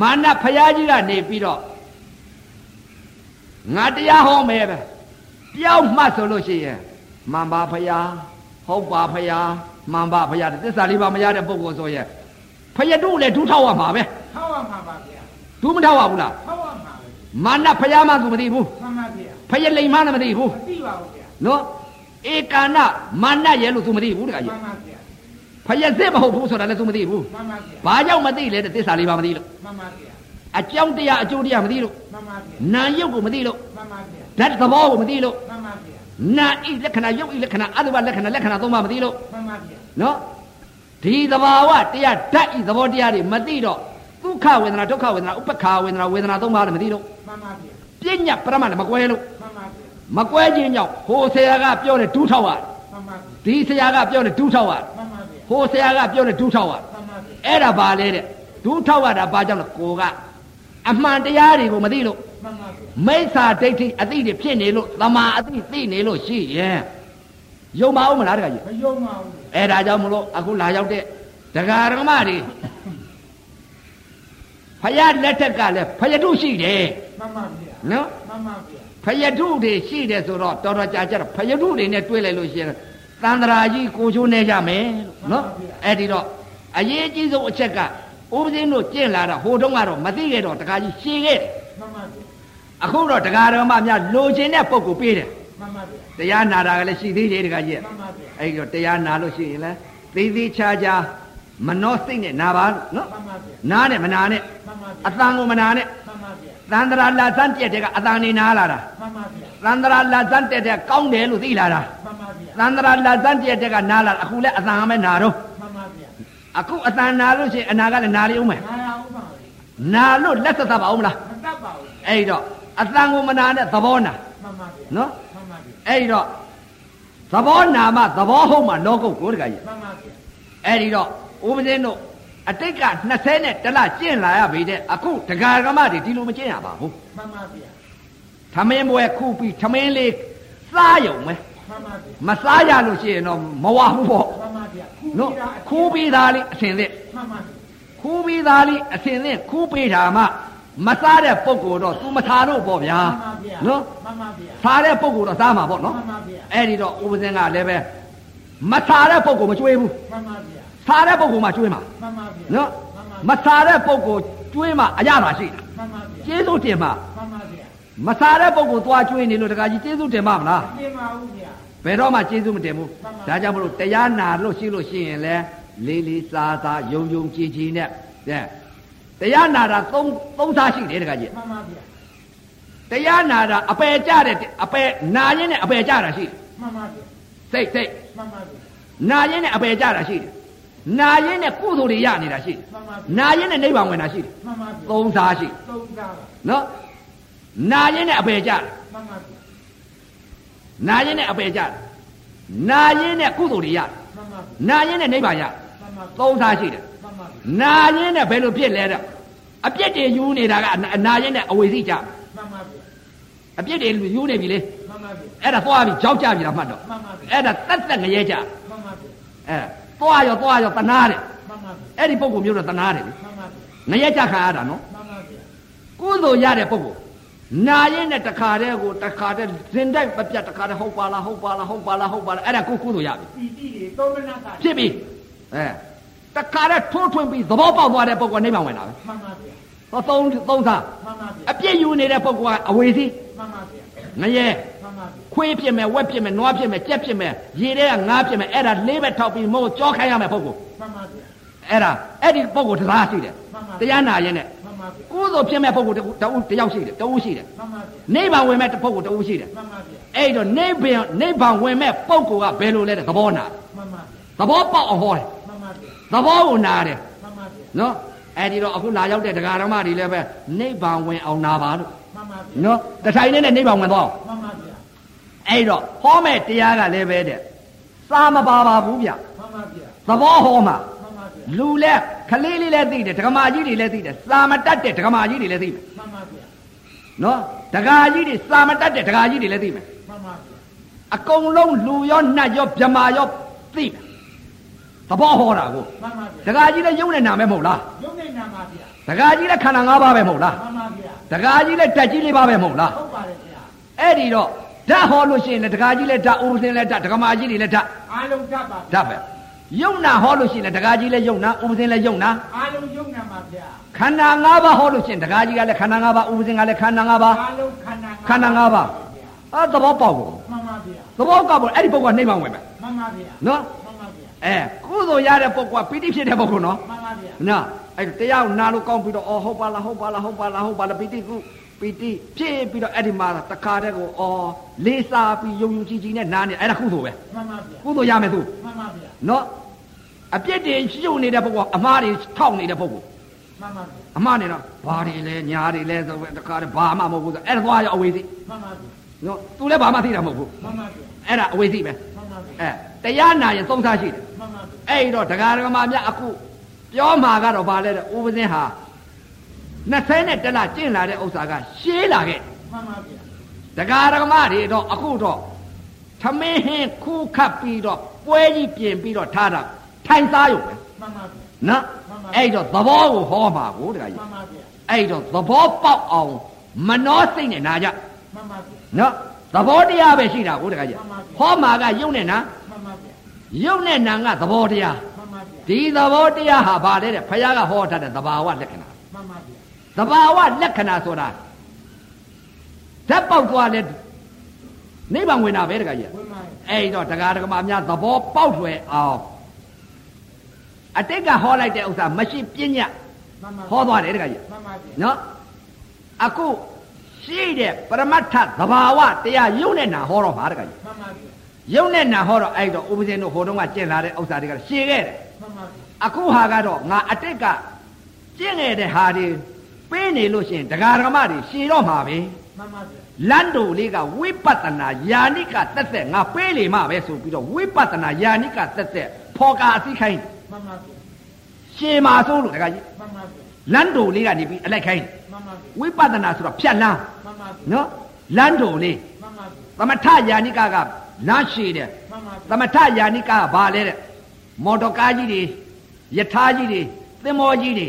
မာနဖျားကြီးကနေပြီးတော့ငါတရားဟောမယ်ပဲပျောက်မှတ်ဆိုလို့ရှိရင်မှန်ပါဖျားဟုတ်ပါဖျားမှန်ပါဖျားသစ္စာလေးပါမရတဲ့ပုဂ္ဂိုလ်ဆိုရင်ဖျက်တို့လည်းဒူးထောက်ရမှာပဲ ထောက်ရမှာပါဗျာ ဒူးမထောက်ရဘူးလား ထောက်ရမှာပဲ မာနဖျားမှသူမသိဘူး မှန်ပါဗျာ ဖျက်လိမ်မှလည်းမသိဘူး မသိပါဘူးဗျာ နော်ဧကာဏမာနရဲ့လို့သူမသိဘူးတခါ မှ ကြီး န်ပါဗျာ ဖျက်စစ်မဟုတ်ဘူးဆိုတာလည်းသူမသိဘူး မှန်ပါဘာဗျာကြောင့်မသိလဲတဲ့သစ္စာလေးပါမသိလို့ မှန်ပါဗျာ အကြောင်းတရားအကျိုးတရားမသိလို့ မှန်ပါဗျာ နာယုတ်ကိုမသိလို့ မှန်ပါဗျာ ဓာတ်သဘောကိုမသိလို့ မှန်ပါဗျာ နာဤလက္ခဏာယုတ်ဤလက္ခဏာအတုပလက္ခဏာလက္ခဏာသုံးပါးမသိလို့ မှန်ပါဗျာ နော်ဒီသဘာဝတရားဓာတ်ဤသဘောတရားတွေမသိတော့ဒုက္ခဝေဒနာဒုက္ခဝေဒနာဥပ္ပခာဝေဒနာဝေဒနာသုံးပါးလည်းမသိလို့ မှန်ပါဗျာ ပြဉ္ညာပရမလည်းမကွဲလို့ မှန်ပါဗျာ မကွဲခြင်းကြောင့်ဟိုဆရာကပြောတဲ့ဒူးထောက်ရ မှန်ပါဗျာ ဒီဆရာကပြောတဲ့ဒူးထောက်ရ မှန်ပါဗျာ ဟိုဆရာကပြောတဲ့ဒူးထောက်ရ မှန်ပါဗျာ အဲ့ဒါပါလေတဲ့ဒူးထောက်ရတာဘာကြောင့်လဲကိုကအမှန်တရားတွေကိုမသိလို့ မှန်ပါဗျာ မိစ္ဆာဒိဋ္ဌိအတိတွေဖြစ်နေလို့သမာအတိသိနေလို့ရှိရင်ယုံမအောင်မလားတခါကြီး မယုံပါဘူးဗျာ အဲ့ဒါကြောင့်မလို့အခုလာရောက်တဲ့ဒကာရမတွေဖယားလက်ထက်ကလည်းဖယတုရှိတယ် မှန်ပါဗျာ နော် မှန်ပါဗျာ ဖယတုတွေရှိတယ်ဆိုတော့တော်တော်ကြာကြတော့ဖယတုတွေနဲ့တွေ့လိုက်လို့ရှိရင်သန္တရာကြီးကိုချိုးနေကြမယ်လို့နော်အဲ့ဒီတော့အရေးကြီးဆုံးအချက်ကဥပဇင်းတို့ကျင့်လာတာဟိုတုန်းကတော့မသိခဲ့တော့တခါကြီးရှင်းခဲ့တယ် မှန်ပါဗျာ အခုတော့ဒကာရမများလိုချင်တဲ့ပုံကိုပေးတယ် မှန်ပါဗျာ တရားနာတာကလည်းရှိသေးတယ်တခါကြီး မှန်ပါဗျာ အဲ့ဒီတော့တရားနာလို့ရှိရင်လည်းသေးသေးချာချာမနှောစိတ်နဲ့နာပါနော် မှန်ပါဗျာ နားနဲ့မနာနဲ့ မှန်ပါဗျာ အတန်ကိုမနာနဲ့ မှန်ပါဗျာ သန္တရာလာသန်းပြက်တဲ့ကအတန်နေနာလာတာ မှန်ပါဗျာ သန္တရာလာသန်းတက်တဲ့ကောင်းတယ်လို့သိလာတာ မှန်ပါဗျာ သန္တရာလာသန်းပြက်တဲ့ကနားလာတာအခုလည်းအတန်ကပဲနာတော့ မှန်ပါဗျာ အခုအတန်နာလို့ရှိရင်အနာကလည်းနာလိမ့်ဦးမယ် နာရအောင်ပါလေ နာလို့လက်သက်သက်ပါဦးမလား မတတ်ပါဘူး အဲ့ဒီတော့အတန်ကိုမနာနဲ့သဘောနာ မှန်ပါဗျာ နော် မှန်ပါဗျာ အဲ့ဒီတော့သဘောနာမှသဘောဟုတ်မှလောကုတ်ကိုတခါကြီး မှန်ပါဗျာ အဲ့ဒီတော့ဦးမင်းတို့အတိတ်က20နဲ့တလကျင့်လာရပြီတဲ့အခုဒကာကမတွေဒီလိုမကျင့်ရပါဘူး မှန်ပါဗျာ ထမင်းပွဲခုပြီးထမင်းလေးစားယုံမယ် မှန်ပါဗျာ မစားရလို့ရှိရင်တော့မဝဘူးပေါ့ မှန်ပါဗျာခု နော် ပြီးတာအ ခိုးပြီးသားလေးအစင်သက် မှန်ပါဗျာ ခိုးပြီးသားလေးအစင်သက်ခိုးပေးတာမှမစားတဲ့ပုံကိုယ်တော့ तू မထားတော့ပေါ့ဗျာ မှန်ပါဗျာ နော် မှန်ပါဗျာ စားတဲ့ပုံကိုယ်တော့စားမှာပေါ့နော် မှန်ပါဗျာ အဲ့ဒီတော့ဦးမင်းကလည်းပဲမစားတဲ့ပုံကိုယ်မကျွေးဘူး မှန်ပါဗျာ စားတဲ့ပုံကိုယ်မှကျွေးမှာ မှန်ပါဗျာ နော် မှန်ပါ မ ဗျာ စားတဲ့ပုံကိုကျွေးမှအရသာရှိတာ မှန်ပါဗျာ ကျေးဇူးတင်ပါ မှန်ပါဗျာ မစားတဲ့ပုံကိုသွားကျွေးနေလို့တခါကြီးကျေးဇူးတင်ပါမလား ပြင်ပါဦးဗျာ ဘယ်တော့မှကျေးဇူးမတင်ဘူး မှန်ပါ ဒါကြောင့်မလို့တရားနာလို့ရှိလို့ရှိရင်လဲလေးလေးစားစားယုံယုံကြည်ကြည်နဲ့တဲ့တရားနာတာသုံးသုံးစားရှိတယ်တခါကြီး မှန်ပါဗျာ တရားနာတာအပယ်ကြတဲ့အပယ်နာရင်နဲ့အပယ်ကြတာရှိတယ် မှန်ပါဗျာ စိတ်စိတ် မှန်ပါဗျာ နာရင်နဲ့အပယ်ကြတာရှိတယ်နာရင်နဲ့ကုသိုလ်တွေရနေတာရှိတယ် မှန်ပါဗျာ နာရင်နဲ့နိဗ္ဗာန်ဝင်တာရှိတယ် မှန်ပါဗျာ သုံးစားရှိတယ် သုံးသားပါ နော်နာရင်နဲ့အပယ်ကြတယ် မှန်ပါဗျာ နာရင်နဲ့အပယ်ကြတယ်နာရင်နဲ့ကုသိုလ်တွေရတယ် မှန်ပါဗျာ နာရင်နဲ့နိဗ္ဗာန်ရတယ် မှန်ပါဗျာ သုံးစားရှိတယ် မှန်ပါဗျာ နာရင်နဲ့ဘယ်လိုဖြစ်လဲတော့အပြစ်တွေယူနေတာကအနာနာရင်နဲ့အဝေစီကြတယ် မှန်ပါဗျာ အပြစ်တွေလူယူနေပြီလေ မှန်ပါပြီ အဲ့ဒါသွားပြီကြောက်ကြပြီလားမှတ်တော့ မှန်ပါပြီ အဲ့ဒါတက်တက်ငရဲကြ မှန်ပါပြီ အဲသွားရောသွားရောတနာတယ် မှန်ပါပြီ အဲ့ဒီပုံကိုမျိုးတော့တနာတယ်လေ မှန်ပါပြီ ငရဲကြခံရတာနော် မှန်ပါပြီ ကုသိုလ်ရတဲ့ပုဂ္ဂိုလ်နာရင်နဲ့တခါတည်းကိုတခါတည်းဇင်တိုက်မပြတ်တခါတည်းဟုတ်ပါလားဟုတ်ပါလားဟုတ်ပါလားဟုတ်ပါလားအဲ့ဒါကိုကုသိုလ်ရပြီ ပီတိတွေသုံးမနာတာ ဖြစ်ပြီအဲတခါတည်းထိုးထွင်းပြီးသဘောပေါက်သွားတဲ့ပုဂ္ဂိုလ်နိဗ္ဗာန်ဝင်လာပဲ မှန်ပါပြီ ဟောသုံးသုံးသာ မှန်ပါပြီ အပြစ်ယူနေတဲ့ပုဂ္ဂိုလ်ကအဝေစီ မှန်ပါပြီ ငရဲ မှန်ပါပြီ ခွေးဖြစ်မယ်ဝက်ဖြစ်မယ်နွားဖြစ်မယ်ကြက်ဖြစ်မယ်ရေထဲကငါးဖြစ်မယ်အဲ့ဒါလေးပဲထောက်ပြီးမို့ကြောခိုင်းရမယ်ပုဂ္ဂိုလ် မှန်ပါပြီ အဲ့ဒါအဲ့ဒီပုဂ္ဂိုလ်တရားရှိတယ်တရားနာရင်နဲ့ မှန်ပါပြီ ကုသိုလ်ဖြစ်မဲ့ပုဂ္ဂိုလ်တစ်ခုတစ်ဦးတစ်ယောက်ရှိတယ်တစ်ဦးရှိတယ် မှန်ပါပြီ နိဗ္ဗာန်ဝင်မဲ့တစ်ပုဂ္ဂိုလ်တစ်ဦးရှိတယ် မှန်ပါပြီ အဲ့တော့နိဗ္ဗာန်နိဗ္ဗာန်ဝင်မဲ့ပုံကောကဘယ်လိုလဲတဲ့သဘောနာတယ် မှန်ပါပြီ သဘောပေါက်အောင်ဟောတယ် မှန်ပါပြီ သဘောကိုနာတယ် မှန်ပါပြီ နော်အဲ့ဒီတော့အခုလာရောက်တဲ့ဒကာဓမ္မတွေလည်းပဲနိဗ္ဗာန်ဝင်အောင်နာပါလို့ မှန်ပါပြီ နော်တထိုင်နဲ့နဲ့နိဗ္ဗာန်ဝင်သွားအောင် မှန်ပါပြီ အဲ့တော့ဟောမဲ့တရားကလည်းပဲတဲ့စာမပါပါဘူးဗျ မှန်ပါပြီ သဘောဟောမှာ မှန်ပါပြီ လူလဲခလေးလေးလည်းသိတယ်ဒကမာကြီးတွေလည်းသိတယ်စာမတတ်တဲ့ဒကမာကြီးတွေလည်းသိမယ် မှန်ပါပြီ နော်ဒကာကြီးတွေစာမတတ်တဲ့ဒကာကြီးတွေလည်းသိမယ် မှန်ပါပြီ အကုန်လုံးလူရောနတ်ရောဗြမာရောသိတယ်သဘောဟောတာကို မှန်ပါပြီ ဒကာကြီးလည်းယုံနဲ့နာမဲမဟုတ်လား ရုပ်နဲ့နာပါဗျာ ဒကာကြီးလည်းခန္ဓာ၅ပါးပဲမဟုတ်လား မှန်ပါဗျာ ဒကာကြီးလည်းဓာတ်ကြီး၄ပါးပဲမဟုတ်လား ဟုတ်ပါတယ်ဗျာ အဲ့ဒီတော့ဓာတ်ဟောလို့ရှိရင်လည်းဒကာကြီးလည်းဓာတ်ဥရုစင်လည်းဓာတ်ဒကမာကြီးတွေလည်းဓာတ် အားလုံးတတ်ပါဗျာ ဓာတ်ပဲယုံနာဟောလို့ရှိရင်လည်းဒကာကြီးလည်းယုံနာဥရုစင်လည်းယုံနာ အားလုံးရုပ်နာပါဗျာ ခန္ဓာ၅ပါးဟောလို့ရှိရင်ဒကာကြီးကလည်းခန္ဓာ၅ပါးဥရုစင်ကလည်းခန္ဓာ၅ပါး အားလုံးခန္ဓာ ခန္ဓာ၅ပါးအဲသဘောပေါက်ကုန် မှန်ပါဗျာ သဘောကောက်ပေါ်အဲ့ဒီပုဂ္ဂိုလ်ကနှိမ့်မဝင်ပဲ မှန်ပါဗျာ နော် မှန်ပါဗျာ အဲကုသိုလ်ရတဲ့ပုဂ္ဂိုလ်ကပိဋိဖြစ်တဲ့ပုဂ္ဂိုလ်နော် မှန်ပါဗျာ နော်အဲ့တရားနာလို့ကောင်းပြီးတော့အော်ဟုတ်ပါလားဟုတ်ပါလားဟုတ်ပါလားဟုတ်ပါလားပီတိကုပီတိဖြစ်ပြီးတော့အဲ့ဒီမှာတခါတည်းကိုအော်လေးစားပြီးယုံယုံကြည်ကြည်နဲ့နားနေအဲ့ဒါကုသိုလ်ပဲ မှန်ပါဗျာ ကုသိုလ်ရမယ်သူ မှန်ပါဗျာ နော်အပြစ်တွေရှိုံနေတဲ့ပုဂ္ဂိုလ်အမှားတွေထောက်နေတဲ့ပုဂ္ဂိုလ် မှန်ပါဗျာ အမှားနေတော့ဘာတွေလဲညာတွေလဲဆိုပြီးတခါတည်းဘာမှမဟုတ်ဘူးဆိုအဲ့ဒါသွားရအဝေးစီ မှန်ပါဗျာ နော်သူလည်းဘာမှသိတာမဟုတ်ဘူး မှန်ပါဗျာ အဲ့ဒါအဝေးစီပဲ မှန်ပါဗျာ အဲတရားနာရင်သုံးစားရှိတယ် မှန်ပါဗျာ အဲ့တော့တရားဓမ္မများအခုပြောမှာကတော့ဗာလဲတဲ့ဥပဇင်းဟာ20နဲ့တက်လာကျင့်လာတဲ့ဥစ္စာကရှေးလာခဲ့ မှန်ပါဗျာ တရားဓမ္မတွေတော့အခုတော့သမင်းဟင်းခူးခတ်ပြီးတော့ပွဲကြီးပြင်ပြီးတော့ထားတာထိုင်စားရုံပဲ မှန်ပါဗျာ နော် မှန်ပါ အဲ့တော့သဘောကိုဟောမှာကိုတရားကြီး မှန်ပါဗျာ အဲ့တော့သဘောပေါက်အောင်မနှောစိတ်နဲ့နာကြ မှန်ပါဗျာ နော်သဘောတရားပဲရှိတာကိုတရားကြီး မှန်ပါဗျာ ဟောမှာကယုံနဲ့နာ မှန်ပါဗျာ ယုံနဲ့နာကသဘောတရား မှန်ပါဗျာ ဒီသဘောတရားဟာဗာလဲတဲ့ဘုရားကဟောထားတဲ့သဘာဝလက္ခဏာ မှန်ပါဗျာ သဘာဝလက္ခဏာဆိုတာဓာတ်ပေါက်သွားလဲနိဗ္ဗာန်ဝင်တာပဲတခါကြီး ဝင်ပါရဲ့ အဲ့တော့တရားဓမ္မများသဘောပေါက်လွယ်အောင်အတိတ်ကဟောလိုက်တဲ့ဥစ္စာမရှိပညာ မှန်ပါ ဟောသွားတယ်တခါကြီး မှန်ပါဗျာ နော်အခုရှိတဲ့ပရမတ္ထသဘာဝတရားယုံနဲ့နာဟောတော့ပါတခါကြီး မှန်ပါဗျာ ယုံနဲ့နာဟောတော့အဲ့တော့ဥပဇင်းတို့ဟိုတုန်းကကျင့်လာတဲ့ဥစ္စာတွေကရှည်ခဲ့တယ် မှန်ပါဗျာ အခုဟာကတော့ငါအတိတ်ကကျင့်နေတဲ့ဟာတွေပေးနေလို့ရှရင်တရားဓမ္မတွေရှည်တော့မှာပဲ မှန်ပါဗျာ လန်တိုလေးကဝိပဿနာယာနိကသက်သက်ငါပေးလေမှပဲဆိုပြီးတော့ဝိပဿနာယာနိကသက်သက်ဖော်ကာအသိခိုင်း မှန်ပါဗျာ ရှည်မှာဆိုလို့တခါကြီး မှန်ပါဗျာ လန်တိုလေးကနေပြီးအလိုက်ခိုင်း မှန်ပါဗျာ ဝိပဿနာဆိုတော့ဖြတ်လန်း မှန်ပါဗျာ နော်လန်တိုလေး မှန်ပါဗျာ သမထယာနိကကလမ်းရှည်တယ် မှန်ပါဗျာ သမထယာနိကကဘာလဲတဲ့မော်တော်ကားကြီးတွေယထာကြီးတွေသင်္ဘောကြီးတွေ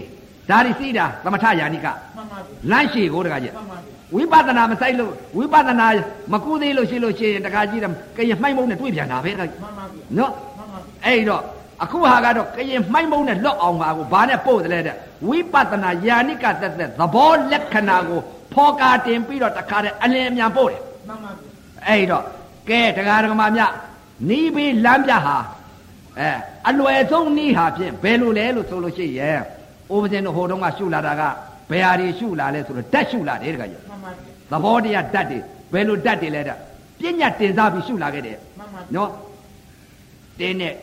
ဒါတွေစီးတာသမထယာနိက မှန်ပါဗျာ လမ်းရှည်ကိုတကကြီး မှန်ပါဗျာ ဝိပဿနာမဆိုင်လို့ဝိပဿနာမကူသေးလို့ရှိလို့ရှိရင်တကကြီးတကရင်မှိုင်းမုံနဲ့တွေ့ပြန်တာပဲတကကြီး မှန်ပါဗျာ နော် မှန်ပါဗျာ အဲ့တော့အခုဟာကတော့ကရင်မှိုင်းမုံနဲ့လွတ်အောင်ပါကိုဘာနဲ့ပို့တယ်လဲတဲ့ဝိပဿနာယာနိကသက်သက်သဘောလက္ခဏာကိုဖော်ကာတင်ပြီးတော့တခါတည်းအလင်းအမြန်ပို့တယ် မှန်ပါဗျာ အဲ့တော့ကဲတရားဓမ္မမြနီးပြီးလမ်းပြဟာအဲအလွယ်ဆုံးနီးဟာဖြင့်ဘယ်လိုလဲလို့ဆိုလို့ရှိရင်ဥပဇင်းတို့ဟိုတုန်းကရှုလာတာကဘယ်ဟာတွေရှုလာလဲဆိုတော့ဓာတ်ရှုလာတယ်တခါကြီး မှန်ပါဗျာ သဘောတရားဓာတ်တွေဘယ်လိုဓာတ်တွေလဲတဲ့ပညာတင်စားပြီးရှုလာခဲ့တယ် မှန်ပါဗျာ နော်တင်းနဲ့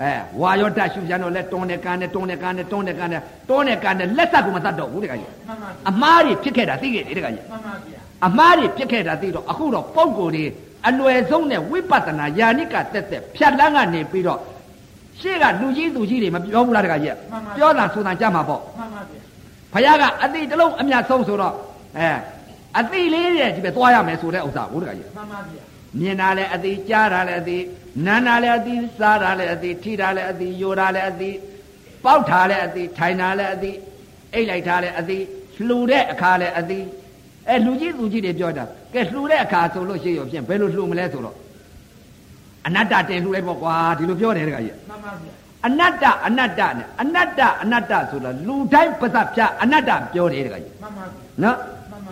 အဲဝါရောဓာတ်ရှုပြန်တော့လဲတွန်းနဲ့ကန်နဲ့တွန်းနဲ့ကန်နဲ့တွန်းနဲ့ကန်နဲ့တွန်းနဲ့ကန်နဲ့လက်ဆက်ကိုမတတ်တော့ဘူးတခါကြီး မှန်ပါဗျာ အမားတွေဖြစ်ခဲ့တာသိခဲ့တယ်တခါကြီး မှန်ပါဗျာ အမှားတွေပြစ်ခဲ့တာသိတော့အခုတော့ပုံကိုယ်တွေအလွယ်ဆုံးနဲ့ဝိပဿနာယာနိကတက်တက်ဖြတ်လန်းကနေပြီးတော့ရှေ့ကလူကြီးသူကြီးတွေမပြောဘူးလားတခါကြီးပြောတာဆိုတာကြမှာပေါ့ မှန်ပါဗျာ ဘုရားကအတိတ်တစ်လုံးအမြတ်ဆုံးဆိုတော့အဲအ အသိလေးတဲ့ဒီပဲသွားရမယ်ဆိုတဲ့ဥစ္စာဘုရားကြီး မှန်ပါဗျာ မြင်တာလည်းအသိကြားတာလည်းအသိနားတာလည်းအသိစားတာလည်းအသိထိတာလည်းအသိယိုတာလည်းအသိပေါက်တာလည်းအသိထိုင်တာလည်းအသိအိတ်လိုက်တာလည်းအသိလှူတဲ့အခါလည်းအသိအဲလူကြီးလူကြီးတွေပြောတာကဲလှူတဲ့အခါဆိုလို့ရှိရောဖြင့်ဘယ်လိုလှူမလဲဆိုတော့အနတ္တတင်လှူလိုက်ပေါ့ကွာဒီလိုပြောတယ်တခါကြီး မှန်ပါဗျာ အနတ္တအနတ္တနဲ့အနတ္တအနတ္တဆိုတာလူတိုင်းပါးစပ်ဖြာအနတ္တပြောတယ်တခါကြီး မှန်ပါဗျာ နော်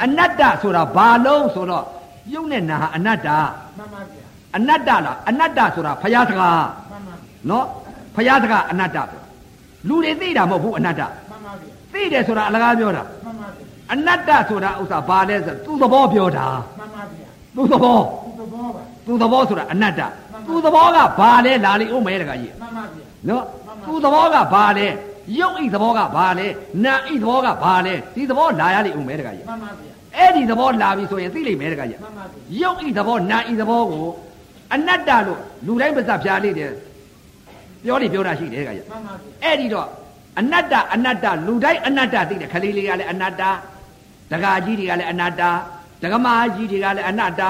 အနတ္တဆိုတာဘာလုံးဆိုတော့ရုပ်နဲ့နာဟာအနတ္တ မှန်ပါဗျာ အနတ္တလားအနတ္တဆိုတာဖယားစကား မှန်ပါဗျာ နော်ဖယားစကားအနတ္တပြောလူတွေသိတာမဟုတ်ဘူးအနတ္တ မှန်ပါဗျာ သိတယ်ဆိုတာအလကားပြောတာ မှန်ပါဗျာ အနတ္တဆိုတာဥစ္စာဘာလဲဆိုသူ့သဘောပြောတာ မှန်ပါဗျာ သူ့သဘော ဒီသဘောပါ သူ့သဘောဆိုတာအနတ္တသူ့သဘောကဘာလဲလာလိမ့်ဦးမဲတခါကြီး မှန်ပါဗျာ နော်သူသဘောကဘာလဲရုပ်ဤသဘောကဘာလဲနာဤသဘောကဘာလဲဒီသဘောလာရလိမ့်ဦးမဲတကကြီး မှန်ပါဗျာ အဲ့ဒီသဘောလာပြီဆိုရင်သိလိမ့်မဲတကကြီး မှန်ပါဗျာ ရုပ်ဤသဘောနာဤသဘောကိုအနတ္တလို့လူတိုင်းပါးစပ်ဖြားလိမ့်တယ်ပြောလိပြောတာရှိတယ်တကကြီး မှန်ပါဗျာ အဲ့ဒီတော့အနတ္တအနတ္တလူတိုင်းအနတ္တသိတယ်ခလေးလေးကလည်းအနတ္တဒကာကြီးတွေကလည်းအနတ္တဒကမာကြီးတွေကလည်းအနတ္တ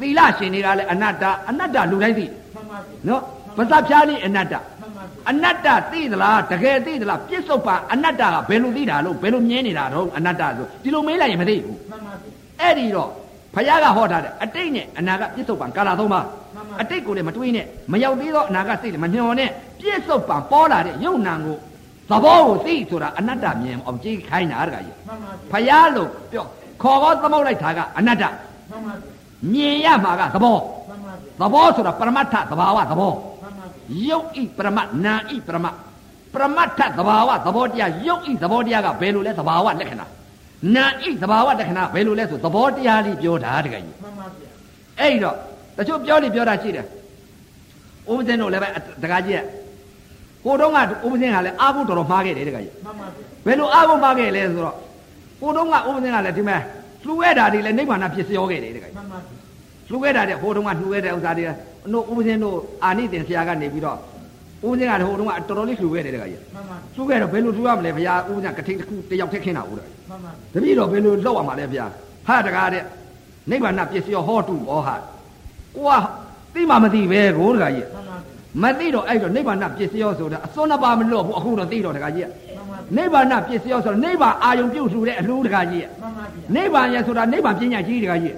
သီလရှင်တွေကလည်းအနတ္တအနတ္တလူတိုင်းသိတယ် မှန်ပါဗျာ နော်ပါးစပ်ဖြားလိမ့်အနတ္တ မှန်ပါဗျာ အနတ္တသိသလားတကယ်သိသလားပြစ္ဆုတ်ပါအနတ္တကဘယ်လိုသိတာလို့ဘယ်လိုမြင်နေတာတော့အနတ္တဆိုဒီလိုမေးလိုက်ရင်မသိဘူး မှန်ပါဗျာ အဲ့ဒီတော့ဘုရားကဟောထားတယ်အတိတ်နဲ့အနာကပြစ္ဆုတ်ပါကာလသုံးပါ မှန်ပါ အတိတ်ကိုလည်းမတွေးနဲ့မရောက်သေးတော့အနာကသိတယ်မညှော်နဲ့ပြစ္ဆုတ်ပါပေါ်လာတဲ့ယုံနာကိုသဘောကိုသိဆိုတာအနတ္တမြင်အောင်ကြည့်ခိုင်းတာတကကြီး မှန်ပါဘုဗျာရားလို့ပြောခေါ်တော့သမုတ်လိုက်တာကအနတ္တ မှန်ပါဗျာ မြင်ရမှာကသဘော မှန်ပါသဗျာဘောဆိုတာပရမတ္ထသဘာဝသဘော မှန်ပါဗျာ ယုတ်ဤပရမတ်နာဤပရမတ်ပရမတ်ထသဘာဝသဘောတရားယုတ်ဤသဘောတရားကဘယ်လိုလဲသဘာဝလက္ခဏာနာဤသဘာဝလက္ခဏာဘယ်လိုလဲဆိုသဘောတရားလေးပြောတာတကယ်ကြီး မှန်ပါဗျာ အဲ့ဒီတော့တချို့ပြောလိပြောတာရှိတယ်ဥပဇင်းတို့လည်းပဲတကယ်ကြီးကကိုတုံးကဥပဇင်းကလည်းအာဟုတော်တော်မှားခဲ့တယ်တကယ်ကြီး မှန်ပါဗျာ ဘယ်လိုအာဟုမှားခဲ့လဲဆိုတော့ကိုတုံးကဥပဇင်းကလည်းဒီမဲ့လှူရတာတွေလည်းနိဗ္ဗာန်ဖြစ်စရောခဲ့တယ်တကယ်ကြီး မှန်ပါဗျာ လှူခဲ့တာတဲ့ဟိုတုန်းကလှူခဲ့တဲ့ဥစ္စာတွေတို့ဥပဇင်းတို့အာနိသင်ဆရာကနေပြီးတော့ဥပဇင်းကဟိုတုန်းကတော်တော်လေးလှူခဲ့တယ်တခါကြီး မှန်ပါ လှူခဲ့တော့ဘယ်လိုလှူရမလဲဘုရားဥပဇင်းကထိတ်တစ်ခုတစ်ယောက်ထက်ခင်းတာဟုတ်တယ် မှန်ပါ တပည့်တော်ဘယ်လိုလောက်ရမှာလဲဘုရားဟာတကားတဲ့နိဗ္ဗာန်ပစ္စည်းဟောတူဟောဟာကိုကသိမှမသိပဲကိုတခါကြီး မှန်မပါဗျာသိတော့အဲ့တော့နိဗ္ဗာန်ပစ္စည်းဆိုတဲ့အစွန်းနှပါမလွတ်ဘူးအခုတော့သိတော့တခါကြီး မှနိန်ပါဗျာဗ္ဗာန်ပစ္စည်းဆိုတော့နိဗ္ဗာန်အာယုံပြုတ်လှူတဲ့အလှူတခါကြီး မှန်ပါဗျာ နိဗ္ဗာန်ရဆိုတာနိဗ္ဗာန်ပညာကြီးတခါကြီး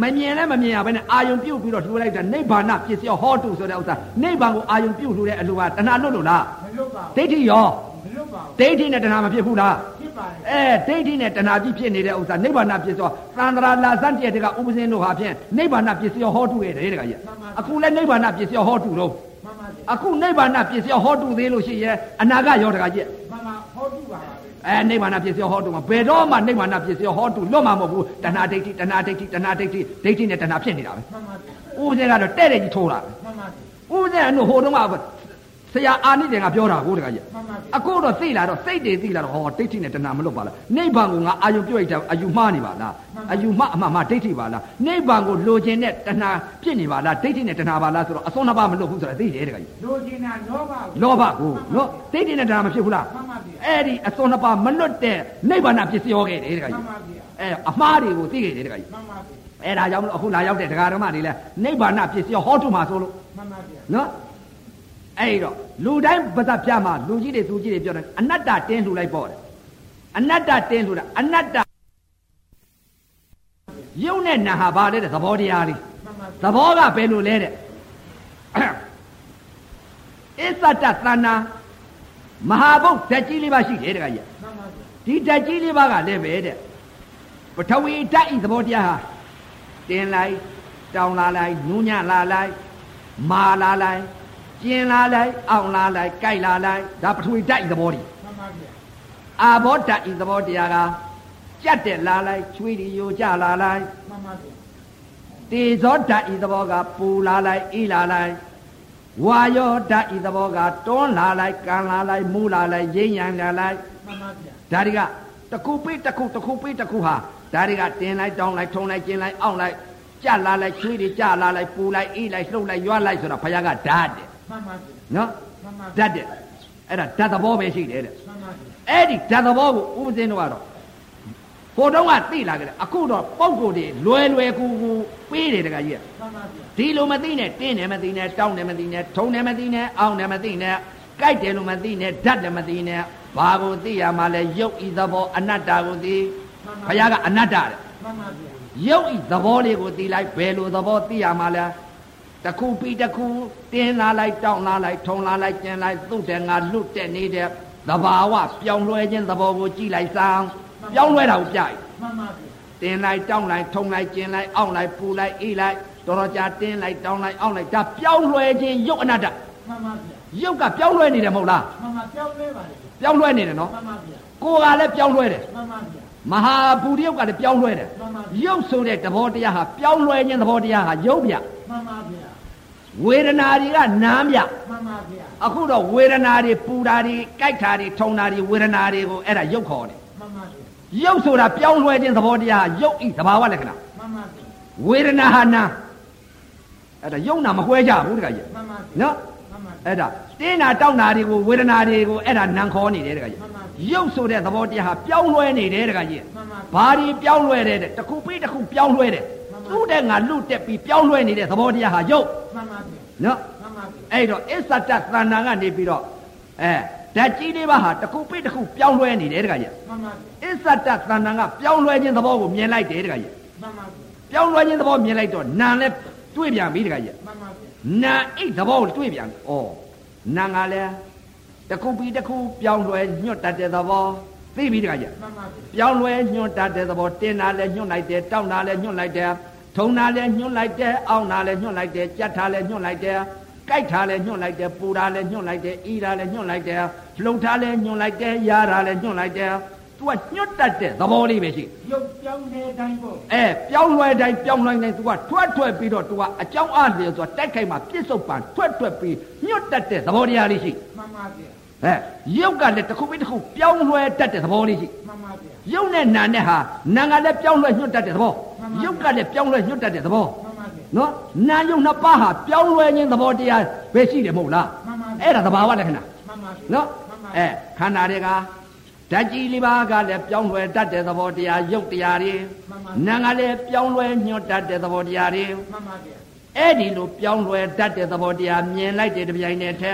မှန်ပါမဗျာမြင်လည်းမမြင်ရဘဲနဲ့အာယုံပြုတ်ပြီးတော့လှူလိုက်တာနိဗ္ဗာန်ပစ္စည်းဟောတုဆိုတဲ့ဥစ္စာနိဗ္ဗာန်ကိုအာယုံပြုတ်လှူတဲ့အလိုဟာတဏှာလွတ်လို့လား မလွတ်ပါ ဒိဋ္ဌိရော ဘူးမလွတ်ပါဘူး ဒိဋ္ဌိနဲ့တဏှာမဖြစ်ဘူးလား ဖြစ်ပါတယ် အဲဒိဋ္ဌိနဲ့တဏှာကြီးဖြစ်နေတဲ့ဥစ္စာနိဗ္ဗာန်ပစ္စည်းဟောသန္တရာလာဇန်တရက်တကဥပဇင်းတို့ဟာဖြင့်နိဗ္ဗာန်ပစ္စည်းဟောတုရဲ့တဲ့တကကြီး မှန်ပါဗျာ အခုလည်းနိဗ္ဗာန်ပစ္စည်းဟောတုတော့ မှန်ပါဗျာ အခုနိဗ္ဗာန်ပစ္စည်းဟောတုသေးလို့ရှိရင်အနာဂတ်ရောတကကြီး မှန်ပါဟောတူပါပါပဲ အဲနိဗ္ဗာန်ပစ္စည်းဟောတုမှာဘယ်တော့မှနိဗ္ဗာန်ပစ္စည်းဟောတုလွတ်မှာမဟုတ်ဘူးတဏှာဒိဋ္ဌိတဏှာဒိဋ္ဌိတဏှာဒိဋ္ဌိဒိဋ္ဌိနဲ့တဏှာဖြစ်နေတာပဲ မှန်ပါဗျာ ဥပဇင်းကတော့တဲ့တဲ့ကြီးထိုးတာပဲ မှန်ပါဗျာ ဥပဒေအနုဟိုတုန်းကဆရာအာနိသင်ကပြောတာကိုတခါကြီး မှန်ပါဗျာ အခုတော့သိလာတော့စိတ်တွေသိလာတော့ဟောဒိဋ္ဌိနဲ့တဏှာမလွတ်ပါလားနိဗ္ဗာန်ကိုငါအာယုပြုတ်လိုက်တာအယူမှားနေပါလားအယူမှားအမှားမှားဒိဋ္ဌိပါလားနိဗ္ဗာန်ကိုလိုချင်တဲ့တဏှာဖြစ်နေပါလားဒိဋ္ဌိနဲ့တဏှာပါလားဆိုတော့အစွန်းနှစ်ပါးမလွတ်ဘူးဆိုတာသိတယ်တခါကြီး လိုချင်တာလောဘကို လောဘကိုနော်ဒိဋ္ဌိနဲ့တဏှာမဖြစ်ဘူးလား မှန်ပါဗျာ အဲ့ဒီအစွန်းနှစ်ပါးမလွတ်တဲ့နိဗ္ဗာန်ပစ္စည်းရောခဲ့တယ်တခါ မှန် ကြီး ပါဗျာ အဲအမှားတွေကိုသိခဲ့တယ်တခါကြီး မှန်ပါဗျာ အဲ့ဒါကြောင့်မလို့အခုလာရောက်တဲ့ဒကာဓမ္မတွေလဲနိဗ္ဗာန်ပစ္စည်းဟောတုမှာဆိုလို့ မှန်ပါဗျာ နော်အဲ့တော့လူတိုင်းပါသက်ပြမှာလူကြီးတွေသူကြီးတွေပြောတယ်အနတ္တတင်းလှူလိုက်ပေါ့တယ်အနတ္တတင်းလှူတာအနတ္တယုံနဲ့နာဟာဘာလဲတဲ့သဘောတရားလေး မှန်သပါဗျာဘောကဘယ်လိုလဲတဲ့ အစ္ဆတသဏ္ဏမဟာဘုတ်ဓာတ်ကြီးလေးပါရှိတယ်တခါကြီး မှန်ပါဗျာ ဒီဓာတ်ကြီးလေးပါကလည်းပဲတဲ့ပထဝီဓာတ်ဤသဘောတရားဟာတင်းလိုက်တောင်းလာလိုက်နူးညံ့လာလိုက်မာလာလိုက်ကျင်လာလိုက်အောင်လာလိုက်ကြိုက်လာလိုက်ဒါပထဝီဓာတ်ဤသဘောတည်း မှန်ပါဗျာ အာဘောဓာတ်ဤသဘောတရားကကြက်တဲ့လာလိုက်ချွေးဒီယိုကြလာလိုက် မှန်ပါဗျာ တေဇောဓာတ်ဤသဘောကပူလာလိုက်ဤလာလိုက်ဝါယောဓာတ်ဤသဘောကတွန်းလာလိုက်ကန်လာလိုက်မူလာလိုက်ရိမ့်ရန်လာလိုက် မှန်ပါဗျာ ဒါတွေကတခုပိတခုတခုပိတခုဟာဒါတွေကတင်လိုက်တောင်းလိုက်ထုံလိုက်ကျင်လိုက်အောင့်လိုက်ကြက်လာလိုက်ချွေးတွေကြက်လာလိုက်ပူလိုက်အေးလိုက်လှုပ်လိုက်ရွာလိုက်ဆိုတာဘုရားကဓာတ်တယ် မှန်ပါဗျာ နော် မှန်ပါ ဓာ ဗျာ တ်တယ်အဲ့ဒါဓာတ်သဘောပဲရှိတယ်တဲ့ မှန်ပါဗျာ အဲ့ဒီဓာတ်သဘောကိုဥပဇင်းတို့ကတော့ ဟိုတော့ကသိလာကြတယ်အခုတော့ပုံကိုယ်တွေလွယ်လွယ်ကူကူပေးတယ်တခါကြီးက မှန်ပါဗျာ ဒီလိုမသိနဲ့တင်းတယ်မသိနဲ့တောင်းတယ်မသိနဲ့ထုံတယ်မသိနဲ့အောင်းတယ်မသိနဲ့ကြိုက်တယ်လို့မသိနဲ့ဓာတ်တယ်မသိနဲ့ဘာကိုသိရမှာလဲရုပ်ဤသဘောအနတ္တကိုသိဘုရားကအနတ္တတဲ့ မှန်ပါဗျာ ရုပ်ဤသဘောလေးကိုသိလိုက်ဘယ်လိုသဘောသိရမှာလဲတစ်ခုပြီးတစ်ခုတင်းလာလိုက်တောင်းလာလိုက်ထုံလာလိုက်ကျင်လိုက်သူ့တယ်ငါလွတ်တဲ့နေတဲ့သဘာဝပြောင်းလဲခြင်းသဘောကိုကြည့်လိုက်စမ်းပြောင်းလဲတာကိုကြိုက် မှန်ပါဗျာ တင်လိုက်တောင်းလိုက်ထုံလိုက်ကျင်လိုက်အောင့်လိုက်ပူလိုက်အေးလိုက်တော်တော်ကြာတင်းလိုက်တောင်းလိုက်အောင့်လိုက်ဒါပြောင်းလွှဲခြင်းရုပ်အနတ္တ မှန်ပါဗျာ ရုပ်ကပြောင်းလွှဲနေတယ်မဟုတ်လား မှန်ပါပြောင်းလဲပါလေ ပြောင်းလွှဲနေတယ်နော် မှန်ပါဗျာ ကိုယ်ကလည်းပြောင်းလွှဲတယ် မှန်ပါဗျာ မဟာဘူတရုပ်ကလည်းပြောင်းလွှဲတယ် မှန်ပါ ရုပ်ဆိုတဲ့သဘောတရားဟာပြောင်းလွှဲခြင်းသဘောတရားဟာရုပ်ပြ မှန်ပါဗျာ ဝေဒနာတွေကနာမ်ပြ မှန်ပါဗျာ အခုတော့ဝေဒနာတွေပူတာတွေကြိုက်တာတွေထုံတာတွေဝေဒနာတွေကိုအဲ့ဒါရုပ်ခေါ်တယ် မှန်ပါဗျာ ရုပ်ဆိုတာပြောင်းလွှဲခြင်းသဘောတရားဟာရုပ်ဤသဘာဝလက္ခဏာ မှန်ပါဗျာ ဝေဒနာဟာနာမ်အဲ့ဒါရုပ်နာမခွဲကြဘူးတခါကြီး မှန်ပါဗျာ နော် မှန်ပါဗျာ အဲ့ဒါတင်းတာတောက်တာတွေကိုဝေဒနာတွေကိုအဲ့ဒါနံခေါ်နေတယ်တခါကြီး မှန်ပါဗျာ ရုပ်ဆိုတဲ့သဘောတရားဟာပြောင်းလဲနေတယ်တခါကြီး မှန်ပါဘာဗျာတွေပြောင်းလဲတယ်တဲ့တစ်ခုပြီးတစ်ခုပြောင်းလဲတယ် မှန်ပါဗျာ သူ့တဲ့ငါလွတ်တက်ပြီးပြောင်းလဲနေတဲ့သဘောတရားဟာရုပ် မှန်ပါဗျာ နော် မှန်ပါဗျာ အဲ့တော့အစ္ဆတသဏ္ဍာန်ကနေပြီးတော့အဲဓာတ်ကြီးလေးပါဟာတစ်ခုပြီးတစ်ခုပြောင်းလဲနေတယ်တခါကြီး မှန်ပါဗျာ အစ္ဆတသဏ္ဍာန်ကပြောင်းလဲခြင်းသဘောကိုမြင်လိုက်တယ်တခါကြီး မှန်ပါဗျာ ပြောင်းလဲခြင်းသဘောမြင်လိုက်တော့နာလည်းတွေးပြန်ပြီတခါကြီး မှန်ပါဗျာ နာအိတ်သဘောကိုတွေ့ပြန်ပြီ။အော်နာငါလဲတစ်ခုပြီးတစ်ခုပြောင်းလဲညွတ်တတ်တဲ့သဘောသိပြီတခါကြ မှန်ပါဗျာ ။ပြောင်းလဲညွတ်တတ်တဲ့သဘောတင်းတာလဲညွတ်လိုက်တယ်တောင်းတာလဲညွတ်လိုက်တယ်ထုံတာလဲညွတ်လိုက်တယ်အောင်းတာလဲညွတ်လိုက်တယ်ကြက်တာလဲညွတ်လိုက်တယ်ကြိုက်တာလဲညွတ်လိုက်တယ်ပူတာလဲညွတ်လိုက်တယ်အီတာလဲညွတ်လိုက်တယ်လှုပ်တာလဲညွတ်လိုက်တယ်ရာတာလဲညွတ်လိုက်တယ်သူကညွတ်တတ်တဲ့သဘောလေးပဲရှိတယ် ရုပ်ပြောင်းတဲ့အတိုင်းပေါ့ အဲပြောင်းလဲတိုင်းပြောင်းလဲတိုင်းသူကထွက်ထွက်ပြီးတော့သူကအကြောင်းအားလျော်ဆိုတာတိုက်ခိုက်မှာပြစ်စုံပန်ထွက်ထွက်ပြီးညွတ်တတ်တဲ့သဘောတရားလေးရှိတယ် မှန်ပါဗျာ ဟဲ့ရုပ်ကလည်းတစ်ခုပြီးတစ်ခုပြောင်းလဲတတ်တဲ့သဘောလေးရှိ မှန်ပါဗျာ ရုပ်နဲ့နာနဲ့ဟာနာကလည်းပြောင်းလဲညွတ်တတ်တဲ့သဘော မှန်ပါဗျာ ရုပ်ကလည်းပြောင်းလဲညွတ်တတ်တဲ့သဘော မှန်ပါဗျာ နော်နာရုပ်နှစ်ပါးဟာပြောင်းလဲခြင်းသဘောတရားပဲရှိတယ်မဟုတ်လား မှန်ပါဗျာ အဲ့ဒါသဘာဝလက္ခဏာ မှန်ပါဗျာ နော် မှန်ပါ အဲ ဗျာ ခန္ဓာတွေကဓာတ်ကြီးလေးပါးကလည်းပြောင်းလဲတတ်တဲ့သဘောတရားရုပ်တရားတွေ မှန်ပါ နာကလည်းပြောင်းလဲညွတ်တတ်တဲ့သဘောတရားတွေ မှန်ပါဗျာ အဲ့ဒီလိုပြောင်းလဲတတ်တဲ့သဘောတရားမြင်လိုက်တဲ့တစ်ပြိုင်တည်းထဲ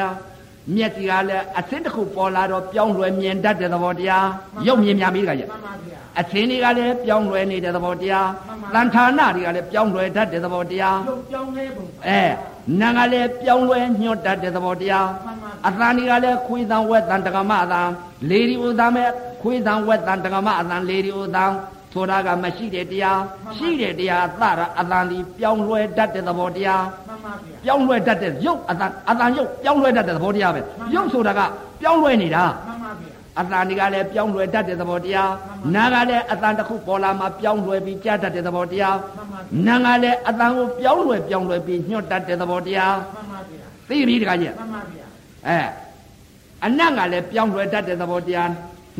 မျက်စီကလည်းအသင်းတစ်ခုပေါ်လာတော့ပြောင်းလဲမြင်တတ်တဲ့သဘောတရားရုပ်မြင်များပြီးတခါကြ မှန်ပါဗျာ အချင်းတွေကလည်းပြောင်းလဲနေတဲ့သဘောတရား မှန်ပါ တန်ဌာနတွေကလည်းပြောင်းလဲတတ်တဲ့သဘောတရား ရုပ်ပြောင်းလဲပုံပါ အဲနာကလည်းပြောင်းလဲညွတ်တတ်တဲ့သဘောတရား မှန်ပါ အ ဗျာ သံတွေကလည်းခွေးသံဝက်သံတက္ကမအသံလေဒီဥသံမဲ့ခွေးသံဝက်သံတက္ကမအသံလေဒီဥသံဆိုတာကမရှိတဲ့တရားရှိတဲ့တရားအသရအသံဒီပြောင်းလဲတတ်တဲ့သဘောတရား မှန်ပါဗျာ ပြောင်းလဲတတ်တဲ့ရုပ်အသံအသံရုပ်ပြောင်းလဲတတ်တဲ့သဘောတရားပဲ မှန်ပါ ရုပ်ဆိုတာကပြောင်းလဲနေတာ မှန်ပါဗျာ အတန်ဒီကလည်းပြောင်းလဲတတ်တဲ့သဘောတရား မှ နာ န်ပါ ကလည်းအတန်တစ်ခုပေါ်လာမှပြောင်းလဲပြီးကြားတတ်တဲ့သဘောတရား မှန်ပါ နာကလည်းအတန်ကိုပြောင်းလဲပြောင်းလဲပြီးညှော့တတ်တဲ့သဘောတရား မှန်ပါဗျာ သိပြီတခါကြီး မှန်ပါဗျာ အဲအနတ်ကလည်းပြောင်းလဲတတ်တဲ့သဘောတရား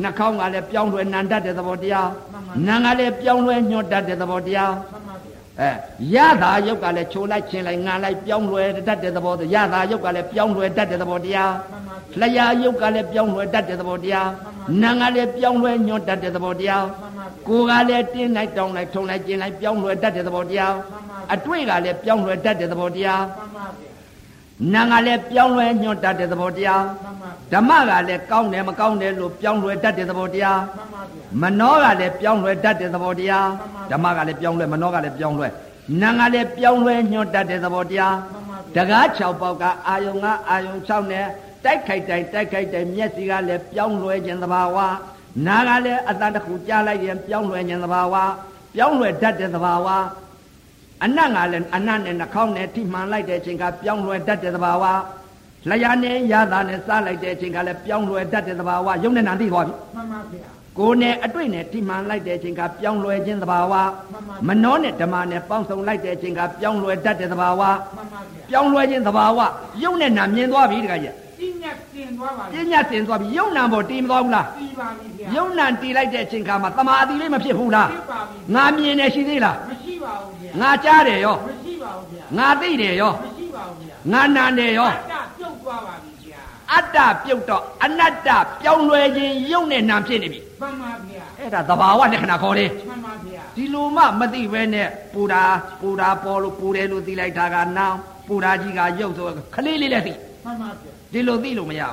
နှာခေါင်းကလည်းပြောင်းလဲနံတတ်တဲ့သဘောတရားနာကလည်းပြောင်းလဲညှော့တတ်တဲ့သဘောတရား မှန်ပါဗျာ အဲရတာရုပ်ကလည်းချိုလိုက်ချင်းလိုက်ငံလိုက်ပြောင်းလဲတတ်တဲ့သဘောရတာရုပ်ကလည်းပြောင်းလဲတတ်တဲ့သဘောတရား မှန်ပါဗျာ လျာယုတ်ကလည်းပြောင်းလဲတတ်တဲ့သဘောတရား မှ နာ န် က ပါဗျာ လည်းပြောင်းလဲညွတ်တတ်တဲ့သဘောတရား မှန်ပါကိုယ်ကလဗျာည်းတင်းလိုက်တောင်းလိုက်ထုံလိုက်ကျင်လိုက်ပြောင်းလဲတတ်တဲ့သဘောတရား မှန်ပါဗျာ အတွေ့ကလည်းပြောင်းလဲတတ်တဲ့သဘောတရား မှန်ပါဗျာ နာကလည်းပြောင်းလဲညွတ်တတ်တဲ့သဘောတရား မှန်ပါဓမ္မကဗျလည်းကောင်းတယ်မကောင်းတယ်လို့ပြောင်းလဲတတ်တဲ့သဘောတရား ာမှန်မပါဗျာနောကလည်းပြောင်းလဲတတ်တဲ့သဘောတရား မှန်ပါဓမ္မဗျာကလည်းပြောင်းလဲမနောကလည်းပြောင်းလဲနာကလည်းပြောင်းလဲညွတ်တတ်တဲ့သဘောတရား မှန်တပါဗျာကား6ပေါက်ကအာယုံကအာယုံ6နဲ့တိုက်ခိုက်တိုင်းတိုက်ခိုက်တိုင်းမျက်စိကလည်းပြောင်းလွယ်ခြင်းသဘာဝနားကလည်းအတန်တစ်ခုကြားလိုက်ရင်ပြောင်းလွယ်ခြင်းသဘာဝပြောင်းလွယ်တတ်တဲ့သဘာဝအနတ်ကလည်းအနတ်နဲ့နှာခေါင်းနဲ့ထိမှန်လိုက်တဲ့အချိန်ကပြောင်းလွယ်တတ်တဲ့သဘာဝလျာနဲ့ရတာနဲ့စားလိုက်တဲ့အချိန်ကလည်းပြောင်းလွယ်တတ်တဲ့သဘာဝရုပ်နဲ့နာသိသွားပြီ မှန်ပါဗျာ ကိုယ်နဲ့အတွေ့နဲ့တိမှန်လိုက်တဲ့အချိန်ကပြောင်းလဲခြင်းသဘာဝ မှန်ပါ မနှောနဲ့ဓမ္မနဲ့ပေါင်းစုံလိုက်တဲ့အချိန်ကပြောင်းလဲတတ်တဲ့သဘာဝ မှန်ပါဗျာ ပြောင်းလဲခြင်းသဘာဝရုပ်နဲ့နာမြင်သွားပြီတခါကြီး ပြညတ်တင်သွားပါ ပ လေ ညာသင်သွားပြီရုပ်နာပေါ်တည်မသွားဘူးလား ပြီးပါပြီဗျာ ရုပ်နာတည်လိုက်တဲ့အချိန်ကမှသမာဓိလေးမဖြစ်ဘူးလား ဖြစ်ပါပြီ ငါမြင်နေရှိသေးလား မရှိပါဘူးဗျာ ငါကြားတယ်ရော မရှိပါဘူးဗျာ ငါသိတယ်ရော မရှိပါဘူးဗျာ ငါနာတယ်ရော တပြုတ်သွားပါပြီဗျာ အတ္တပြုတ်တော့အနတ္တပြောင်းလဲခြင်းရုပ်နဲ့နာဖြစ်နေပြီ မှန်ပါဗျာ အဲ့ဒါသဘာဝလက္ခဏာခေါ်တယ် မှန်ပါဗျာ ဒီလိုမှမသိပဲနဲ့ပူတာပူတာပေါ်လို့ပူတယ်လို့သိလိုက်တာကနောင်ပူတာကြီးကရုပ်ဆိုခလေးလေးလည်းသိ မှန်ပါဗျာ ဒီလိုသိလို့မရဘူး မှန်ပါဗျာ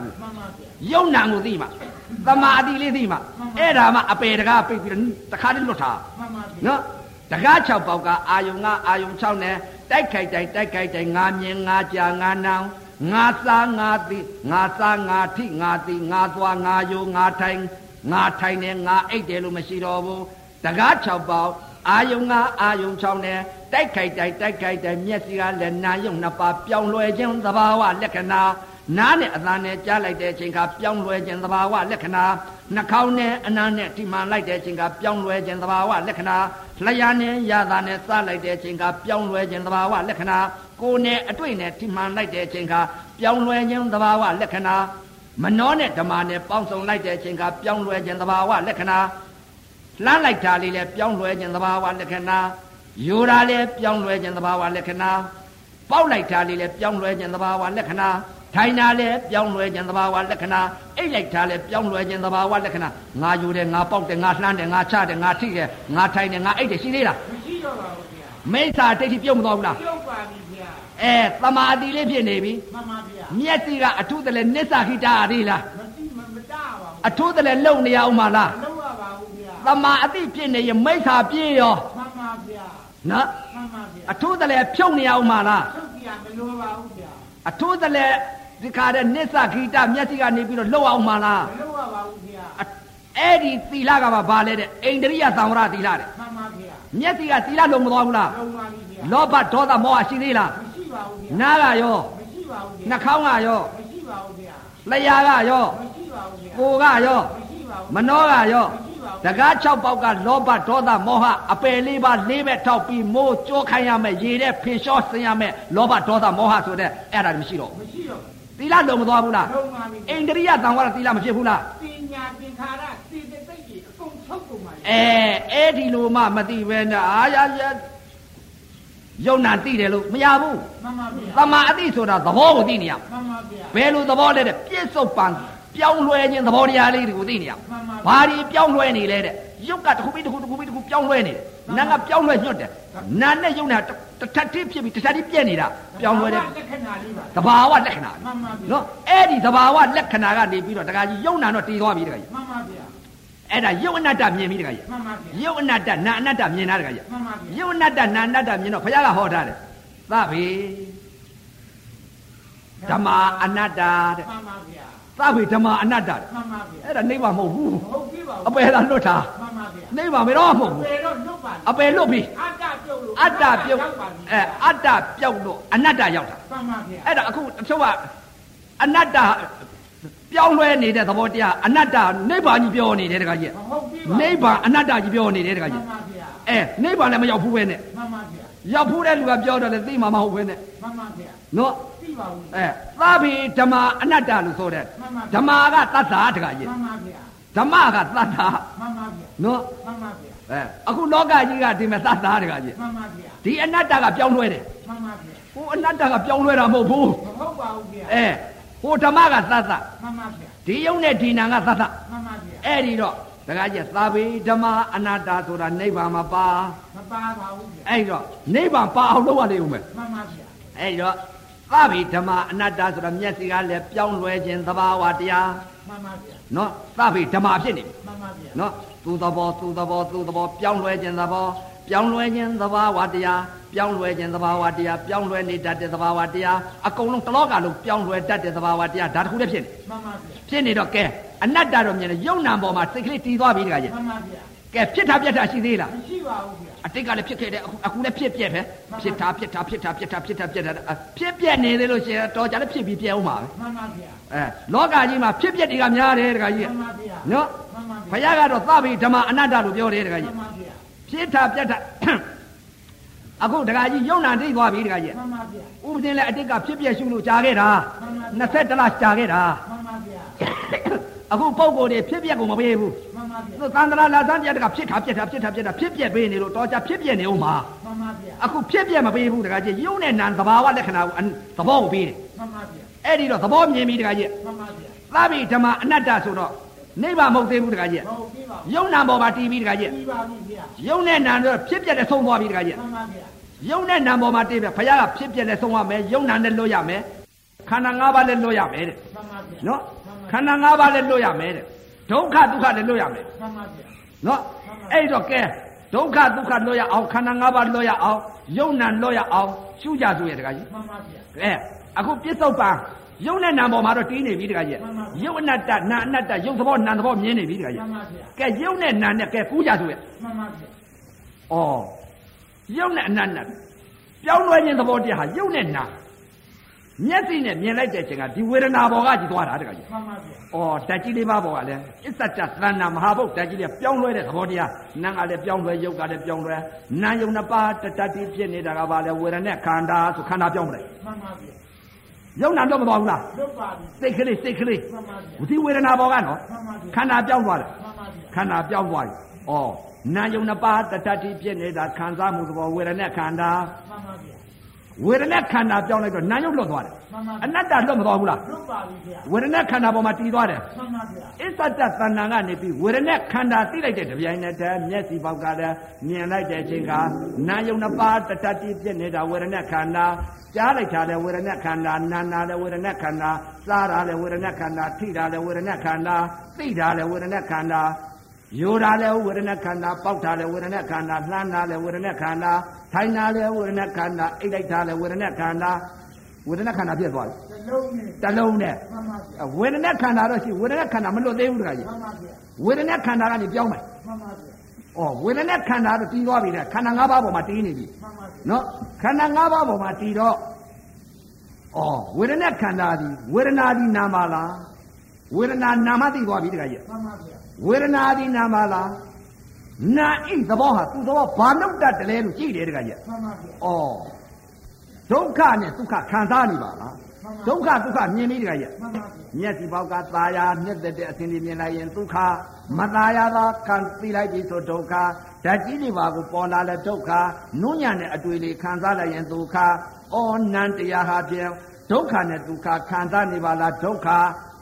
ရုပ်နာကိုသိမှသမာဓိလေးသိမှ မှန်ပါ အဲ့ဒါမှအပေတကားပိတ်ပြီးတော့တခါတည်းလွတ်တာ မှန်ပါဗျာ နော်တကား6ပေါက်ကအာယုံကအာယုံ6နဲ့တိုက်ခိုက်တိုက်တိုက်ခိုက်တိုက်ငါမြင်ငါကြာငါနောင်ငါစားငါသိငါစားငါထိငါသိငါသွားငါယုံငါထိုင်ငါထိုင်နဲ့ငါအိတ်တယ်လို့မရှိတော့ဘူးတကား6ပေါက်အာယုံကအာယုံ6နဲ့တိုက်ခိုက်တိုက်တိုက်ခိုက်တိုက်မျက်စိကလည်းနာယုံနှစ်ပါးပြောင်းလဲခြင်းသဘာဝလက္ခဏာ နားနဲ့အသံနဲ့ကြားလိုက်တဲ့အချိန်ကပြောင်းလဲခြင်းသဘာဝလက္ခဏာနှာခေါင်းနဲ့အနားနဲ့ထိမှန်လိုက်တဲ့အချိန်ကပြောင်းလဲခြင်းသဘာဝလက္ခဏာလျှာနဲ့ရတာနဲ့စလိုက်တဲ့အချိန်ကပြောင်းလဲခြင်းသဘာဝလက္ခဏာကိုယ်နဲ့အတွေ့နဲ့ထိမှန်လိုက်တဲ့အချိန်ကပြောင်းလဲခြင်းသဘာဝလက္ခဏာမနှောနဲ့ဓမ္မနဲ့ပေါင်းစုံလိုက်တဲ့အချိန်ကပြောင်းလဲခြင်းသဘာဝလက္ခဏာ လှမ်းလိုက်တာလေးလည်းပြောင်းလဲခြင်းသဘာဝလက္ခဏာယူတာလည်းပြောင်းလဲခြင်းသဘာဝလက္ခဏာပေါက်လိုက်တာလေးလည်းပြောင်းလဲခြင်းသဘာဝလက္ခဏာထိုင်တာလည်းပြောင်းလဲခြင်းသဘာဝလက္ခဏာအိတ်လိုက်တာလည်းပြောင်းလဲခြင်းသဘာဝလက္ခဏာငါယူတယ်ငါပေါက်တယ်ငါလှမ်းတယ်ငါချတယ်ငါထိတယ်ငါထိုင်တယ်ငါအိတ်တယ်ရှိသေးလား မရှိတော့ပါဘူးဗျာ မိစ္ဆာဒိဋ္ဌိပြုတ်မသွားဘူးလား ပြုတ်ပါပြီဗျာ အဲသမာဓိလေးဖြစ်နေပြီ မှန်ပါဗျာ မျက်စိကအထုတလည်းနစ္စာခိတာရည်လား မသိမမတားပါ အထုတလည်းလုံနေရအောင်မလား ဘူးမလုပ်ရပါဘူးဗျာ သမာအတိဖြစ်နေရင်မိစ္ဆာပြည့်ရော မှန်ပါဗျာ နော် မှန်ပါဗျာ အထုတလဲဖြုတ်နေရအောင်မလား ထုတ်ပြမလိုပါဘူးဗျာ အထုတလဲဒီခါတဲ့နစ္စာခိတမျက်စိကနေပြီးတော့လှုပ်အောင်မလား မလုပ်ရပါဘူးဗျာ အအဲ့ဒီသီလကမှဘာလဲတဲ့အိန္ဒြိယသံဝရသီလတဲ့ မှန်ပါဗျာ မျက်စိကသီလလုံးမသွားဘူးလား လုံးပါပြီဗျာ လောဘဒေါသမောဟရှိသေးလား မရှိပါဘူးဗျာ နားကရော မရှိပါဘူး နှာ ဗျာ ခေါင်းကရော မရှိပါဘူးဗျာ လျှာကရော မရှိပါဘူးကိုဗျာယ်ကရော မရှိပါဘူး မနှောကရောတကား6ပေါက်ကလောဘဒေါသမောဟအပယ်လေးပါးလေးပဲထောက်ပြီးမိုးကြောခိုင်းရမယ်ရေတဲ့ဖြေလျှောဆင်းရမယ်လောဘဒေါသမောဟဆိုတဲ့အဲ့ဒါတွေမရှိတော့ဘူး မရှိတော့ဘူး သီလလုံးမသွားဘူးလား လုံးပါပြီ ဣန္ဒြိယတံဝရသီလမဖြစ်ဘူးလား ပညာသင်္ခါရစေတသိက်ကြီးအကုန်ထုတ်ကုန်ပါလေ အဲအဲ့ဒီလိုမှမသိပဲနဲ့အာရရယုံနာသိတယ်လို့မရဘူး မှန်ပါဗျာ တမာအတိဆိုတာသဘောကိုသိနေရမယ် မှန်ပါဗျာ ဘယ်လိုသဘောလဲတဲ့ပြည့်စုံပန်ပြောင်းလဲခြင်းသဘောတရားလေးတွေကိုသိနေရမယ် မှန်ပါဘာဗျာတွေပြောင်းလဲနေလဲတဲ့ယုတ်ကတစ်ခုပြီးတစ်ခုတစ်ခုပြီးတစ်ခုပြောင်းလဲနေတယ် မှ နာ န် က ပါ ပြောင်းလဲညွတ်တယ်နာနဲ့ယုံနာတစ်တစ်ထပ်တစ်ဖြစ်ပြီးတစ်ထပ်တစ်ပြည့်နေတာပြောင်းလဲတဲ့ လက္ခဏာလေးပါ တဘာဝလက္ခဏာ မှန်ပါဗျာ နော်အဲ့ဒီတဘာဝလက္ခဏာကနေပြီးတော့တခါကြီးယုံနာတော့တည်သွားပြီတခါကြီး မှန်ပါဗျာ အဲ့ဒါယုံအနတ္တမြင်ပြီတခါကြီး မှန်ပါဗျာ ယုတ်အနတ္တနာအနတ္တမြင်တာတခါကြီး မှန်ပါဗျာ ယုတ်အနတ္တနာအနတ္တမြင်တော့ဘုရားကဟောထားတယ်သဗ္ဗေဓမ္မာအနတ္တတဲ့ မှန်ပါဗျာ သဗ္ဗေဓမ္မာအနတ္တတဲ့ မှန်ပါဗျာ အဲ့ဒါနိဗ္ဗာန်မဟုတ်ဘူး ဟုတ်ပြီပါ အပယ်သာလွတ်တာ မှန်ပါဗျာ နိဗ္ဗာန်မတော့မဟုတ် အ ဘူး ပယ်တော့လွတ်ပါ အပယ်လွတ်ပြီ အတ္တပြုတ်လို့ အတ္တပြုတ် ရောက်ပါပြီ အဲအတ္တပြုတ်လို့အနတ္တရောက်တာ မှန်ပါဗျာ အဲ့ဒါအခုတစ်ချို့ကအနတ္တပြောင်းလဲနေတဲ့သဘောတရားအနတ္တနိဗ္ဗာန်ကြီးပြောနေတယ်တခါကြီး ဟုတ်ပြီပါ နိဗ္ဗာန်အနတ္တကြီးပြောနေတယ်တခါ မှ ကြီး န်ပါဗျာ အဲနိဗ္ဗာန်လည်းမရောက်ဘူးပဲနဲ့ မှန်ပါဗျာ ရောက်ဖို့တဲ့လူကပြောတော့လေသိမှာမဟုတ်ဘဲနဲ့ မှန်ပါဗျာ နော် သိပါဦး အဲသာဘိဓမ္မာအနတ္တလို့ဆိုတဲ့ မှန်ပါ ဓ ဗျာ မ္မာကတတ္တာတခါကြီး မှန်ပါဗျာ ဓမ္မကတတ္တာ မှန်ပါဗျာ နော် မှန်ပါဗျာ အဲအခုလောကကြီးကဒီမဲ့တတ္တာတခါကြီး မှန်ပါဗျာ ဒီအနတ္တကပြောင်းလဲတယ် မှန်ပါဗျာ ဟိုအနတ္တကပြောင်းလဲတာမဟုတ်ဘူး မဟုတ်ပါဘူးဗျာ အဲဟိုဓမ္မကတတ္တာ မှန်ပါဗျာ ဒီယုံနဲ့ဒီနာကတတ္တာ မှန်ပါဗျာ အဲ့ဒီတော့တခါကြီးသာဘိဓမ္မာအနတ္တဆိုတာနိဗ္ဗာန်မှာပါ မပါပါဘူးဗျာ အဲ့ဒီတော့နိဗ္ဗာန်ပါအောင်လုပ်ရလေဦးမယ် မှန်ပါဗျာ အဲ့ဒီတော့သဗ္ဗေဓမ္မအနတ္တဆိုတာမျက်စိကလည်းပြောင်းလဲခြင်းသဘာဝတရား မှန်ပါဗျာ နော်သဗ္ဗေဓမ္မဖြစ်နေပြီ မှန်ပါဗျာ နော်သူသဘောသူသဘောသူသဘောပြောင်းလဲခြင်းသဘောပြောင်းလဲခြင်းသဘာဝတရားပြောင်းလဲခြင်းသဘာဝတရားပြောင်းလဲနေတတ်တဲ့သဘာဝတရားအကုန်လုံးတစ်လောကလုံးပြောင်းလဲတတ်တဲ့သဘာဝတရားဒါတစ်ခုတည်းဖြစ်နေ မှန်ပါဗျာ ဖြစ်နေတော့ကဲအနတ္တတော့မြင်တယ်ယုံနာပေါ်မှာစိတ်ကလေးတည်သွားပြီတခါကြီး မှန်ပါဗျာ ကဲဖြစ်တာပြက်တာရှိသေးလား မရှိပါဘူးဗျာ အတိတ်ကလည်းဖြစ်ခဲ့တယ်အခုအခုလည်းဖြစ်ပြက်ပဲဖြစ်တာဖြစ်တာဖြစ်တာဖြစ်တာဖြစ်တာဖြစ်တာအဖြစ်ပြက်နေသေးလို့ရှရင်တော့ကြာလည်းဖြစ်ပြီးပြက်အောင်ပါပဲ မှန်ပါဗျာ အဲလောကကြီးမှာဖြစ်ပျက်တွေကများတယ်တခါကြီး မှန်ပါဗျာ နော် မှန်ပါ ဘုရားဗျာကတော့သဗ္ဗေဓမ္မအနတ္တလို့ပြောတယ်တခါကြီးမှန်ပါဗျာ ဖြစ်တာပြက်တာအခုတခါကြီးယုံနာတိတ်သွားပြီတခါကြီး မှန်ပါဗျာ ဥပဒေနဲ့အတိတ်ကဖြစ်ပျက်ရှုလို့ကြာခဲ့တာ မှန်ပါဗျာ 20လကြာခဲ့တာ မှန်ပါဗျာ အခုပုံကိုယ်တွေဖြစ်ပျက်ကုန်မပေးဘူး မှန်ပါဗျာ သန္တရာလာသံပြက်တခါဖြစ်တာပြက်တာဖြစ်တာပြက်တာဖြစ်ပျက်ပေးနေလို့တော့ကြာဖြစ်ပျက်နေအောင်ပါ မှန်ပါဗျာ အခုဖြစ်ပျက်မပေးဘူးတခါကြီးယုံနဲ့နာသဘာဝလက္ခဏာကိုအနသဘောကိုပေးတယ် မှန်ပါဗျာ အဲ့ဒီတော့သဘောမြင်ပြီတခါကြီး မှန်ပါဗျာ သဗ္ဗေဓမ္မအနတ္တဆိုတော့ နိဗ္ဗာန်မဟုတ်သေးဘူးတခါကြီး မဟုတ်ပြီပါဘူး ယုံနာပေါ်မှာတည်ပြီးတခါကြီး ပြီးပါပြီဗျာ ယုံနဲ့နာတော့ဖြစ်ပြက်နဲ့ဆုံးသွားပြီတခါကြီး မှန်ပါဗျာ ယုံနဲ့နာပေါ်မှာတည်ပြဘုရားကဖြစ်ပြက်နဲ့ဆုံးရမယ်ယုံနာနဲ့လွတ်ရမယ်ခန္ဓာ၅ပါးနဲ့လွတ်ရမယ်တဲ့ မှန်ပါဗျာ နော်ခန္ဓာ၅ပါးနဲ့လွတ်ရမယ်တဲ့ဒုက္ခဒုက္ခနဲ့လွတ်ရမယ် မှန်ပါဗျာ နော်အဲ့တော့ကဲဒုက္ခဒုက္ခလွတ်ရအောင်ခန္ဓာ၅ပါးလွတ်ရအောင်ယုံနာလွတ်ရအောင်ရှုကြဆိုရတကကြီး မှန်ပါဗျာ ကဲအခုပြစ္ဆုတ်ပံယုံနဲ့နာပေါ်မှာတော့တီးနေပြီတကကြီး မှန်ပါဗျာ ယုံအနတ္တနာအနတ္တယုံသဘောနာသဘောမြင်နေပြီတက မှ ကြီး န်ပါဗျာ ကဲယုံနဲ့နာနဲ့ကဲကူးကြဆိုရ မှန်ပါဗျာ ဩယုံနဲ့အနတ္တပြောင်းလဲခြင်းသဘောတရားဟာယုံနဲ့နာမျက်စိနဲ့မြင်လိုက်တဲ့အချိန်ကဒီဝေဒနာပေါ်ကကြီးသွားတာတကကြီး မှန်ပါဗျာ ။အော်ဓာတ်ကြီးလေးပါပေါ်ကလည်းအစ္စတ္တသဏ္ဍာမဟာဘုတ်ဓာတ်ကြီးလေးပြောင်းလဲတဲ့သဘောတရား။နာကလည်းပြောင်းလဲရုပ်ကလည်းပြောင်းလဲနာယုံနှစ်ပါးတတတိဖြစ်နေတာကပါလေဝေဒနဲ့ခန္ဓာဆိုခန္ဓာပြောင်းလဲ မှန်ပါဗျာ ။ယုံနာတော့မပေါ်ဘူးလား လွတ်ပါပြီ ။စိတ်ကလေးစိတ်ကလေး မှန်ပါဗျာ ဒီဝေဒနာပေါ်ကနော် မှန်ပါ ခ ဗျာ န္ဓာပြောင်းသွားတယ် မှန်ပါဗျာ ခန္ဓာပြောင်းသွားပြီ။အော်နာယုံနှစ်ပါးတတတိဖြစ်နေတာခံစားမှုသဘောဝေဒနဲ့ခန္ဓာ မှန်ပါဗျာ ဝေဒနဲ့ခန္ဓာပြောင်းလိုက်တော့နာယုံလွတ်သွားတယ် မှန်အပါဗျာ နတ္တလွတ်မသွားဘူးလား လွတ်ပါပြီဗျာ ဝေဒနဲ့ခန္ဓာပေါ်မှာတည်သွားတယ် မှန်ပါဗျာ အစ္ဆတသဏ္ဍာန်ကနေပြီးဝေဒနဲ့ခန္ဓာသိလိုက်တဲ့တပြိုင်နက်တည်းမျက်စိပေါက်ကလည်းမြင်လိုက်တဲ့အချိန်ကနာယုံနှစ်ပါးတတတိပြည့်နေတာဝေဒနဲ့ခန္ဓာကြားလိုက်တာလည်းဝေဒနဲ့ခန္ဓာနာနာလည်းဝေဒနဲ့ခန္ဓာစားတာလည်းဝေဒနဲ့ခန္ဓာထိတာလည်းဝေဒနဲ့ခန္ဓာသိတာလည်းဝေဒနဲ့ခန္ဓာယူတာလည်းဝေဒနဲ့ခန္ဓာပေါက်တာလည်းဝေဒနဲ့ခန္ဓာလှမ်းတာလည်းဝေဒနဲ့ခန္ဓာထိုင်တာလည်းဝေဒနဲ့ခန္ဓာအိပ်လိုက်တာလည်းဝေဒနဲ့ခန္ဓာဝေဒနဲ့ခန္ဓာပြည့်သွားတယ် စလုံးနဲ့ တစ်လုံးနဲ့ မှန်ပါဗျာ ဝေဒနဲ့ခန္ဓာတော့ရှိဝေဒနဲ့ခန္ဓာမလွတ်သေးဘူးတခါကြီး မှန်ပါဗျာ ဝေဒနာခန္ဓာကနေပြောင်းမယ် မှန်ပါဗျာ ။အော်ဝေဒနာခန္ဓာတော့တီးသွားပြီလေခန္ဓာ၅ပါးပေါ်မှာတီးနေပြီ မှန်ပါဗျာ ။နော်ခန္ဓာ၅ပါးပေါ်မှာတီးတော့အော်ဝေဒနာခန္ဓာဒီဝေဒနာဒီနာမလားဝေဒနာနာမသိသွားပြီတခါကြီး မှန်ပါဗျာ ဝေဒနာဒီနာမလားနာအိသဘောဟာသူ့သဘောဘာလို့တတ်တယ်လဲလို့ကြည့်တယ်တခါကြီး မှန်ပါဗျာ အော်ဒုက္ခနဲ့ဒုက္ခခံစားနေပါလား မှန်ပါ ဒုက္ခဒုက္ခမြင်ပြီတခါကြီး မှန်ပါဗျာ မျက်စိပေါက်ကตาရမျက်သက်တဲ့အစဉ်ဒီမြင်လိုက်ရင်ဒုက္ခမตาရသာခံသိလိုက်ပြီဆိုဒုက္ခဓာတ်ကြီးတွေပါကိုပေါ်လာလဲဒုက္ခနုညံ့တဲ့အတွေ့လေးခံစားလိုက်ရင်ဒုက္ခအောနန္တရားဟာဖြင့်ဒုက္ခနဲ့ဒုက္ခခံစားနေပါလားဒုက္ခ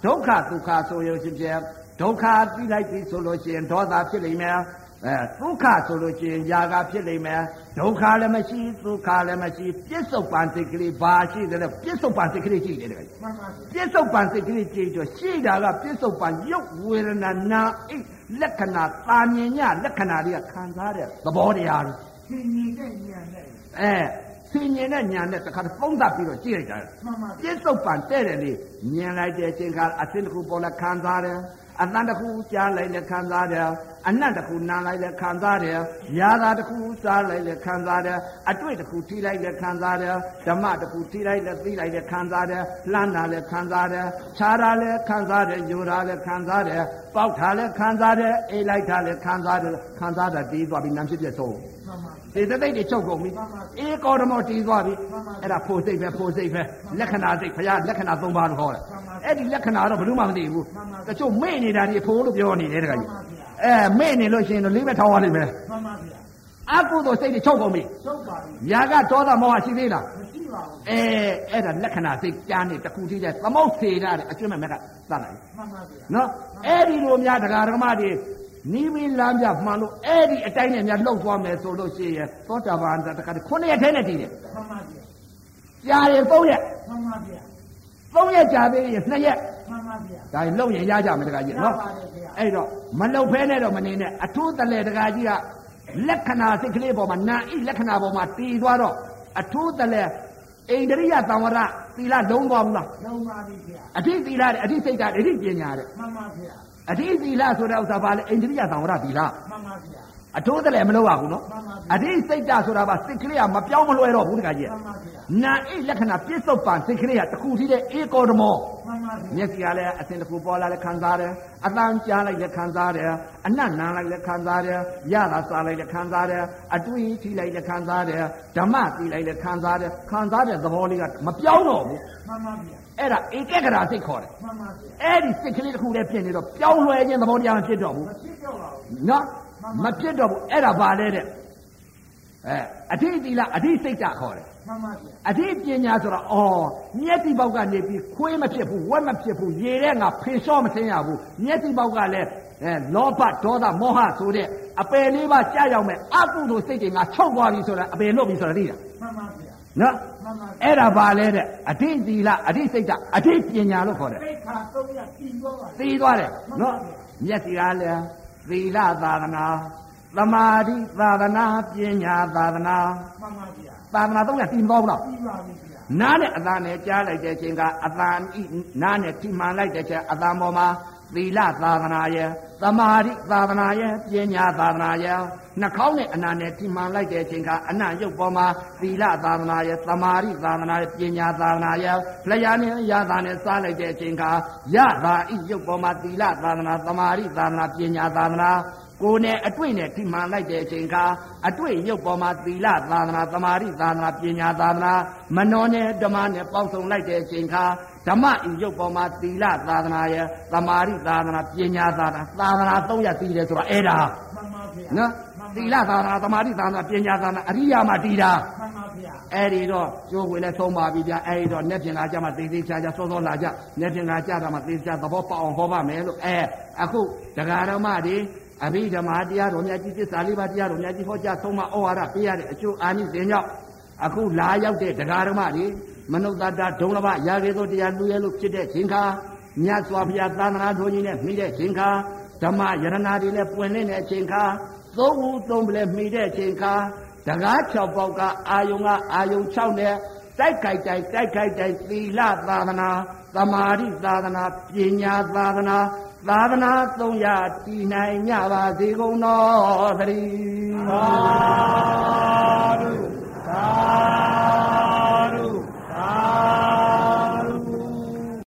ဒုက္ခဒုက္ခဆိုရုံချင်းဖြင့်ဒုက္ခသိလိုက်ပြီဆိုလို့ရှိရင်ဒေါသဖြစ်လိမ့်မယ်အဲဒုက္ခဆိုလို့ရှိရင်ຢာကဖြစ်လိမ့်မယ်ဒုက္ခလည်းမရှိဒုက္ခလည်းမရှိပြစ္ဆုတ်ပန်စိတ်ကလေးဘာရှိတယ်လဲပြစ္ဆုတ်ပန်စိတ်ကလေးရှိတယ်တကယ် မှန်ပါပြဗျာစ္ဆုတ်ပံစိတ်ကလေးကြည့်တော့ရှိတာကပြစ္ဆုတ်ပံရုပ်ဝေဒနာနာအိတ်လက္ခဏာတာမြင်ညလက္ခဏာတွေကခံစားတဲ့သဘောတရားတွေ သိနေတဲ့ဉာဏ်နဲ့ အဲသိမြင်တဲ့ညာနဲ့တစ်ခါတည်းပုံသက်ပြီးတော့ကြည့်လိုက်တာ မှန်ပါဗျာ ပြစ္ဆုတ်ပံတဲ့တယ်လေမြင်လိုက်တဲ့အချိန်ကအသင်းတစ်ခုပေါ်လာခံစားတယ်အတန်တစ်ခုကြားလိုက်လည်းခံစားတယ်အနတ်တစ်ခုနားလိုက်လည်းခံစားတယ်ရာသာတစ်ခုစားလိုက်လည်းခံစားတယ်အတွေ့တစ်ခုထိလိုက်လည်းခံစားတယ်ဓမ္မတစ်ခုထိလိုက်လည်းသိလိုက်လည်းခံစားတယ်လှမ်းတာလည်းခံစားတယ်ခြားတာလည်းခံစားတယ်ယူတာလည်းခံစားတယ်ပေါက်တာလည်းခံစားတယ်အိပ်လိုက်တာလည်းခံစားတယ်ခံစားတာတီးသွားပြီးနာမ်ဖြစ်ပြဆုံး မှန်ပါဗျာ ဒီသက်သိတ်တွေချုပ်ကုန်ပြီ မှန်ပါ အေးကောဓမောတီးသွားပြီ မှန်ပါ အဲ့ဒါဖို့စိတ်ပဲဖို့စိတ်ပဲလက္ခဏာစိတ်ဘုရားလက္ခဏာ၃ပါးလို့ဟောတယ် မှန်ပါ အဲ့ဒီလက္ခဏာတော့ဘယ်သူမှမသိဘူး မှန်ပါ တချို့မေ့နေတာဒီဖို့လို့ပြောနေတယ်တခါကြီး မှန်ပါဗျာ အဲမေ့နေလို့ရှိရင်တော့လေးပဲထောင်ရလိမ့်မယ် မှန်ပါဗျာ အကုသိုလ်စိတ်တွေချုပ်ကုန်ပြီ ချုပ်ပါပြီ ຢာကဒေါသမောဟရှိသေးလား မရှိပါဘူး အဲအဲ့ဒါလက္ခဏာစိတ်ကြားနေတစ်ခုထိတဲ့သမုတ်စေတာတဲ့အကျွမ်းမဲ့မဲ့ကသတ်လိုက် မှန်ပါဗျာ နော်အဲ့ဒီလိုများတရားဓမ္မတွေနီးမင်းလမ်းပြမှန်လို့အဲ့ဒီအတိုင်းနဲ့များလှုပ်သွားမယ်ဆိုလို့ရှိရင်သောတာပန်တခါတည်းခုနှစ်ရက်ထဲနဲ့တည်တယ် မှန်ပါဗျာ ကြာရင်သုံးရက် မှန်ပါဗျာ သုံးရက်ကြာပြီးရင်နှစ်ရက် မှန်ပါဗျာ ဒါရင်လှုပ်ရင်ရကြမယ်တခါကြီးနော် ရပါတယ်ခင်ဗျာ အဲ့တော့မလှုပ်ဖဲနဲ့တော့မနေနဲ့အထူးတလဲတခါကြီးကလက္ခဏာစိတ်ကလေးပေါ်မှာနာဤလက္ခဏာပေါ်မှာတည်သွားတော့အထူးတလဲအိန္ဒြိယသံဝရသီလလုံးသွားဘူးလား လုံပါပြီဗျာ အဋိသီလတဲ့အဋိစိတ်ကအဋိပညာတဲ့ မှန်ပါဗျာ အဋိသီလဆိုတဲ့ဥစ္စာပါလေအိန္ဒြိယသံဝရသီလ မှန်ပါဗျာ အထိုးတလည်းမလုပ်ရဘူးနော် မှန်ပါဗျာ အတိစိတ်တဆိုတာပါစိတ်ကလေးကမပြောင်းမလွှဲတော့ဘူးတခါကြီး မှန်ပါဗျာ နာအိတ်လက္ခဏာပြစ္ဆုတ်ပံစိတ်ကလေးကတစ်ခုထိတဲ့အေကောဓမော မှန်ပါဗျာ မျက်စိကလည်းအစဉ်တစ်ခုပေါ်လာလည်းခံစားတယ်အတန်းကြားလိုက်လည်းခံစားတယ်အနတ်နာလိုက်လည်းခံစားတယ်ရတာစားလိုက်လည်းခံစားတယ်အတွေ့အထိလိုက်လည်းခံစားတယ်ဓမ္မသိလိုက်လည်းခံစားတယ်ခံစားတဲ့သဘောလေးကမပြောင်းတော့ဘူး မှန်ပါဗျာ အဲ့ဒါဧကကရာစိတ်ခေါ်တယ် မှန်ပါဗျာ အဲ့ဒီစိတ်ကလေးတစ်ခုလည်းဖြစ်နေတော့ပြောင်းလွှဲခြင်းသဘောတရားမဖြစ်တော့ဘူး မဖြစ်တော့ပါဘူး နော်မဖြစ်တော့ဘူးအဲ့ဒါပါလဲတဲ့ အဲအထိသီလအထိစိတ်ဓာတ်ခေါ်တယ် မှန်ပါဗျာ အထိပညာဆိုတော့အော်မျက်တိပေါက်ကနေပြီးခွေးမဖြစ်ဘူးဝက်မဖြစ်ဘူးရေတဲ့ငါဖေလျှော့မသိရဘူးမျက်တိပေါက်ကလည်းအဲလောဘဒေါသမောဟဆိုတဲ့အပယ်လေးပါကြာရောက်မဲ့အကုသိုလ်စိတ်တွေငါချုပ်သွားပြီဆိုတာအပယ်လွတ်ပြီဆိုတာသိတာ မှန်ပါဗျာ နော် မှန်ပါဗျာ အဲ့ဒါပါလဲတဲ့အထိသီလအထိစိတ်ဓာတ်အထိပညာလို့ခေါ်တယ် သိခါတော့ရပြီတော့ပါ သိသွားတယ်နော်မျက်စိကလည်းသီလသာသနာသမာဓိသာသနာပညာသာသနာ မှန်ပါဗျာ သာသနာသုံးရတည်မသွားဘူးလား ပြီးပါပြီဗျာ နားနဲ့အသာနဲ့ကြားလိုက်တဲ့အချိန်ကအသာဤနားနဲ့ထိမှန်လိုက်တဲ့အချိန်အသာပေါ်မှာသီလသာသနာရဲ့သမာဓိသာသနာရဲ့ပညာသာသနာရဲ့နှာခေါင်းနဲ့အနာနဲ့ထိမှန်လိုက်တဲ့အချိန်ကအနာရုပ်ပေါ်မှာသီလသာသနာရဲ့သမာဓိသာသနာရဲ့ပညာသာသနာရဲ့လျှာနဲ့ရာသာနဲ့စားလိုက်တဲ့အချိန်ကရသာဤရုပ်ပေါ်မှာသီလသာသနာသမာဓိသာသနာပညာသာသနာ ကိုယ်နဲ့အတွေ့နဲ့ထိမှန်လိုက်တဲ့အချိန်ကအတွေ့ရုပ်ပေါ်မှာသီလသာသနာသမာဓိသာသနာပညာသာသနာမနောနဲ့ဓမ္မနဲ့ပေါင်းစုံလိုက်တဲ့အချိန်ကဓမ္မဤရုပ်ပေါ်မှာသီလသာသနာရဲ့သမာဓိသာသနာပညာသာသနာသာသနာသုံးရသီးတယ်ဆိုတာအဲ့ဒါ မှန်ပါဗျာ နော်သီလသာသနာသမာဓိသာသနာပညာသာသနာအရိယာမတည်တာ မှန်ပါဗျာ အဲ့ဒီတော့ကျိုးဝင်လဲသုံးပါပြီဗျအဲ့ဒီတော့နေ့ပြင်လာကြမှာသိသိချာချာစောစောလာကြနေ့ပြင်လာကြတာမှာသိသိချာသဘောပေါက်အောင်ဟောပါမယ်လို့အဲအခုဒကာရမတွေ အဘိဓမ္မာတရားတော်များကြီးသစ္စာလေးပါးတရားတော်များကြီးဟောကြားဆုံးမဩဝါဒပေးရတဲ့အကျိုးအာနိသင်ကြောင့်အခုလာရောက်တဲ့တရားဓမ္မတွေမနုဿတ္တဒုံလဘရာဂေသောတရားလူရဲလို့ဖြစ်တဲ့ခြင်းခါမြတ်စွာဘုရားသာသနာတော်ကြီးနဲ့မိတဲ့ခြင်းခါဓမ္မယရနာတွေနဲ့ပွင့်လင်းတဲ့ခြင်းခါသုံးဦးသုံးပလဲမိတဲ့ခြင်းခါတရား6ပေါက်ကအာယုံကအာယုံ6နဲ့ တိုက်ခိုက်တိုက်တိုက်ခိုက်တိုက်သီလသာသနာသမာဓိသာသနာပညာသာသနာသာသနာသုံးရာတည်နိုင်ကြပါစေကုန်သောသတည်းသာ